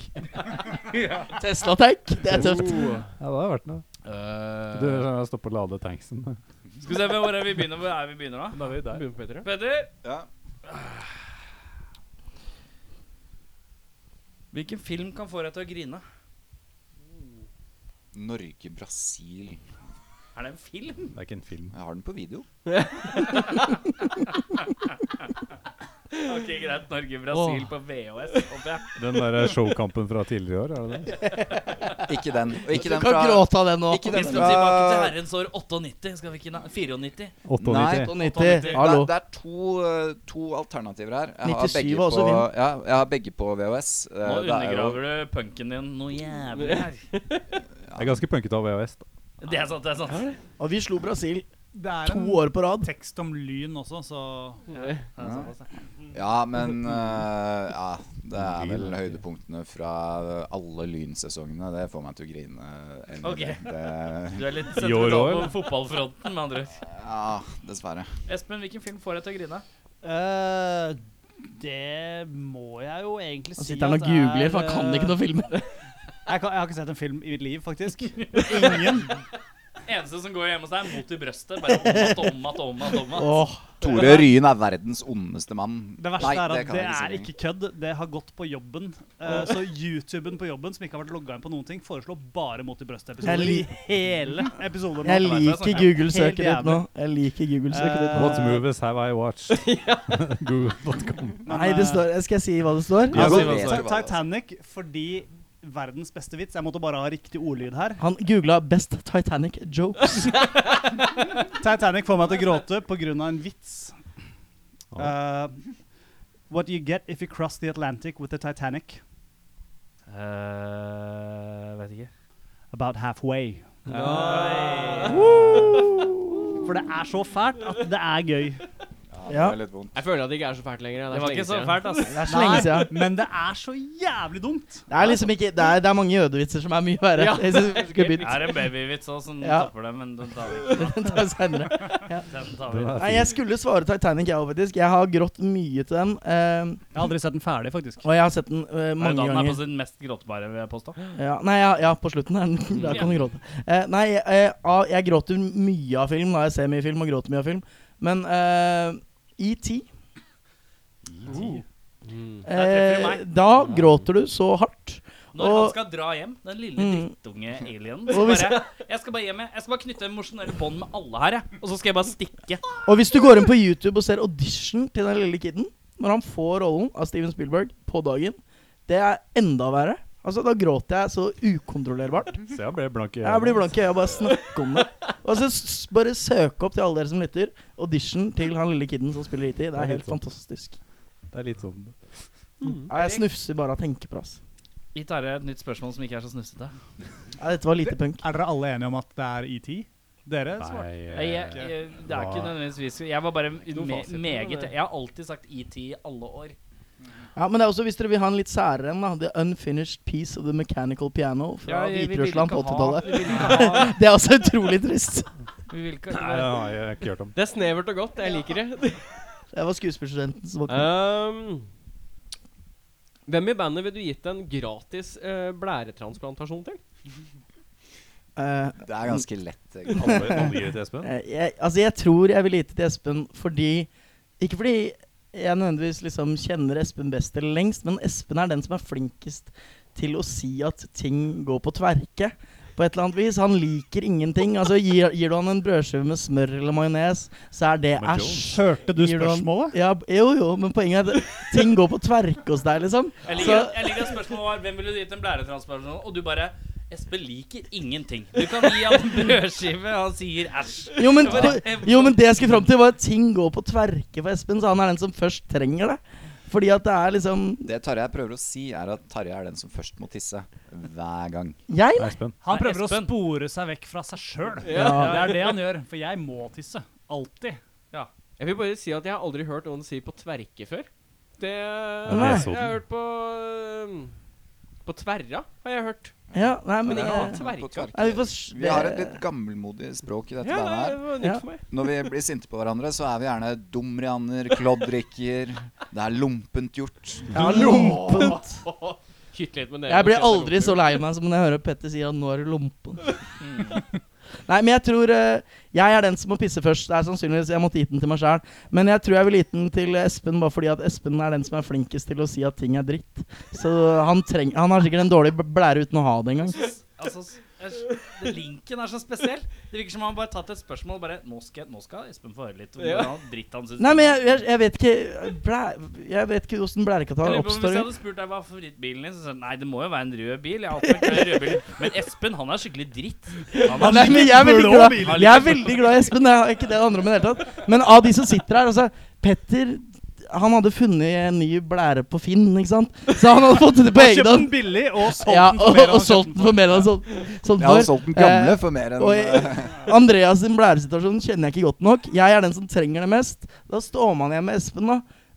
Speaker 5: Tesla tank. Det er tøft.
Speaker 3: Ja, det hadde vært noe. Du eh, stopper å lade tanksen. (laughs)
Speaker 2: Skal vi se hvor er vi begynner Hvor er vi begynner da?
Speaker 3: Da er vi der.
Speaker 8: Begynner på Petter, ja.
Speaker 2: Petter,
Speaker 6: Ja.
Speaker 2: hvilken film kan få deg til å grine?
Speaker 6: Norge-Brasil.
Speaker 2: Er det en film?
Speaker 3: Det er ikke en film.
Speaker 6: Jeg har den på video.
Speaker 2: Ok, greit. Norge-Brasil på VHS, håper jeg.
Speaker 3: Den der eh, showkampen fra tidligere i år, er det det?
Speaker 6: Ikke den. Og ikke
Speaker 5: Du
Speaker 6: den
Speaker 5: kan
Speaker 6: fra
Speaker 5: gråte av det nå.
Speaker 6: Ikke
Speaker 2: Vi
Speaker 6: den
Speaker 2: skal
Speaker 6: fra
Speaker 2: tilbake
Speaker 5: Eh,
Speaker 2: til herrens år 98. Skal vi ikke na- 94?
Speaker 3: 98.
Speaker 5: 98.
Speaker 6: det,
Speaker 5: Hallo.
Speaker 6: er- det er to, eh, to alternativer her. Jeg har,
Speaker 5: 97
Speaker 6: begge
Speaker 5: var også
Speaker 6: på,
Speaker 5: fin.
Speaker 6: ja, jeg har begge på VHS. Eh,
Speaker 2: Nå
Speaker 6: det er jo-
Speaker 2: undergraver du punken din noe jævlig her.
Speaker 3: Jeg er ganske punket av VHS. da.
Speaker 2: Det er sant, det er sant.
Speaker 5: Og vi slo Brasil
Speaker 7: Det er
Speaker 5: to
Speaker 7: en
Speaker 5: år på rad.
Speaker 7: tekst om lyn også, så
Speaker 6: Ja, men eh, ja, det er vel høydepunktene fra alle lynsesongene. Det får meg til å grine. ennå.
Speaker 2: Ok.
Speaker 6: Det,
Speaker 2: Du er litt
Speaker 3: I år
Speaker 2: sentral
Speaker 3: også,
Speaker 2: på
Speaker 3: eller?
Speaker 2: fotballfronten, med andre ord.
Speaker 6: ja, dessverre.
Speaker 2: Espen, hvilken film får deg til å grine?
Speaker 7: eh, Det må jeg jo egentlig
Speaker 5: Han
Speaker 7: si
Speaker 5: sitter han og
Speaker 7: at er,
Speaker 5: googler, for han kan
Speaker 7: eh,
Speaker 5: ikke noen filmer.
Speaker 7: Jeg, kan, jeg har ikke sett en film i mitt liv, faktisk. Ingen.
Speaker 2: Eneste som går hjemme hos deg, er mot i brøstet. Bare om at, om at, om at, om at.
Speaker 5: Åh,
Speaker 6: Tore Ryen er verdens ondeste mann.
Speaker 7: Det verste er at det,
Speaker 6: si
Speaker 7: er
Speaker 6: lenger.
Speaker 7: ikke kødd. Det har gått på jobben. Eh, så YouTuben på jobben, som ikke har vært logga inn på noen ting, foreslår bare Mot i
Speaker 5: Jeg
Speaker 7: brøstet-episoder. I
Speaker 5: lik-
Speaker 7: hele episoden.
Speaker 5: jeg liker Google-søket
Speaker 7: Helt
Speaker 5: ditt nå. Jeg liker Google-søket ditt
Speaker 3: What
Speaker 5: nå.
Speaker 3: movies have I watched? (laughs) Google.com.
Speaker 5: Nei, det står Skal jeg si hva det står?
Speaker 3: Ja,
Speaker 6: så
Speaker 3: si hva
Speaker 6: vet
Speaker 3: det
Speaker 6: jeg
Speaker 3: er.
Speaker 6: hva det er.
Speaker 7: Titanic fordi verdens beste vits. Jeg måtte bare ha riktig ordlyd her.
Speaker 5: Han googla 'Best Titanic Jokes'.
Speaker 7: Titanic får meg til å gråte pga. en vits. Eh, what you get if you cross the Atlantic with the Titanic?
Speaker 2: eh, vet ikke.
Speaker 7: About halfway. (laughs) For det er så fælt at det er gøy.
Speaker 6: Ja,
Speaker 9: Ja.
Speaker 6: Det er litt vondt.
Speaker 8: Jeg føler at det ikke er så fælt lenger. ja. Det,
Speaker 2: Det
Speaker 8: er
Speaker 2: var ikke så
Speaker 8: lenge siden.
Speaker 2: fælt, ass.
Speaker 5: Det er så lenge siden.
Speaker 7: Men det er så jævlig dumt!
Speaker 5: Det er liksom ikke Det er, det er mange jødevitser som er mye verre.
Speaker 8: Ja.
Speaker 5: (laughs) Jeg synes vi
Speaker 2: Det
Speaker 5: skulle begynt
Speaker 2: er en babyvits òg som
Speaker 5: Ja.
Speaker 2: topper det, men den tar vi ikke.
Speaker 5: Den tar vi
Speaker 2: (laughs)
Speaker 5: senere.
Speaker 2: Den tar vi.
Speaker 3: Den er
Speaker 5: Nei,
Speaker 3: fin.
Speaker 5: jeg skulle svare Titanic, jeg òg, faktisk. Jeg har grått mye til den. eh,
Speaker 7: Jeg har aldri sett den ferdig, faktisk.
Speaker 5: og jeg har sett den
Speaker 2: Er
Speaker 5: eh,
Speaker 2: det
Speaker 5: mange
Speaker 2: da den er på
Speaker 5: ganger.
Speaker 2: sin mest gråtbare, vil jeg påstå.
Speaker 5: Ja, nei, ja, ja, på slutten er den (laughs) Der kan du gråte. Eh, nei, eh, av- jeg gråter mye av film. Da. Jeg ser mye film og gråter mye av film. Men eh, ET
Speaker 2: E Mm. treffer
Speaker 5: eh,
Speaker 2: meg.
Speaker 5: Da gråter du så hardt.
Speaker 2: Når han
Speaker 5: Og-
Speaker 2: skal dra hjem, den lille
Speaker 5: Mm.
Speaker 2: drittunge alienen
Speaker 5: Og
Speaker 2: så
Speaker 5: hvis-
Speaker 2: bare, Jeg skal bare hjem, jeg. Jeg skal bare knytte emosjonelle bånd med alle her, jeg. Og så skal jeg bare stikke.
Speaker 5: Og hvis du går inn på YouTube og ser audition til den lille kiden Når han får rollen av Steven Spielberg på dagen Det er enda verre Altså da gråter jeg så ukontrollerbart
Speaker 3: Se, han ble blank i
Speaker 5: Jeg blir blank i øya bare snakker om det Og så s- bare søk opp til alle dere som lytter Audition til han lille kiden som spiller IT Det er helt fantastisk
Speaker 3: Det er litt sånn
Speaker 5: Nei, Jeg snufser bare av altså. tenkeplass
Speaker 2: Vi tar et nytt spørsmål som ikke er så snufsete.
Speaker 5: Nei, Dette var lite punk
Speaker 7: Er dere alle enige om at det er ET? Dere? svarte.
Speaker 3: eh,
Speaker 2: Jeg, jeg,
Speaker 3: Nei,
Speaker 2: jeg, det er ikke nødvendigvis vi skulle- Jeg var bare me
Speaker 4: fasit på
Speaker 2: meget
Speaker 4: det.
Speaker 2: Jeg har alltid sagt ET i alle år.
Speaker 5: Ja, men det er også hvis dere vil ha en litt særere en da The Unfinished Piece of the Mechanical Piano Fra
Speaker 2: Ja, jeg- vi ville
Speaker 5: Hviterussland på
Speaker 2: ikke ha-
Speaker 5: 80-tallet
Speaker 2: vi ville ikke ha-
Speaker 5: Det er også utrolig trist
Speaker 2: vi ville
Speaker 3: (laughs)
Speaker 2: ikke-
Speaker 3: Nei, det har jeg ikke hørt om.
Speaker 8: Det er snevert og godt. Jeg liker det.
Speaker 5: Det var skuespillstudenten som våknet
Speaker 4: Um, hvem i bandet ville du gitt en gratis eh, blæretransplantasjon til?
Speaker 5: Eh,
Speaker 6: Det er ganske lett. egentlig.
Speaker 3: Alle, alle gir det til Espen?
Speaker 5: Eh, Jeg, altså jeg tror jeg vil gi det til Espen fordi Ikke fordi jeg nødvendigvis liksom kjenner Espen best eller lengst, men Espen er den som er flinkest til å si at ting går på tverke. På et eller annet vis. Han liker ingenting. Altså Gir, gir du han en brødskive med smør eller majones, så er det
Speaker 3: Med
Speaker 5: æsj.
Speaker 7: Hørte du
Speaker 5: Gir du han-
Speaker 7: spørsmålet?
Speaker 5: Ja, b- jo, jo, men poenget er at ting går på tverke hos deg, liksom.
Speaker 2: Jeg liker, at- jeg liker at spørsmålet var Hvem ville du gitt en blæretransplantasjon? Og du bare Espen liker ingenting. Du kan gi ham en brødskive, og han sier æsj.
Speaker 5: Jo, men, jo, men det jeg skulle fram til, var at ting går på tverke for Espen, så han er den som først trenger det. Fordi at det er liksom
Speaker 6: Det Tarjei prøver å si, er at Tarjei er den som først må tisse. Hver gang.
Speaker 5: Jeg,
Speaker 3: Nei, Espen.
Speaker 7: Han
Speaker 2: Nei,
Speaker 7: prøver å
Speaker 2: Espen.
Speaker 7: spore seg vekk fra seg sjøl.
Speaker 5: Ja.
Speaker 7: Det er det han gjør. For jeg må tisse. Alltid.
Speaker 8: Jeg vil bare si at jeg har aldri hørt noen si på tverke før. Det
Speaker 5: Nei.
Speaker 8: Jeg har hørt på
Speaker 4: ehm,
Speaker 8: um, På tverra, har jeg hørt.
Speaker 5: Ja, nei, men
Speaker 8: Men ikke
Speaker 5: eh,
Speaker 8: på tverka.
Speaker 6: På tverke.
Speaker 5: Nei, vi får s-
Speaker 6: Vi har et litt gammelmodig språk i dette
Speaker 8: Ja,
Speaker 6: bandet
Speaker 8: nei,
Speaker 6: her.
Speaker 8: det var nytt
Speaker 5: Ja.
Speaker 8: for meg.
Speaker 6: Når vi blir sinte på hverandre, så er vi gjerne dumrianer, kloddrikker. Det er lompent gjort.
Speaker 5: ja, lompent.
Speaker 8: Kytte litt med dere.
Speaker 5: Jeg blir aldri så lei meg som når jeg hører Petter sier at nå er det lompen. (laughs) Nei, men jeg tror eh, Jeg er den som må pisse først. Det er sannsynligvis Jeg måtte gitt den til meg sjæl. Men jeg tror jeg ville gitt den til Espen bare fordi at Espen er den som er flinkest til å si at ting er dritt. Så han, treng, han har sikkert en dårlig b- blære uten å ha det engang.
Speaker 2: Altså, jeg- det- linken er så spesiell. Det virker som han bare har tatt et spørsmål og bare Nå skal, nå skal Espen få høre litt om
Speaker 8: Ja.
Speaker 2: hvordan dritt han syns
Speaker 5: Nei, men jeg, jeg, jeg vet ikke blæ, Jeg vet ikke åssen
Speaker 2: Jeg
Speaker 5: blærekatarr
Speaker 2: lurer på om Hvis
Speaker 5: oppstår.
Speaker 2: jeg hadde spurt deg hva favorittbilen din, så sa du nei, det må jo være en rød bil. Jeg har alltid vært glad i røde biler. Men Espen, han er skikkelig dritt. Han er
Speaker 5: Nei, men jeg er veldig
Speaker 2: blå
Speaker 5: glad
Speaker 2: biler.
Speaker 5: Jeg er veldig glad i Espen. Det er ikke det det handler om i det hele tatt. Men av de som sitter her altså, Petter han hadde funnet en ny blære på Finn, ikke sant? Så han hadde fått det på
Speaker 7: Han
Speaker 5: egen
Speaker 7: kjøpte den
Speaker 5: hånd.
Speaker 7: billig og solgte
Speaker 5: Ja,
Speaker 7: den for
Speaker 5: og, sånn.
Speaker 7: mer enn
Speaker 5: og
Speaker 7: han
Speaker 5: solgt den for mer enn han solgte
Speaker 7: kjøpte
Speaker 5: solgte
Speaker 6: Jeg har
Speaker 5: for.
Speaker 6: solgt den gamle
Speaker 5: Eh,
Speaker 6: for mer enn
Speaker 5: og
Speaker 6: eh,
Speaker 5: jeg- Andreas sin blæresituasjon kjenner jeg ikke godt nok. Jeg er den som trenger det mest. Da står man igjen med Espen, da.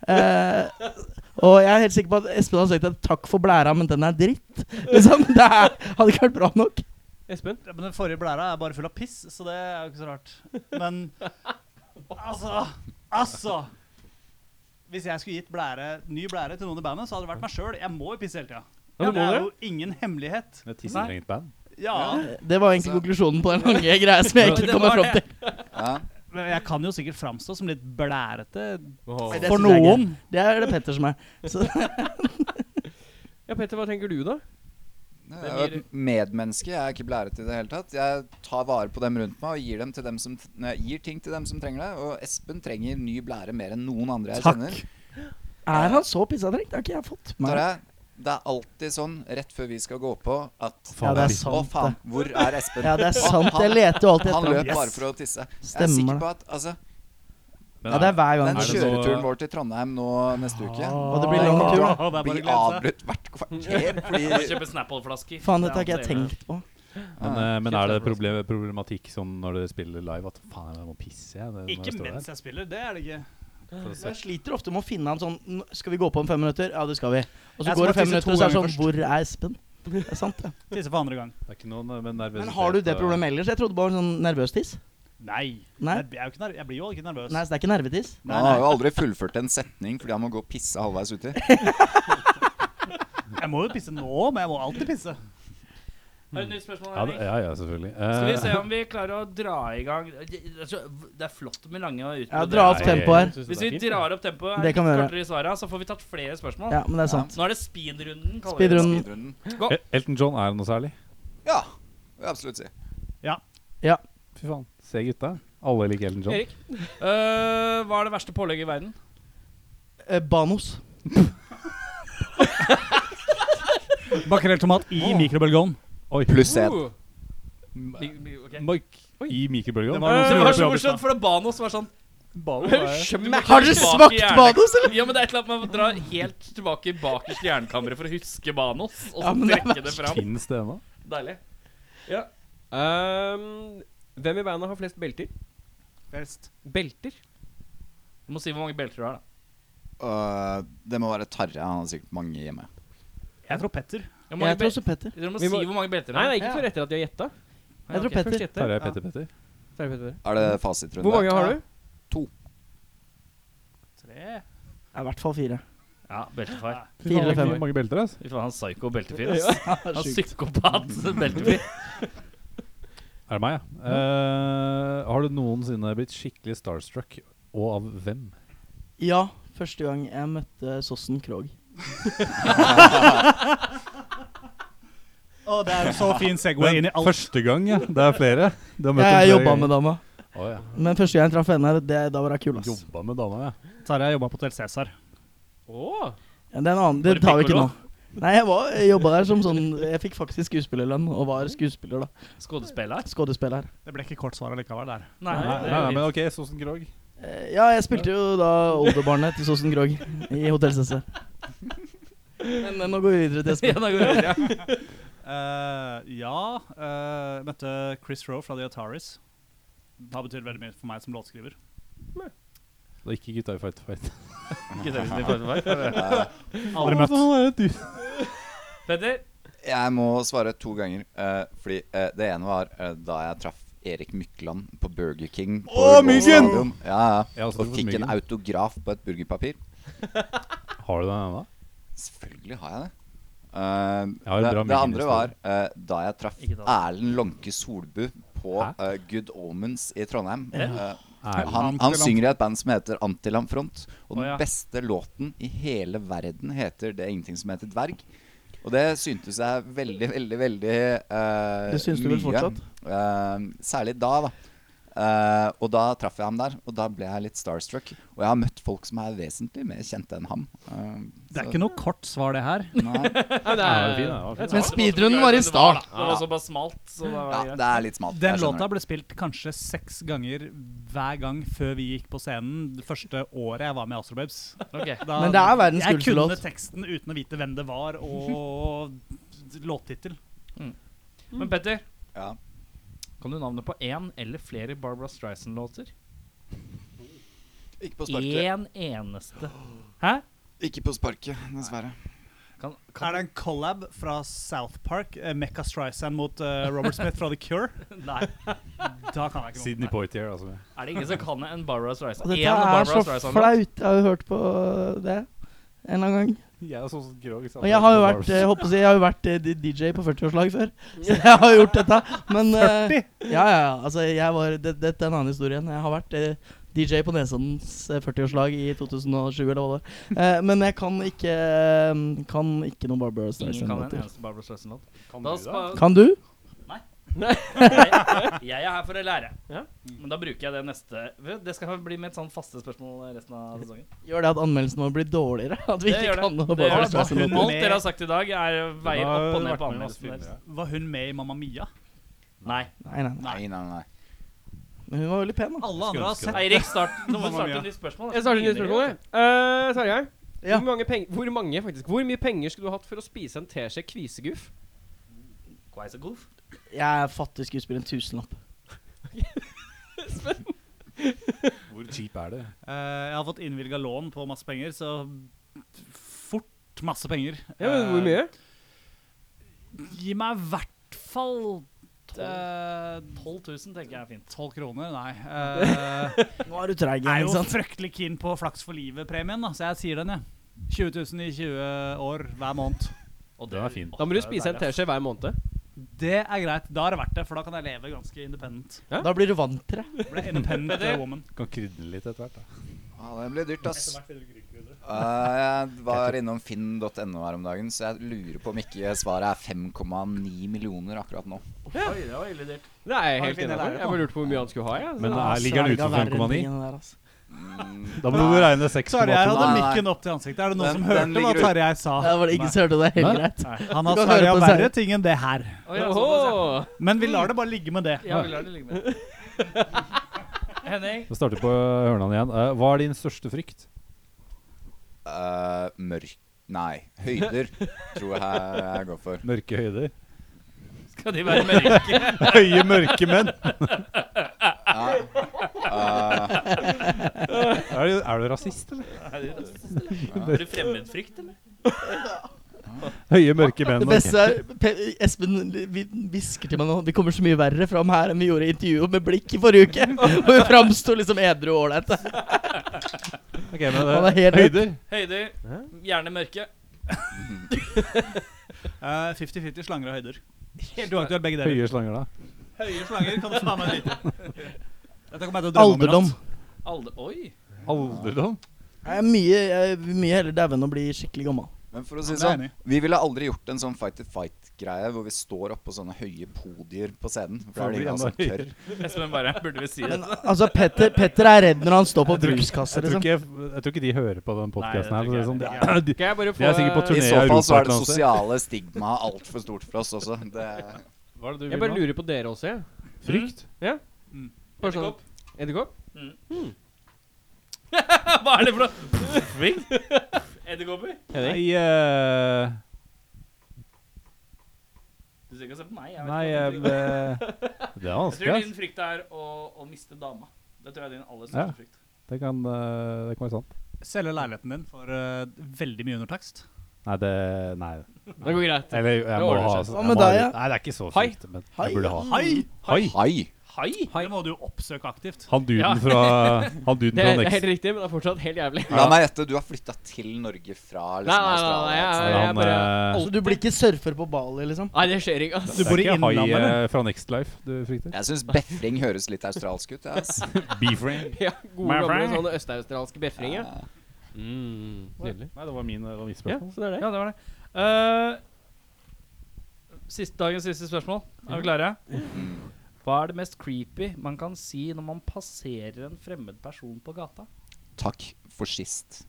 Speaker 5: Eh, og jeg er helt sikker på at Espen hadde sagt at 'takk for blæra, men den er dritt'. Liksom, det er, hadde ikke vært bra nok.
Speaker 4: Espen?
Speaker 7: Ja, Men den forrige blæra er bare full av piss, så det er jo ikke så rart. Men altså Altså! Hvis jeg skulle gitt blære, ny blære til noen i bandet, så hadde det vært meg sjøl. Jeg må jo pisse hele tida.
Speaker 4: Ja, du
Speaker 7: det
Speaker 4: må
Speaker 7: er
Speaker 4: det.
Speaker 7: jo ingen hemmelighet.
Speaker 3: Med tissetrengt band.
Speaker 7: Ja,
Speaker 5: Det var egentlig konklusjonen (laughs) på den lange greia som jeg ikke
Speaker 2: Det
Speaker 5: kom
Speaker 2: var
Speaker 5: meg fram
Speaker 2: det.
Speaker 5: til.
Speaker 6: ja.
Speaker 7: men Jeg kan jo sikkert framstå som litt blærete
Speaker 5: Nei, det
Speaker 7: for
Speaker 5: synes jeg ikke.
Speaker 7: noen.
Speaker 5: Det er det Petter som er. Så,
Speaker 4: Ja, Petter, hva tenker du, da?
Speaker 6: Jeg er jo et medmenneske. Jeg er ikke blærete i det hele tatt. Jeg tar vare på dem rundt meg og gir, dem til dem som, nei, gir ting til dem som trenger det. Og Espen trenger ny blære mer enn noen andre jeg
Speaker 5: Takk.
Speaker 6: kjenner.
Speaker 5: er han så pissadrengt? Det har ikke jeg fått med meg.
Speaker 6: Tarjei, det er alltid sånn rett før vi skal gå på at
Speaker 5: Ja, det er
Speaker 6: Å,
Speaker 5: sant,
Speaker 6: faen,
Speaker 5: det.
Speaker 6: hvor er Espen?
Speaker 5: Ja, det er sant. Jeg leter jo alltid
Speaker 6: Han
Speaker 5: etter
Speaker 6: løp
Speaker 5: ham.
Speaker 6: bare for å tisse. Jeg er
Speaker 5: Stemmer
Speaker 6: sikker
Speaker 5: det.
Speaker 6: på at altså,
Speaker 3: Men
Speaker 5: Ja, det er hver gang.
Speaker 6: den
Speaker 3: det noe-
Speaker 6: kjøreturen vår til Trondheim nå neste uke
Speaker 5: Og det blir lang tur, da.
Speaker 7: det er bare å
Speaker 6: blir
Speaker 7: glede seg.
Speaker 6: avbrutt hvert
Speaker 7: (laughs)
Speaker 6: kvarter fordi
Speaker 2: Kjøpe Snapple-flasker.
Speaker 5: Faen, dette har ikke jeg tenkt på.
Speaker 3: men, eh, men er det problem, problematikk sånn når dere spiller live at faen, jeg må pisse? Jeg, det, når
Speaker 7: Ikke
Speaker 3: jeg står der?
Speaker 7: mens jeg spiller, det er det ikke.
Speaker 3: For å se.
Speaker 5: Jeg sliter ofte med å finne han sånn "N- Skal vi gå på om fem minutter? Ja, det skal vi. Og så
Speaker 7: Jeg
Speaker 5: går det
Speaker 7: skal
Speaker 5: fem
Speaker 7: tisse to
Speaker 5: minutter, og så er det
Speaker 7: ganger
Speaker 5: sånn Hvor er Espen? Det er sant, det.
Speaker 7: Tisse for andre gang.
Speaker 3: Det er ikke noen eh, men nervøsitet.
Speaker 5: Men har du det
Speaker 3: og-
Speaker 5: problemet ellers? Jeg trodde bare sånn nervøs tiss.
Speaker 7: Nei.
Speaker 5: Nei.
Speaker 7: Jeg, er jo ikke ner jeg blir jo ikke nervøs.
Speaker 5: Nei, så det er ikke nervetiss.
Speaker 7: Nei,
Speaker 6: Han har jo
Speaker 7: nei.
Speaker 6: aldri fullført en setning fordi han må gå og pisse halvveis uti.
Speaker 7: Jeg må jo pisse nå, men jeg må alltid pisse.
Speaker 2: Har du et nytt spørsmål?
Speaker 3: Ja, det,
Speaker 2: Henrik?
Speaker 3: ja, ja, selvfølgelig.
Speaker 2: Skal vi
Speaker 3: Eh,
Speaker 2: se om vi klarer å dra i gang Det er flott med lange og
Speaker 5: Ja,
Speaker 2: utbrodere.
Speaker 5: dra opp tempoet her.
Speaker 2: Hvis vi drar opp tempoet,
Speaker 5: Det kan vi gjøre.
Speaker 2: kortere i svarene, så får vi tatt flere spørsmål.
Speaker 5: Ja, men det er sant.
Speaker 2: Nå er det speedrunden. kaller vi det.
Speaker 5: Speedrun.
Speaker 6: Speedrunden.
Speaker 2: Gå.
Speaker 3: El- Elton John er noe særlig.
Speaker 6: Ja, vil jeg absolutt si.
Speaker 3: Fy faen. Se gutta. Alle liker Elton John.
Speaker 2: Erik, øh, hva er det verste pålegget i verden?
Speaker 5: Eh, Banos.
Speaker 7: Makrelltomat i mikrobølgeovn.
Speaker 3: Oi.
Speaker 6: Pluss én.
Speaker 2: Uh. Bi- bi- ok.
Speaker 3: Mike i mikrobølgeovn.
Speaker 7: var noen som
Speaker 2: Det var
Speaker 7: gjorde
Speaker 2: så
Speaker 7: på jobb i
Speaker 2: morsomt, for det ba noe som var sånn
Speaker 5: Har dere smakt Banos, eller?
Speaker 2: Ja, men det er et eller annet Man må dra helt tilbake bakerst i jernkammeret for å huske Banos, og så
Speaker 5: Ja, men det er
Speaker 2: trekke det fram.
Speaker 3: Fins det ennå?
Speaker 2: Deilig.
Speaker 4: Ehm, hvem i bandet har flest belter?
Speaker 7: Best.
Speaker 4: Belter?
Speaker 2: Du må si hvor mange belter du har, da.
Speaker 6: Øh, det må være Tarjei. Han har sikkert mange hjemme.
Speaker 7: Jeg tror Petter.
Speaker 2: Hvor mange
Speaker 5: Jeg tror
Speaker 2: bel-
Speaker 5: også Petter.
Speaker 2: Dere må
Speaker 4: Vi
Speaker 2: si
Speaker 4: må-
Speaker 2: hvor mange belter
Speaker 4: Nei,
Speaker 2: du har.
Speaker 4: nei, ikke før etter at de har gjetta.
Speaker 5: Jeg tror
Speaker 2: ok.
Speaker 5: Petter.
Speaker 4: gjette.
Speaker 3: Tarjei Petter Petter.
Speaker 4: Så er det Petter.
Speaker 6: Er det fasitrunde?
Speaker 4: Hvor mange har du?
Speaker 7: Tre.
Speaker 5: Ja, I hvert fall fire.
Speaker 2: Ja, beltefar.
Speaker 3: Fy faen,
Speaker 5: Fire
Speaker 3: det
Speaker 5: eller
Speaker 3: er
Speaker 5: fem.
Speaker 3: ikke mange belter, ass.
Speaker 2: Fy faen, han psyko beltefyr, ass. Han psykopat beltefyr.
Speaker 3: Er det meg, ja? Eh, har du noensinne blitt skikkelig starstruck, og av hvem?
Speaker 5: Ja, første gang jeg møtte Sossen Krog.
Speaker 7: Å, det er jo (laughs) så fin Segway inn i alt.
Speaker 3: Første gang, ja. Det er flere. Du har møtt
Speaker 5: Jeg
Speaker 3: dem flere
Speaker 5: jobba med
Speaker 3: ganger.
Speaker 5: dama.
Speaker 3: Å, ja.
Speaker 5: Men første gang jeg traff henne, det, da var hun kul, ass.
Speaker 3: Jobba med dama, ja.
Speaker 7: Tarjei jobba på Hotell Cæsar.
Speaker 4: Åh.
Speaker 5: Ja, Det er en annen, det
Speaker 2: Var det
Speaker 5: tar vi ikke nå.
Speaker 2: piccolo?
Speaker 5: Nei, jeg, var- jeg jobba der som sånn Jeg fikk faktisk skuespillerlønn, og var skuespiller, da.
Speaker 2: Skuespiller?
Speaker 5: Skuespiller.
Speaker 7: Det ble ikke kort svar allikevel der.
Speaker 2: Nei,
Speaker 3: Nei,
Speaker 2: det er
Speaker 3: nei, nei,
Speaker 2: litt-
Speaker 3: men OK, Sosen Krog.
Speaker 5: Eh, Ja, jeg spilte jo da oldebarnet til Sossen Krog i Hotell CC. Men eh, nå går vi videre til
Speaker 2: ja, (laughs)
Speaker 5: Espen.
Speaker 2: da går vi videre.
Speaker 7: Eh, ja eh, Møtte Chris Roe fra The Ataris. Det har betydd veldig mye for meg som låtskriver.
Speaker 3: Da gikk gutta i Fight Fight. (laughs)
Speaker 2: Ikke det, hvis de får det for meg.
Speaker 7: Aldri møtt.
Speaker 2: Petter?
Speaker 6: Jeg må svare to ganger. eh, fordi eh, det ene var eh, da jeg traff Erik Mykland på Burger King. På
Speaker 3: Å,
Speaker 6: Ullevål
Speaker 3: Myggen!
Speaker 6: stadion.
Speaker 3: Jeg
Speaker 6: Ja, ja.
Speaker 3: har også
Speaker 6: Og
Speaker 3: truffet
Speaker 6: fikk en
Speaker 3: Myggen.
Speaker 6: autograf på et burgerpapir.
Speaker 3: Har du den ennå?
Speaker 6: Selvfølgelig har jeg det. Eh,
Speaker 3: Jeg har en
Speaker 6: det,
Speaker 3: bra
Speaker 6: det andre var
Speaker 3: Myggen-historie.
Speaker 6: eh, da jeg traff
Speaker 2: Ikke ta
Speaker 6: Erlend Lånke Solbu på
Speaker 3: Hæ?
Speaker 6: eh, Good Omens i Trondheim. Eh,
Speaker 3: Erlend.
Speaker 6: han, han synger i et band som heter Antilamfront. Og den
Speaker 2: Å, ja.
Speaker 6: beste låten i hele verden heter Det er ingenting som heter dverg. Og det syntes jeg veldig, veldig, veldig eh,
Speaker 5: Det syns du vel
Speaker 6: mye.
Speaker 5: fortsatt?
Speaker 6: Eh, særlig da, da. Eh, og da traff jeg ham der, og da ble jeg litt starstruck. Og jeg har møtt folk som er vesentlig mer kjente enn ham. Eh,
Speaker 7: Det er ikke noe kort svar, det her.
Speaker 6: Nei,
Speaker 4: Nei, det
Speaker 3: Ja, det var
Speaker 4: er
Speaker 3: fin, det var fin.
Speaker 5: Men speedrunnen var i stad.
Speaker 2: Det var såpass smalt, så da var
Speaker 6: ja,
Speaker 2: det greit.
Speaker 6: det er litt smalt.
Speaker 7: Den
Speaker 6: jeg skjønner
Speaker 7: låta ble spilt kanskje seks ganger hver gang før vi gikk på scenen det første året jeg var med i Astrobabes.
Speaker 2: Ok.
Speaker 7: Da-
Speaker 5: Men det er verdens
Speaker 7: Jeg
Speaker 5: kuleste
Speaker 7: kunne
Speaker 5: låt.
Speaker 7: teksten uten å vite hvem det var, og (laughs) låttittel.
Speaker 2: Men Petter,
Speaker 6: det. Ja.
Speaker 2: kan du navnet på én eller flere Barbara Streisand-låter?
Speaker 6: Ikke på sparket.
Speaker 2: Én eneste. Hæ?
Speaker 6: Ikke på sparket, dessverre.
Speaker 2: Kan,
Speaker 7: Er det en collab fra South Park? eh, Mecca Streisand mot eh, Robert Smith fra The Cure? (laughs) Nei. Da kan jeg ikke
Speaker 3: Sydney Poitier, altså.
Speaker 2: er det ingen som kan en Barbara
Speaker 5: Og
Speaker 2: Streisand?
Speaker 5: dette
Speaker 2: Én
Speaker 5: er
Speaker 2: Barbara
Speaker 5: så
Speaker 2: Streisand-låt?
Speaker 5: flaut. Jeg har jo hørt på det en eller annen gang.
Speaker 3: Jeg er sånn Sosen Krog.
Speaker 5: Og jeg har jo vært, eh, håper å si, jeg har jo vært eh, di- DJ på
Speaker 2: (laughs)
Speaker 5: 40-årslag før, så jeg har gjort dette. Men eh, ja, ja, ja, altså jeg var, det, dette er en annen historie igjen. Jeg har vært eh, DJ på Nesoddens eh, 40-årslag i 2007 eller hva det var. Eh, men jeg kan ikke, eh, kan ikke noen Barbara
Speaker 2: Ingen kan altså. en
Speaker 5: Streisand-låter.
Speaker 2: eneste Barbara Streisand-låt.
Speaker 3: Kan
Speaker 2: Da
Speaker 3: du det?
Speaker 2: (laughs) spa-
Speaker 5: Kan du?
Speaker 2: jeg, jeg er her for å lære.
Speaker 4: Ja.
Speaker 2: Men da bruker jeg det neste Det skal bli med et sånn faste spørsmål resten av sesongen.
Speaker 5: Gjør det at anmeldelsen vår blir dårligere? At vi
Speaker 2: Det
Speaker 5: ikke
Speaker 2: gjør
Speaker 5: kan noen
Speaker 2: Det gjør
Speaker 5: Barbara
Speaker 2: det.
Speaker 5: Streisand-låter?
Speaker 2: Alt dere har sagt i dag, er veier opp og ned på anmeldelsen deres.
Speaker 7: Var hun med i Mamma Mia?
Speaker 2: Nei.
Speaker 5: Nei, nei, nei.
Speaker 6: Nei, nei, nei.
Speaker 5: Men hun var veldig pen, da.
Speaker 7: Alle andre har sett
Speaker 2: Eirik, start. Nå må du
Speaker 7: Mamma
Speaker 2: starte
Speaker 7: mia.
Speaker 2: et nytt spørsmål.
Speaker 4: Jeg starter et nytt spørsmål. jeg. Eh, Tarjei.
Speaker 5: Ja.
Speaker 4: Hvor, mange peng- hvor mange faktisk Hvor mye penger skulle du hatt for å spise en teskje kviseguff?
Speaker 2: Quite a goof.
Speaker 5: Jeg er fattig skuespiller, en tusenlapp.
Speaker 3: Hvor cheap er det?
Speaker 7: Eh, jeg har fått innvilga lån på masse penger, så fort masse penger.
Speaker 2: Ja, men hvor
Speaker 7: Eh,
Speaker 2: mye?
Speaker 7: Gi meg i hvert fall eh,
Speaker 8: 12 000 tenker jeg er fint.
Speaker 7: 12 kroner, nei.
Speaker 8: (laughs)
Speaker 7: Eh,
Speaker 5: Nå er du treig
Speaker 7: jeg er
Speaker 5: igjen, ikke
Speaker 7: jo
Speaker 5: sant?
Speaker 7: fryktelig keen på Flaks for livet-premien, da, så jeg sier den, jeg. 20 000 i 20 år hver måned.
Speaker 8: Og
Speaker 3: Den er fin.
Speaker 8: Åh,
Speaker 2: Da må du
Speaker 8: det er
Speaker 2: spise en
Speaker 8: deilig, ass.
Speaker 2: teskje hver måned.
Speaker 7: Det er greit. Da er det verdt det, for da kan jeg leve ganske independent.
Speaker 5: Da blir du vant til det.
Speaker 7: Ble independent eh, woman.
Speaker 3: Kan krydre litt etter hvert. da.
Speaker 6: Ja, det blir dyrt, ass. Eh, jeg var innom finn.no her om dagen, så jeg lurer på om ikke svaret er 5,9 millioner akkurat nå.
Speaker 8: Oi, det var ille dyrt.
Speaker 2: Det er jeg
Speaker 7: Har du
Speaker 2: helt
Speaker 7: fine
Speaker 2: enig
Speaker 7: lærere
Speaker 2: i. Jeg bare lurte på hvor mye han skulle ha. Ja.
Speaker 3: Men er, ligger den
Speaker 5: Svelga verre
Speaker 3: utenfor 5,9?
Speaker 5: enn tingene der, altså.
Speaker 6: Mm,
Speaker 3: Da må du regne 6,2.
Speaker 7: Sorry, jeg hadde
Speaker 6: Nei, nei.
Speaker 7: mikken opp til ansiktet. Er det noen
Speaker 6: Den-
Speaker 7: som
Speaker 6: den
Speaker 7: hørte hva
Speaker 6: ligger ut.
Speaker 7: Tarjei sa?
Speaker 5: Det var ingen som hørte det. Helt
Speaker 3: Nei.
Speaker 5: greit.
Speaker 7: Nei, Han
Speaker 5: Du
Speaker 7: har
Speaker 5: kan høre
Speaker 7: sverga
Speaker 5: på
Speaker 7: verre
Speaker 5: seg.
Speaker 7: ting enn det her.
Speaker 8: Oi, ja, såpass, ja.
Speaker 7: Men vi lar det bare ligge med det.
Speaker 8: Ja, vi lar det ligge med. Henning,
Speaker 3: Da starter vi på hørnene igjen. Eh, hva er din største frykt?
Speaker 6: eh, mørk Nei, høyder tror jeg jeg går for.
Speaker 3: Mørke høyder?
Speaker 8: skal de være mørke?
Speaker 3: (laughs) Høye mørke menn!
Speaker 6: Ja. Eh,
Speaker 3: (laughs) Er du, er du rasist, eller?
Speaker 8: Har du fremmedfrykt, eller?
Speaker 3: Høye mørke menn.
Speaker 5: Det beste er Pe- Espen vi- hvisker til meg nå Vi kommer så mye verre fram her enn vi gjorde i intervjuet med blikk i forrige uke. (laughs) Og vi framsto liksom edru og ålreite.
Speaker 3: Ok, men
Speaker 5: Han er
Speaker 3: det,
Speaker 5: helt rett.
Speaker 3: høyder?
Speaker 8: Høyder, gjerne mørke.
Speaker 7: Eh, 50-50 slanger og høyder. Helt uaktuelt, begge deler.
Speaker 3: Høye slanger, da?
Speaker 7: Høye slanger kan du ta med en liten. Dette kommer jeg til å drømme om i natt.
Speaker 5: Alderdom.
Speaker 8: Alder, oi.
Speaker 3: Alderdom?
Speaker 5: Jeg er mye, jeg vil mye heller daue enn å bli skikkelig gammel.
Speaker 6: men for å si det
Speaker 7: det er
Speaker 6: sånn,
Speaker 7: enig.
Speaker 6: vi ville aldri gjort en sånn fight to fight-greie hvor vi står oppå sånne høye podier på scenen. For da er det ingen av oss som
Speaker 3: Enda høyere.
Speaker 6: tør.
Speaker 8: Espen bare Burde vi si det?
Speaker 5: Men altså, Petter, Petter er redd når han står på
Speaker 3: tror-
Speaker 5: brukskassa,
Speaker 3: Jeg tror,
Speaker 5: liksom.
Speaker 3: ikke, jeg tror ikke de hører på den podkasten
Speaker 8: Nei,
Speaker 3: her.
Speaker 8: det
Speaker 3: for å si det
Speaker 8: tror
Speaker 3: Sånn,
Speaker 8: ikke jeg
Speaker 3: det er, de,
Speaker 2: Skal jeg bare
Speaker 3: (laughs) de er sikkert på
Speaker 6: I
Speaker 3: turné i
Speaker 6: så fall så
Speaker 3: Europa.
Speaker 6: er
Speaker 3: et eller
Speaker 6: det
Speaker 3: annet sted.
Speaker 6: sosiale stigmaet altfor stort for oss også.
Speaker 3: Hva
Speaker 6: Det,
Speaker 3: er det du
Speaker 2: Jeg
Speaker 3: vil
Speaker 2: bare
Speaker 3: nå?
Speaker 2: lurer på dere også, jeg.
Speaker 3: Frykt?
Speaker 2: Bare sånn- Edderkopp?
Speaker 8: Hva er det for noe? Frykt? Edderkopper?
Speaker 2: Henning?
Speaker 3: Nei, eh,
Speaker 8: Du skal ikke se på meg. Jeg, vet
Speaker 3: nei
Speaker 8: ikke hva
Speaker 3: eh,
Speaker 8: du tenker.
Speaker 3: (laughs)
Speaker 8: jeg
Speaker 3: Det er
Speaker 8: tror
Speaker 3: vanskelig. ass.
Speaker 8: din frykt er å, å miste dama. Det tror jeg er din aller
Speaker 3: Ja.
Speaker 8: største frykt.
Speaker 3: Det kan, eh, det kan være sant.
Speaker 7: Selge leiligheten din for eh, veldig mye undertakst.
Speaker 3: Nei, det Nei.
Speaker 2: Det går greit.
Speaker 3: Eller jeg må
Speaker 2: ordner
Speaker 3: ha
Speaker 2: seg.
Speaker 3: jeg
Speaker 5: Hva med
Speaker 3: må ha
Speaker 5: deg,
Speaker 3: litt-
Speaker 5: ja?
Speaker 3: Nei, det er ikke så
Speaker 2: Hai?
Speaker 3: fint, men
Speaker 5: Hai?
Speaker 3: jeg burde ha.
Speaker 7: Hai!
Speaker 3: Hai!
Speaker 6: hei!
Speaker 8: Hai?
Speaker 7: Det må du jo oppsøke aktivt.
Speaker 3: Han duden
Speaker 8: Ja.
Speaker 3: fra Han duden
Speaker 2: Det
Speaker 3: fra
Speaker 2: er, det er
Speaker 3: Next.
Speaker 2: helt riktig, men det er fortsatt helt jævlig.
Speaker 6: La meg gjette, du har flytta til Norge fra
Speaker 2: Nei, nei, nei,
Speaker 6: liksom,
Speaker 2: nei,
Speaker 6: Australia?
Speaker 2: jeg-
Speaker 3: Er han,
Speaker 2: jeg bare
Speaker 3: eh,
Speaker 5: Så du blir ikke surfer på Bali, liksom?
Speaker 2: Nei, det skjer ikke, altså. ass.
Speaker 7: Du
Speaker 3: det
Speaker 7: bor
Speaker 3: er
Speaker 7: i
Speaker 3: ikke hai
Speaker 7: Innlandet,
Speaker 3: eh, fra Next Life du frykter?
Speaker 6: Jeg syns befring høres litt australsk ut. jeg,
Speaker 2: (laughs)
Speaker 6: ass.
Speaker 3: Beefring?
Speaker 2: Ja, gode gamle sånne østaustralske befringer. Mm, nydelig.
Speaker 3: Nei, det var min, det var mitt
Speaker 2: Ja,
Speaker 3: spørsmål.
Speaker 2: sånn er det.
Speaker 8: Ja, det var det. Eh, siste, dagens siste spørsmål. Er vi klare?
Speaker 6: Mm.
Speaker 8: Hva er det mest creepy man kan si når man passerer en fremmed person på gata?
Speaker 6: Takk for sist.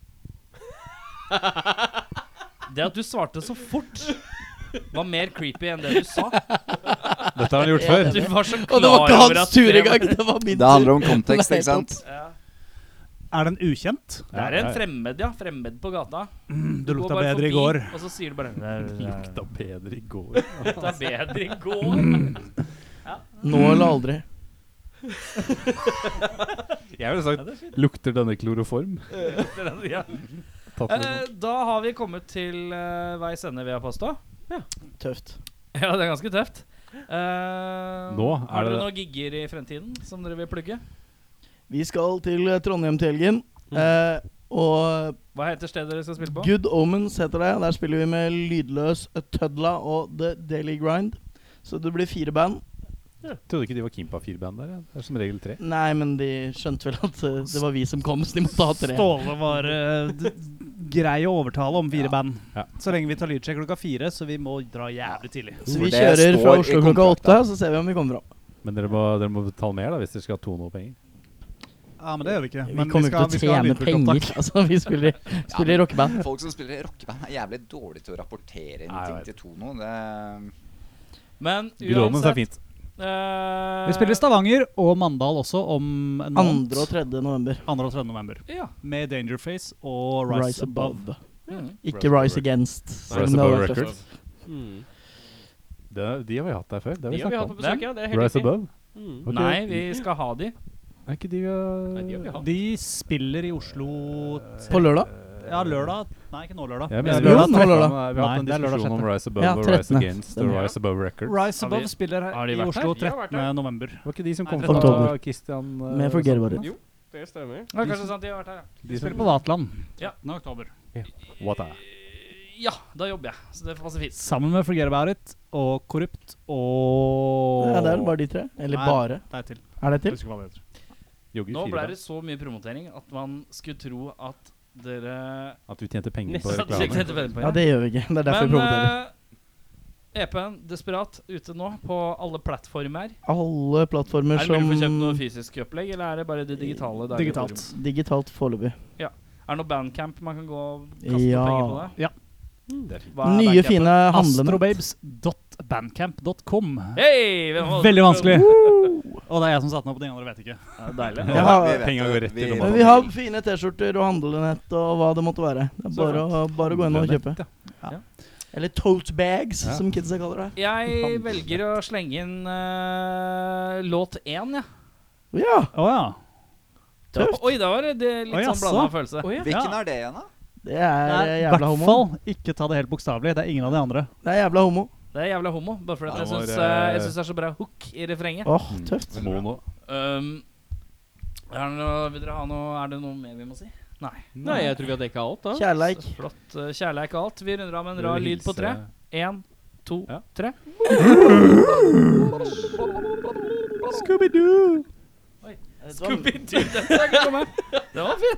Speaker 8: Det at du svarte så fort, var mer creepy enn det du sa.
Speaker 3: Dette har han gjort før.
Speaker 8: Du var så klar
Speaker 5: Og det var ikke
Speaker 8: over at
Speaker 5: hans tur
Speaker 8: det var-
Speaker 5: engang! Det var min
Speaker 6: Det handler
Speaker 5: tur.
Speaker 6: om kontekst,
Speaker 5: Nei,
Speaker 6: ikke sant?
Speaker 8: Ja.
Speaker 7: Er den ukjent?
Speaker 8: Det er en fremmed, ja. Fremmed på gata.
Speaker 7: Du
Speaker 8: går
Speaker 7: lukta
Speaker 8: bare
Speaker 7: bedre i
Speaker 8: forbi,
Speaker 7: går.
Speaker 8: Og så sier du bare
Speaker 3: Lukta bedre i
Speaker 8: (laughs)
Speaker 3: går.
Speaker 8: Lukta bedre i går.
Speaker 5: Nå eller aldri.
Speaker 3: Jeg ville sagt Lukter denne kloroform?
Speaker 8: ja.
Speaker 3: Tatt med
Speaker 8: eh, da har vi kommet til eh, veis ende, vil jeg påstå.
Speaker 5: Tøft.
Speaker 8: Ja, det er ganske tøft. Eh,
Speaker 3: Nå er
Speaker 8: har dere
Speaker 3: det-
Speaker 8: noen gigger i fremtiden som dere vil plugge?
Speaker 5: Vi skal til eh, Trondheim til helgen. Eh, og
Speaker 8: Hva heter stedet dere skal spille på?
Speaker 5: Good Omens heter det. Der spiller vi med Lydløs, Tødla og The Daily Grind. Så det blir fire band.
Speaker 3: Trodde ikke de var keen på A4-band der. ja. Det er som regel tre.
Speaker 5: Nei, men de skjønte vel at eh, det var vi som kom, så de måtte ha tre.
Speaker 7: Ståle var eh, d- grei å overtale om fire band.
Speaker 3: Ja.
Speaker 7: Så lenge vi tar lydsjekk klokka fire, så vi må dra jævlig tidlig.
Speaker 5: Så
Speaker 6: For
Speaker 5: vi
Speaker 6: det
Speaker 5: kjører fra
Speaker 6: står i
Speaker 5: Oslo klokka åtte,
Speaker 6: kontrakten.
Speaker 5: så ser vi om vi kommer fram.
Speaker 3: Men dere må, dere må betale mer da hvis dere skal ha to noe penger.
Speaker 7: Ja, men det gjør vi ikke.
Speaker 5: Vi
Speaker 7: Men
Speaker 5: kommer ikke til å tjene penger. (laughs) Altså, vi spiller, spiller i rockeband.
Speaker 6: Folk som spiller i rockeband, er jævlig dårlige til å rapportere inn
Speaker 3: Nei,
Speaker 6: ting
Speaker 3: jeg
Speaker 6: til Tono. Det
Speaker 8: Men
Speaker 3: Gråmens er
Speaker 8: uansett
Speaker 3: fint.
Speaker 8: eh,
Speaker 7: Vi spiller i Stavanger og Mandal også om en måned.
Speaker 5: 2. og 3. november.
Speaker 7: 2. og 3. november.
Speaker 8: Ja.
Speaker 7: Med Dangerface og
Speaker 5: Rise,
Speaker 7: Rise, Above.
Speaker 5: Above.
Speaker 8: Mm.
Speaker 5: Ikke Rise Against. selv om
Speaker 3: Rise
Speaker 5: det
Speaker 3: Above
Speaker 5: var tøft.
Speaker 3: Records.
Speaker 2: Mm.
Speaker 3: Det, de har vi hatt der før. Det har
Speaker 2: De
Speaker 3: vi
Speaker 2: har vi
Speaker 3: snakket
Speaker 2: hatt
Speaker 3: om.
Speaker 2: på besøk, ja. Det er helt
Speaker 3: Rise
Speaker 2: riktig.
Speaker 3: Above?
Speaker 2: Mm.
Speaker 3: Ok.
Speaker 8: Nei, vi skal ha de.
Speaker 3: Er ikke de uh,
Speaker 6: Nei, de har vi hatt.
Speaker 7: De spiller i Oslo t-
Speaker 5: På lørdag?
Speaker 7: Ja, lørdag. Nei, ikke nå lørdag.
Speaker 3: Jeg
Speaker 7: Det
Speaker 3: mener
Speaker 7: er
Speaker 3: vi har
Speaker 5: Jo, nå
Speaker 3: hatt-
Speaker 5: lørdag.
Speaker 3: Vi har hatt en
Speaker 7: Nei, det er lørdag
Speaker 3: diskusjon om
Speaker 7: 13..
Speaker 3: Rise Above
Speaker 5: Ja,
Speaker 3: og Rise
Speaker 5: 13..
Speaker 3: Against og
Speaker 5: Stemmer.
Speaker 3: Rise Above Records.
Speaker 7: Rise
Speaker 2: Har vi-
Speaker 7: Above spiller
Speaker 2: har
Speaker 7: her
Speaker 2: de
Speaker 7: i
Speaker 2: vært
Speaker 7: Oslo
Speaker 8: her? De har vært
Speaker 7: 13.
Speaker 8: her.
Speaker 7: november.
Speaker 3: Var ikke de som
Speaker 2: Nei,
Speaker 3: kom
Speaker 5: tretten.
Speaker 3: fra
Speaker 5: Oktober.
Speaker 3: Christian uh,
Speaker 5: Med Forget About It.
Speaker 8: Jo, det sånn stemmer.
Speaker 2: Ja, kanskje sant, de har vært her, ja.
Speaker 3: De
Speaker 7: Spiller
Speaker 3: som,
Speaker 7: på Vatland
Speaker 2: Ja.
Speaker 7: 13. oktober.
Speaker 3: what a-
Speaker 2: Ja, da jobber jeg, så det passer fint.
Speaker 7: Sammen med Forget About It og Korrupt og
Speaker 5: Ja, det er vel bare de tre? Eller
Speaker 7: Nei.
Speaker 5: bare?
Speaker 7: Det er til.
Speaker 5: Er det
Speaker 7: Jeg
Speaker 5: til?
Speaker 7: husker hva det heter.
Speaker 3: Jogger
Speaker 2: Nå
Speaker 3: fire
Speaker 2: ble
Speaker 3: band.
Speaker 2: det så mye promotering at man skulle tro at dere
Speaker 3: At vi tjente penger på
Speaker 4: Nesten.
Speaker 2: satt og
Speaker 3: reklame.
Speaker 2: sjekket etter
Speaker 5: Ja, det gjør vi ikke. Det er derfor vi
Speaker 2: Men
Speaker 5: promoterer.
Speaker 2: eh, EP-en Desperat ute nå på alle plattformer.
Speaker 5: Alle plattformer
Speaker 2: Er det
Speaker 5: som
Speaker 2: mulig å få kjøpt noe fysisk opplegg, eller er det bare det digitale? der i
Speaker 7: Digitalt.
Speaker 2: forum?
Speaker 5: Digitalt foreløpig.
Speaker 2: Er det noe bandcamp man kan gå og kaste
Speaker 5: Ja.
Speaker 2: noe penger på? Mm, det?
Speaker 7: Ja.
Speaker 2: Hva er
Speaker 5: Nye,
Speaker 2: bandcampen?
Speaker 5: fine handlende
Speaker 7: Astrobabes.bandcamp.com.
Speaker 2: Hei, hvem var det?
Speaker 7: Veldig vanskelig. Og det er jeg som satte den opp, den andre vet ikke.
Speaker 2: Ja, deilig.
Speaker 5: Jeg har-
Speaker 6: Vi vet
Speaker 3: Penger
Speaker 6: det.
Speaker 3: går rett i
Speaker 6: Vi-
Speaker 3: lomma.
Speaker 5: Men vi har fine T-skjorter og handlenett og hva det måtte være. Det er
Speaker 2: Så
Speaker 5: bare å, bare å gå inn og kjøpe.
Speaker 2: Ja.
Speaker 5: Eller tote bags,
Speaker 3: Ja.
Speaker 5: som kidsa kaller det.
Speaker 2: Jeg velger å slenge inn eh, låt én, jeg.
Speaker 5: Ja,
Speaker 7: Å ja.
Speaker 2: Ja.
Speaker 5: Tøft.
Speaker 2: Oi, da var det det litt
Speaker 7: Oi,
Speaker 2: sånn
Speaker 7: jaså.
Speaker 2: blanda følelse.
Speaker 8: Oi, ja.
Speaker 6: Hvilken
Speaker 7: Ja.
Speaker 6: er det igjen, da?
Speaker 5: det er eh,
Speaker 7: I
Speaker 5: jævla
Speaker 7: hvert
Speaker 5: homo.
Speaker 7: fall ikke ta det helt bokstavelig. Det er ingen av de andre.
Speaker 5: Det er jævla homo.
Speaker 2: Det er jævla homo, bare fordi
Speaker 3: Ja,
Speaker 2: at jeg
Speaker 3: det var,
Speaker 2: syns
Speaker 3: eh,
Speaker 2: jeg syns det er så bra hook i refrenget.
Speaker 5: Åh, tøft.
Speaker 3: Mono.
Speaker 2: Um, er det noe, vil dere ha noe Er det noe mer vi må si?
Speaker 8: Nei, jeg tror vi har dekka alt, da.
Speaker 5: Kjærleik.
Speaker 2: Så Flott. eh, Kjærleik og alt. Vi runder av med en rar lyd på tre. Én, to,
Speaker 3: Ja.
Speaker 2: tre.
Speaker 3: Scooby-Doo!
Speaker 2: eh, (laughs) Scooby-Doo, den skal komme. Den var fin.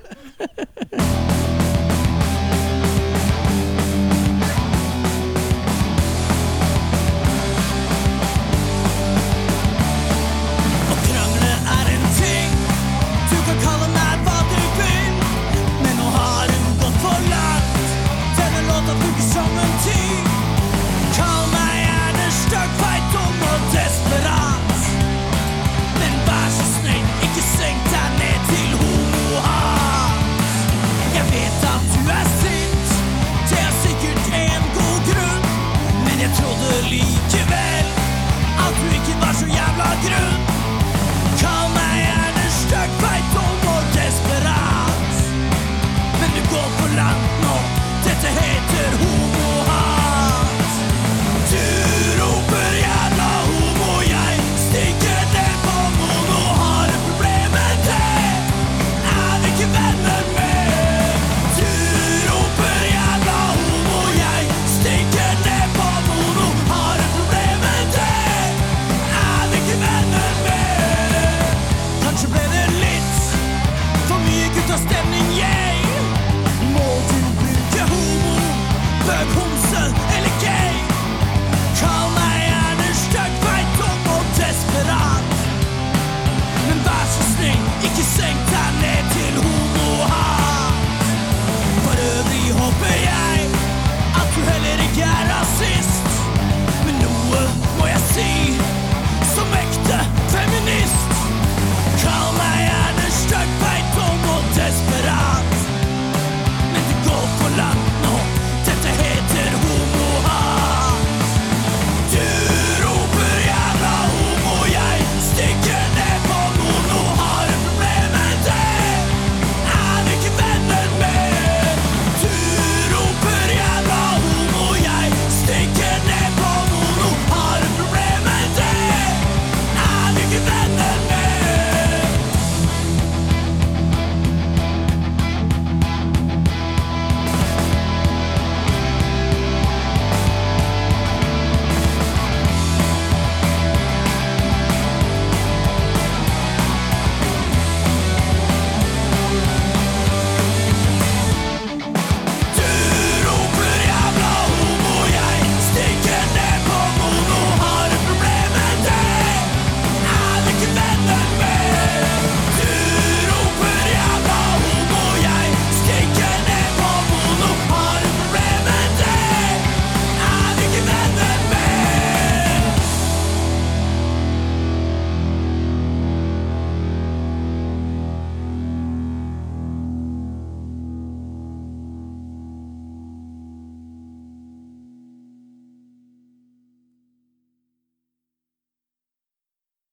Speaker 1: Å krangle er en ting Du kan kalle meg hva du vil Men nå har hun gått for langt Denne låta bruker som en ting Kall meg gjerne støkk, veit dum og desperat Men vær så snill, ikke senk deg ned til homohat Jeg vet at du er sint Det er sikkert en god grunn Men jeg trodde like